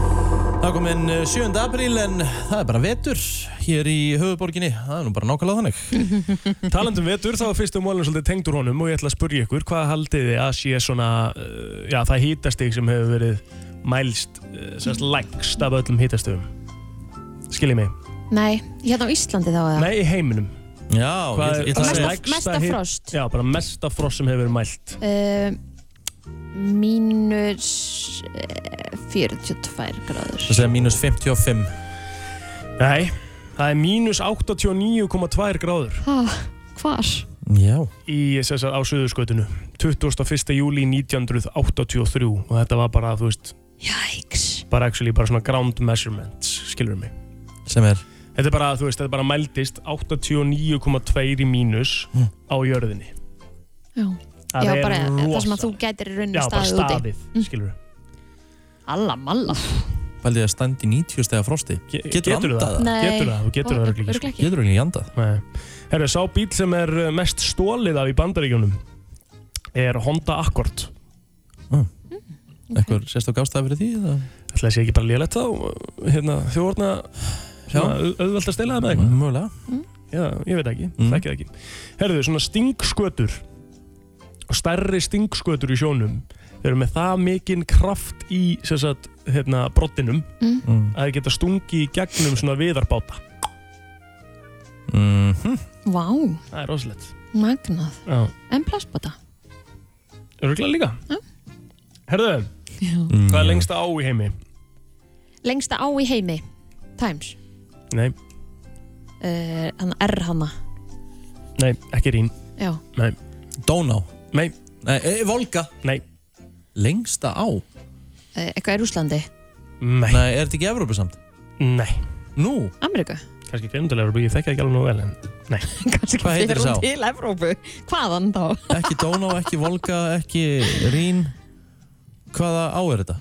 [SPEAKER 1] Það kom inn 7. apríl en það er bara vetur hér í höfuborginni, það er nú bara nákvæmlega þannig.
[SPEAKER 3] (laughs) Talandum um vetur, þá er fyrstu mólinn svolítið tengdur honum og ég ætla að spurja ykkur, hvað haldið þið að sé svona, uh, já, það hítastig sem hefur verið mælst, uh, sérst, lægst af öllum hítastigum? Skiljið mig.
[SPEAKER 2] Nei, hérna á Íslandi þá eða?
[SPEAKER 3] Nei, í heiminum.
[SPEAKER 1] Já,
[SPEAKER 3] hvað
[SPEAKER 1] ég ætla- ég ætla að
[SPEAKER 3] er
[SPEAKER 1] segja-
[SPEAKER 3] lægsta
[SPEAKER 2] Mesta
[SPEAKER 3] hit-
[SPEAKER 2] frost.
[SPEAKER 3] Já, bara mesta frost sem hefur verið mælt.
[SPEAKER 2] Uh, mínus uh, 42 gráður.
[SPEAKER 1] Það segja mínus 55.
[SPEAKER 3] Nei, það er mínus 89,2 gráður
[SPEAKER 2] Hva? Hvar?
[SPEAKER 1] Já.
[SPEAKER 3] í sérst á Suðurskautinu, 21. júli 1983 og þetta var bara, þú veist,
[SPEAKER 2] Jæks.
[SPEAKER 3] bara actually bara svona ground measurements, skilur mig.
[SPEAKER 1] Sem er?
[SPEAKER 3] Þetta er bara, þú veist, þetta er bara mældist 89,2 í mínus
[SPEAKER 1] Mm.
[SPEAKER 3] á jörðinni.
[SPEAKER 2] Já.
[SPEAKER 3] Það
[SPEAKER 2] Já,
[SPEAKER 3] er
[SPEAKER 2] bara það sem
[SPEAKER 3] rosa.
[SPEAKER 2] að þú gætir í rauninni
[SPEAKER 3] Já, bara
[SPEAKER 2] staðið úti.
[SPEAKER 3] staðið, skilur við.
[SPEAKER 2] Alla malla.
[SPEAKER 1] Bælið að standa í 90 stega frosti. Getur
[SPEAKER 3] geturðu
[SPEAKER 1] andað
[SPEAKER 3] það? Nei. Geturðu það? Þú getur það örugglega ekki, sko.
[SPEAKER 1] ekki. Getur það ekki andað?
[SPEAKER 3] Nei. Herru, sá bíl sem er uh, mest stólið af í bandaríkjunum er Honda Accord.
[SPEAKER 1] Ekkur Mm. sérstök ástæði fyrir því? eða?
[SPEAKER 3] Ætlaði sé ekki bara lélegt þá, hérna, þjóðorna auðvelt að stela það með eitthvað.
[SPEAKER 1] Mm, Mögulega.
[SPEAKER 2] Mm.
[SPEAKER 3] Já, ég veit ekki, mm. ekki það ekki. Herru, svona stingskötur, stærri stingskötur í sjónum, þeir eru með það mikinn kraft í, sem sagt, hérna, broddinum,
[SPEAKER 1] Mm.
[SPEAKER 3] að þeir geta stungi í gegnum svona viðarbáta.
[SPEAKER 1] Mm -hmm.
[SPEAKER 2] Vá,
[SPEAKER 3] Það er rosalegt.
[SPEAKER 2] magnað.
[SPEAKER 3] Já.
[SPEAKER 2] En plastbota.
[SPEAKER 3] Öruglega líka. Herðu,
[SPEAKER 2] Já.
[SPEAKER 3] hvað er lengsta á í heimi?
[SPEAKER 2] Lengsta á í heimi. Times
[SPEAKER 3] Nei,
[SPEAKER 2] uh, hann R hanna
[SPEAKER 3] nei, ekki Rín
[SPEAKER 2] Já.
[SPEAKER 3] Nei
[SPEAKER 1] Dóná
[SPEAKER 3] Nei
[SPEAKER 1] Nei, e, Volga
[SPEAKER 3] Nei
[SPEAKER 1] Lengsta á
[SPEAKER 2] uh, eitthvað í Rúslandi
[SPEAKER 3] Nei
[SPEAKER 1] Nei, er þetta ekki Evrópu samt?
[SPEAKER 3] Nei
[SPEAKER 1] Nú?
[SPEAKER 2] Ameríku
[SPEAKER 3] kannski fyrndulegur Ég þekki það ekki alveg nú vel en
[SPEAKER 1] (laughs)
[SPEAKER 3] Nei
[SPEAKER 2] Kannski
[SPEAKER 1] Hvað
[SPEAKER 2] fer
[SPEAKER 1] heitir
[SPEAKER 2] hún
[SPEAKER 1] sá?
[SPEAKER 2] til Evrópu hvaðan þá
[SPEAKER 1] Ekki Dóná, ekki Volga, ekki Rín Hvaða á er þetta?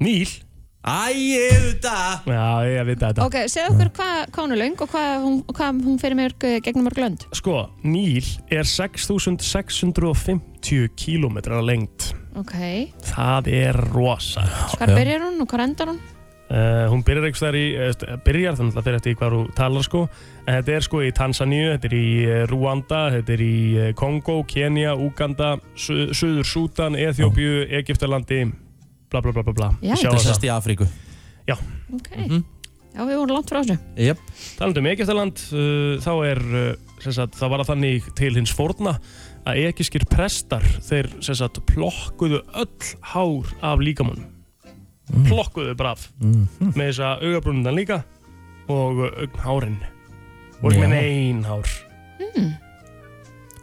[SPEAKER 3] Níl
[SPEAKER 1] Æ, auðvitað
[SPEAKER 3] Já, ég veit þetta
[SPEAKER 2] ok, segð okkur hvað hvað hún er löng og hvað hún, hvað hún fyrir mörg gegnum mörg lönd
[SPEAKER 3] Sko, Níl er 6650 kílómetrar að lengt
[SPEAKER 2] ok,
[SPEAKER 3] Það er rosa
[SPEAKER 2] hvar byrjar hún og hvar endar hún
[SPEAKER 3] Uh, hún byrjar einhvers þar í, uh, byrjar þannig að fyrir eftir í hvað hún talar sko en þetta er sko í Tansaníu, þetta er í uh, Rúanda, þetta er í uh, Kongo, Kenya, Uganda, su Suður Sútan, Eþjópíu, Egiptalandi, bla bla bla bla bla.
[SPEAKER 2] Jæja.
[SPEAKER 3] Sjáum
[SPEAKER 1] Þetta
[SPEAKER 3] það.
[SPEAKER 1] sérst í Afríku
[SPEAKER 3] Já.
[SPEAKER 2] ok, já við vorum langt frá þessu
[SPEAKER 1] Jep.
[SPEAKER 3] Talandu um Egiptaland, uh, þá er, uh, sem sagt, það var að þannig til hins forna að egyskir prestar, þeir sem sagt, plokkuðu öll hár af líkamannum.
[SPEAKER 1] Mm.
[SPEAKER 3] Plokkuðu bara af.
[SPEAKER 1] Mhm.
[SPEAKER 3] Með þess að augabrúnundan líka og augnhárin. Og ekki
[SPEAKER 1] Já.
[SPEAKER 3] með ein hár.
[SPEAKER 2] mm.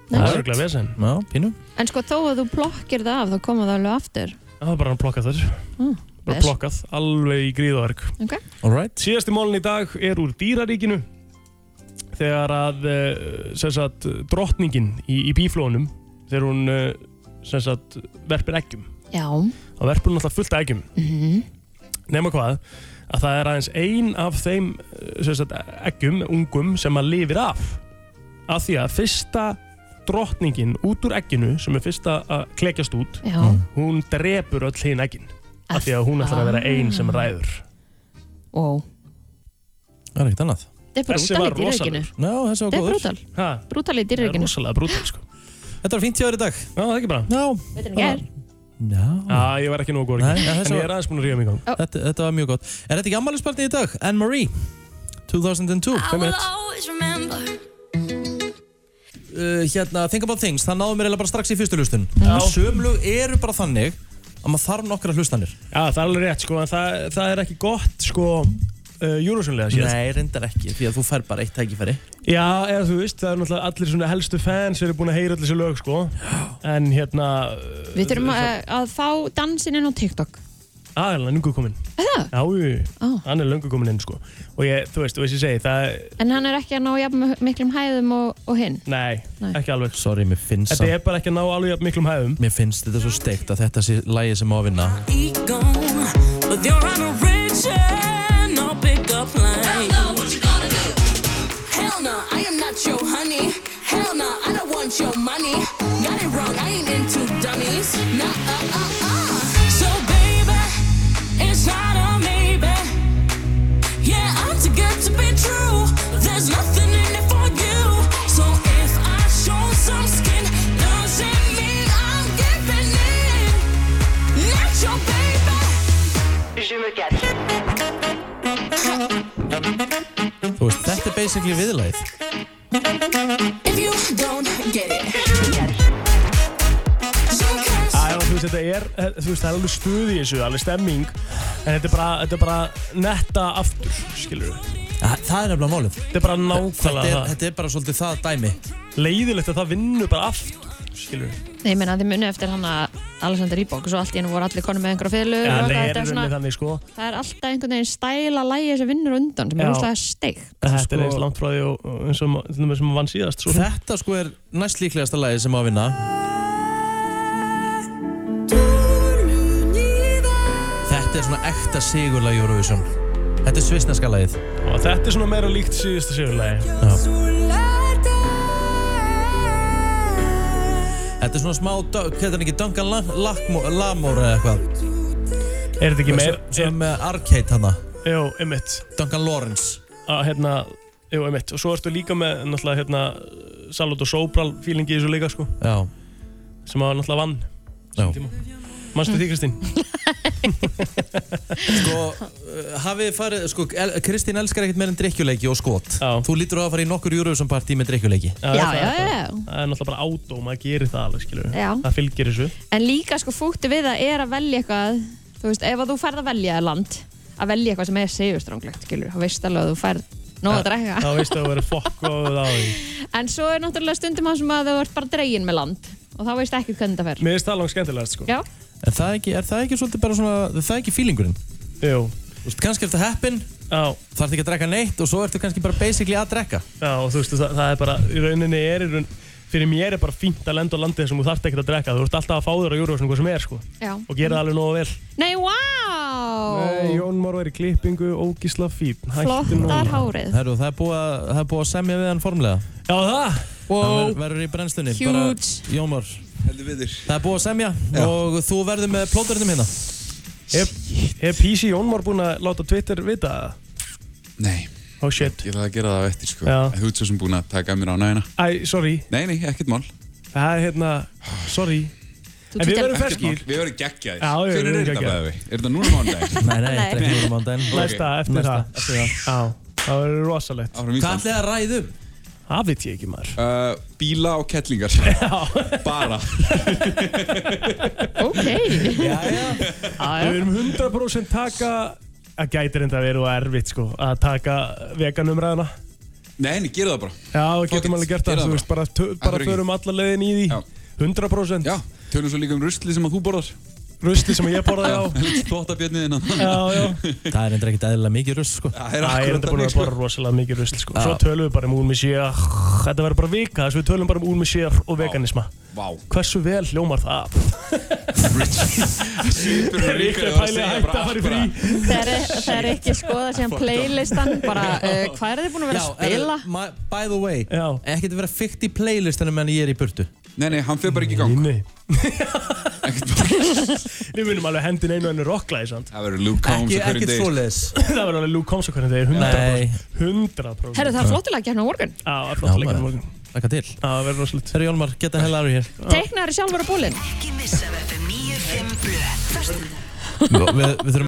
[SPEAKER 3] Það er örgulega vesen.
[SPEAKER 1] Já, pínu.
[SPEAKER 2] en sko þó að þú plokkir það af þá koma það alveg aftur
[SPEAKER 3] Það er bara hann plokkað þar.
[SPEAKER 2] Mm,
[SPEAKER 3] Bara
[SPEAKER 2] vel.
[SPEAKER 3] plokkað, alveg í gríðaverk.
[SPEAKER 2] ok,
[SPEAKER 1] Alright.
[SPEAKER 3] Síðasti málun í dag er úr dýraríkinu þegar að eh, sem sagt, drottningin í, í bíflónum þegar hún eh, sem sagt, verpir eggjum
[SPEAKER 2] já
[SPEAKER 3] þá verpir hún alltaf fullt af eggjum
[SPEAKER 2] Mhm.
[SPEAKER 3] nema hvað að það er aðeins ein af þeim eh, sem sagt, eggjum, ungum sem að lifir af af því að fyrsta drottningin út úr egginu sem er fyrsta að klekjast út
[SPEAKER 2] Já.
[SPEAKER 1] Mm.
[SPEAKER 3] hún drepur öll hinn eggin af því að hún ætlar að vera ein sem
[SPEAKER 2] Ah.
[SPEAKER 3] ræður
[SPEAKER 2] wow.
[SPEAKER 1] Það er ekkert annað
[SPEAKER 2] þetta er brútal í dýrreikinu
[SPEAKER 1] Já,
[SPEAKER 2] þetta
[SPEAKER 1] þessi var
[SPEAKER 2] er
[SPEAKER 1] góður
[SPEAKER 2] brútal,
[SPEAKER 3] Ha,
[SPEAKER 2] brútal í
[SPEAKER 3] það er
[SPEAKER 2] dýrreikinu
[SPEAKER 3] rosalega brútal sko.
[SPEAKER 1] Þetta var fínt hjá þér í dag Já,
[SPEAKER 3] það er ekki bara
[SPEAKER 1] Já,
[SPEAKER 2] betur en ger
[SPEAKER 1] Já
[SPEAKER 3] Já, ég var ekki nógu góður í
[SPEAKER 1] Nei,
[SPEAKER 3] gær.
[SPEAKER 1] ja, þessi
[SPEAKER 3] En ég
[SPEAKER 1] var-
[SPEAKER 3] er aðeins búin að ríða mig í gang
[SPEAKER 1] þetta, þetta var mjög gott Er þetta ekki ammælisbarni í dag? Anne-Marie 2002 Hvað með uh, Hérna, Think About Things Það náðu mér eiginlega bara strax í fyrstu hlustun
[SPEAKER 3] Já.
[SPEAKER 1] Sumlug eru bara þannig að maður þarf nokkra hlustanir
[SPEAKER 3] Já, það er alveg rétt sko En það, það er ekki gott sko uh, Eurosunlega séð
[SPEAKER 1] Nei, reyndar ekki, því að þú fær bara eitt tækifæri
[SPEAKER 3] Já, eða þú veist, það er náttúrulega allir svona helstu fans eru búin að heyra allir þessi lög sko En hérna uh,
[SPEAKER 2] við þurfum að, að fá dansin inn á TikTok
[SPEAKER 3] Ah, hann er löngu kominn
[SPEAKER 2] Eða?
[SPEAKER 3] Já, oh. hann er löngu kominn inn sko Og ég, þú veist, þú veist ég segi, það
[SPEAKER 2] en hann er ekki að ná jafn miklum hæðum og, og hinn
[SPEAKER 3] Nei, ekki alveg
[SPEAKER 1] Sorry, mér finnst
[SPEAKER 3] Þetta er bara ekki að ná alveg jafn miklum hæðum
[SPEAKER 1] Mér finnst þetta svo steikt að þetta sé lægi sem á að vinna
[SPEAKER 14] ego with your adoration. No pickup line. Hell no, what you gonna do? Hell no, I am not your honey. Hell no, I don't want your money. Got it wrong, I ain't into dummies. Nah, uh, uh, uh. So baby, it's not a maybe. Yeah, I'm too good to be true. There's nothing in it for you. So if I show some skin, doesn't mean I'm giving in. Not your baby. Je me
[SPEAKER 1] Þú veist, þetta er basically viðlæð
[SPEAKER 14] If you don't get it.
[SPEAKER 3] Æ, og þú veist, þetta er, eh, þú veist, það er alveg stuð í þessu, alveg stemming En þetta er bara, þetta er bara netta aftur, skilur
[SPEAKER 1] Þa, Það er nefnilega málið
[SPEAKER 3] Þetta er bara
[SPEAKER 1] þetta
[SPEAKER 3] nákvæmlega
[SPEAKER 1] er,
[SPEAKER 3] það
[SPEAKER 1] þetta er bara svolítið það dæmi
[SPEAKER 3] Leiðilegt að það vinnur bara aftur, skilur
[SPEAKER 2] Nei, ég meina þið munið eftir hann að Alexander Íbók og svo allt í hennu voru allir konum með einhverja fylgur
[SPEAKER 3] Ja,
[SPEAKER 2] og
[SPEAKER 3] það
[SPEAKER 2] eitthvað,
[SPEAKER 3] er
[SPEAKER 2] þetta er
[SPEAKER 3] rauninni
[SPEAKER 2] svona,
[SPEAKER 3] þannig, sko
[SPEAKER 2] það er alltaf einhvern veginn stæla lægi sem vinnur á undan sem er
[SPEAKER 3] Já.
[SPEAKER 2] úrslega steik
[SPEAKER 3] Þetta
[SPEAKER 1] Sko-
[SPEAKER 3] er eins langt frá því og og eins og til dæmis sem vann síðast svo.
[SPEAKER 1] Þetta sko er næst líklegasta lægi sem á að vinna Þetta er svona ekta sigurlag Eurovision Þetta er svisneska lagið
[SPEAKER 3] Og þetta er svona meira líkt síðasta sigurlegi
[SPEAKER 1] Þetta er svona smá, hvað er ekki, Duncan Lam- Lackmo- Lamor eða eitthvað
[SPEAKER 3] Er þetta ekki meir-
[SPEAKER 1] Sem- Sem eh, Arcade hana
[SPEAKER 3] Jó, emitt
[SPEAKER 1] Duncan Lawrence
[SPEAKER 3] Að hérna, jú, emitt Og svo ertu líka með, náttúrulega, hérna Salot og Sobral feelingi í þessu líka, sko
[SPEAKER 1] Já
[SPEAKER 3] Sem að náttúrulega vann
[SPEAKER 1] Já.
[SPEAKER 3] Manstu því, Kristín?
[SPEAKER 2] (laughs)
[SPEAKER 1] Sko, eh, hafið þið farið, sko, El- Kristín elskar ekkert meir en drikkjuleiki og skot Já. Þú lítur á að fara í nokkur Eurovision partí með drikkjuleiki
[SPEAKER 3] Já,
[SPEAKER 2] Já,
[SPEAKER 3] það
[SPEAKER 2] já,
[SPEAKER 3] er bara-
[SPEAKER 2] já.
[SPEAKER 3] Það er náttúrulega bara átó, maður gerir það alveg, skilur
[SPEAKER 2] Já.
[SPEAKER 3] Það fylgir þessu
[SPEAKER 2] En líka sko fúkti við að er að velja eitthvað þú veist, ef að þú færð að velja land að velja eitthvað sem er segjustránglegt, skilur, þá veist alveg að þú færð nóg að drekka.
[SPEAKER 3] Þá veistu að þú verður fokkóð á því.
[SPEAKER 2] En svo er náttúrulega stundum það sem að þú ert bara dregin með land og þá veist ekki hvernig það fer.
[SPEAKER 3] Mér finnst það langt skemmtilegast sko.
[SPEAKER 2] Já,
[SPEAKER 1] En það er ekki, er það ekki svolítið bara svona, er það ekki feelingurinn?
[SPEAKER 3] Jú.
[SPEAKER 1] Þú veist, kannski eftir heppin, þarf ekki að drekka neitt og svo ertu kannski bara basically að drekka.
[SPEAKER 3] Já, og þú veist, það, það er bara, í rauninni er, í raun, fyrir mér er bara fínt að lenda á landið sem þú þarft ekkert að drekka. Þú ert alltaf að fá þér á júruvæsum hvað sem er, sko.
[SPEAKER 2] já.
[SPEAKER 3] Og gera það alveg nógu vel.
[SPEAKER 2] Nei, wow!
[SPEAKER 3] Nei, Jón Már er í klippingu, ógísla fín. Hættu nú.
[SPEAKER 2] Flottar hárið.
[SPEAKER 1] Herru, það er búið að, það er búið að semja við hann formlega.
[SPEAKER 3] Já, það?
[SPEAKER 1] Hann ver- verður í brennslunni.
[SPEAKER 2] Huge.
[SPEAKER 1] Bara, Jómar. Heldur við þér. Það er búið að semja og þú verður með plóturinnum hérna.
[SPEAKER 3] Er, er PC Jón Már búinn að láta Twitter vita það?
[SPEAKER 15] Nei.
[SPEAKER 3] Oh shit.
[SPEAKER 15] Ég ætlaði að gera það á eftir sko.
[SPEAKER 3] Já.
[SPEAKER 15] En Þú ert svo sem búin að taka mér á nægina.
[SPEAKER 3] Æ, sorry.
[SPEAKER 15] Nei, nei, ekkert mál.
[SPEAKER 3] Það er hérna, sorry. En við verðum
[SPEAKER 15] Ekkert mál.
[SPEAKER 3] ferskir.
[SPEAKER 15] Við verðum geggjaðir.
[SPEAKER 3] Já, við
[SPEAKER 15] Hvenær
[SPEAKER 3] verðum
[SPEAKER 15] er þetta
[SPEAKER 3] geggjaðir.
[SPEAKER 15] með Er þetta núna mándaginn?
[SPEAKER 1] Nei, nei, þetta er ekki núna mándaginn.
[SPEAKER 3] Næsta, eftir
[SPEAKER 1] Næsta,
[SPEAKER 3] það.
[SPEAKER 1] eftir það.
[SPEAKER 3] Já, það verður rosalegt.
[SPEAKER 15] Áfram Ísland. Hvað ætlið
[SPEAKER 1] að um? ræðum?
[SPEAKER 3] Það veit ég ekki maður.
[SPEAKER 15] Uh, bíla og kettlingar. (laughs) Bara.
[SPEAKER 1] (laughs)
[SPEAKER 2] Ok.
[SPEAKER 3] Já, já. Við erum 100% taka, að gætir enda að vera og erfitt sko, að taka veganumræðuna.
[SPEAKER 15] Nei, nei, gera það bara.
[SPEAKER 3] Já, við getum alveg gert
[SPEAKER 15] gera
[SPEAKER 3] það,
[SPEAKER 15] það
[SPEAKER 3] þú veist, bara, tö-
[SPEAKER 15] Það
[SPEAKER 3] bara
[SPEAKER 15] fyrir ekki.
[SPEAKER 3] förum alla leiðin í því. 100%.
[SPEAKER 15] Já, tölum svo líka um rusli sem að þú borðar.
[SPEAKER 3] Rusli sem ég borðaði
[SPEAKER 15] (laughs)
[SPEAKER 3] á.
[SPEAKER 15] Þvóttabjörniðina.
[SPEAKER 3] Já, já.
[SPEAKER 1] Það er endur ekkert eðlilega mikið rusl, sko.
[SPEAKER 15] Það
[SPEAKER 3] Æ, ég er enda búin að borða rosalega mikið rusl sko. Svo
[SPEAKER 1] Já.
[SPEAKER 3] tölum við bara um úlmisjér Þetta verður bara vika þess að við tölum bara um úlmisjér og veganisma
[SPEAKER 15] Vá
[SPEAKER 3] Hversu vel hljómar það? (laughs)
[SPEAKER 15] Svipur
[SPEAKER 3] er ekki að pæli að hætta að fara í frí
[SPEAKER 2] Það er, það er e- ekki skoða sem playlistan, bara uh, hvað er þið búin að vera að spila?
[SPEAKER 1] er- ma- by the way, Já. ekkert að vera fyrt í playlistanum en ég er í burtu.
[SPEAKER 15] Nei, nei, hann fyrir bara ekki í gang.
[SPEAKER 3] Nei, Við munum alveg hendin einu og einu rockla í samt
[SPEAKER 15] Það verður Luke Combs á
[SPEAKER 3] Ekki-
[SPEAKER 15] hverjum
[SPEAKER 3] ekkert
[SPEAKER 15] degi.
[SPEAKER 3] svoleiðis. (laughs) Það verður alveg Luke Combs á hverjum degi 100% 100%
[SPEAKER 2] Herru, það er flottilega gert á morgun.
[SPEAKER 3] Já, það er flottilega
[SPEAKER 1] Já,
[SPEAKER 3] gert á
[SPEAKER 1] maður.
[SPEAKER 3] morgun
[SPEAKER 1] Laka til. Já,
[SPEAKER 3] verður rosalit.
[SPEAKER 1] Herru Jónmar, geta hella aðru hér.
[SPEAKER 2] Teiknaður sjálfur á bólinn.
[SPEAKER 13] Ekki missa af FM 95 blöð. Föstudag.
[SPEAKER 1] Við, við þurfum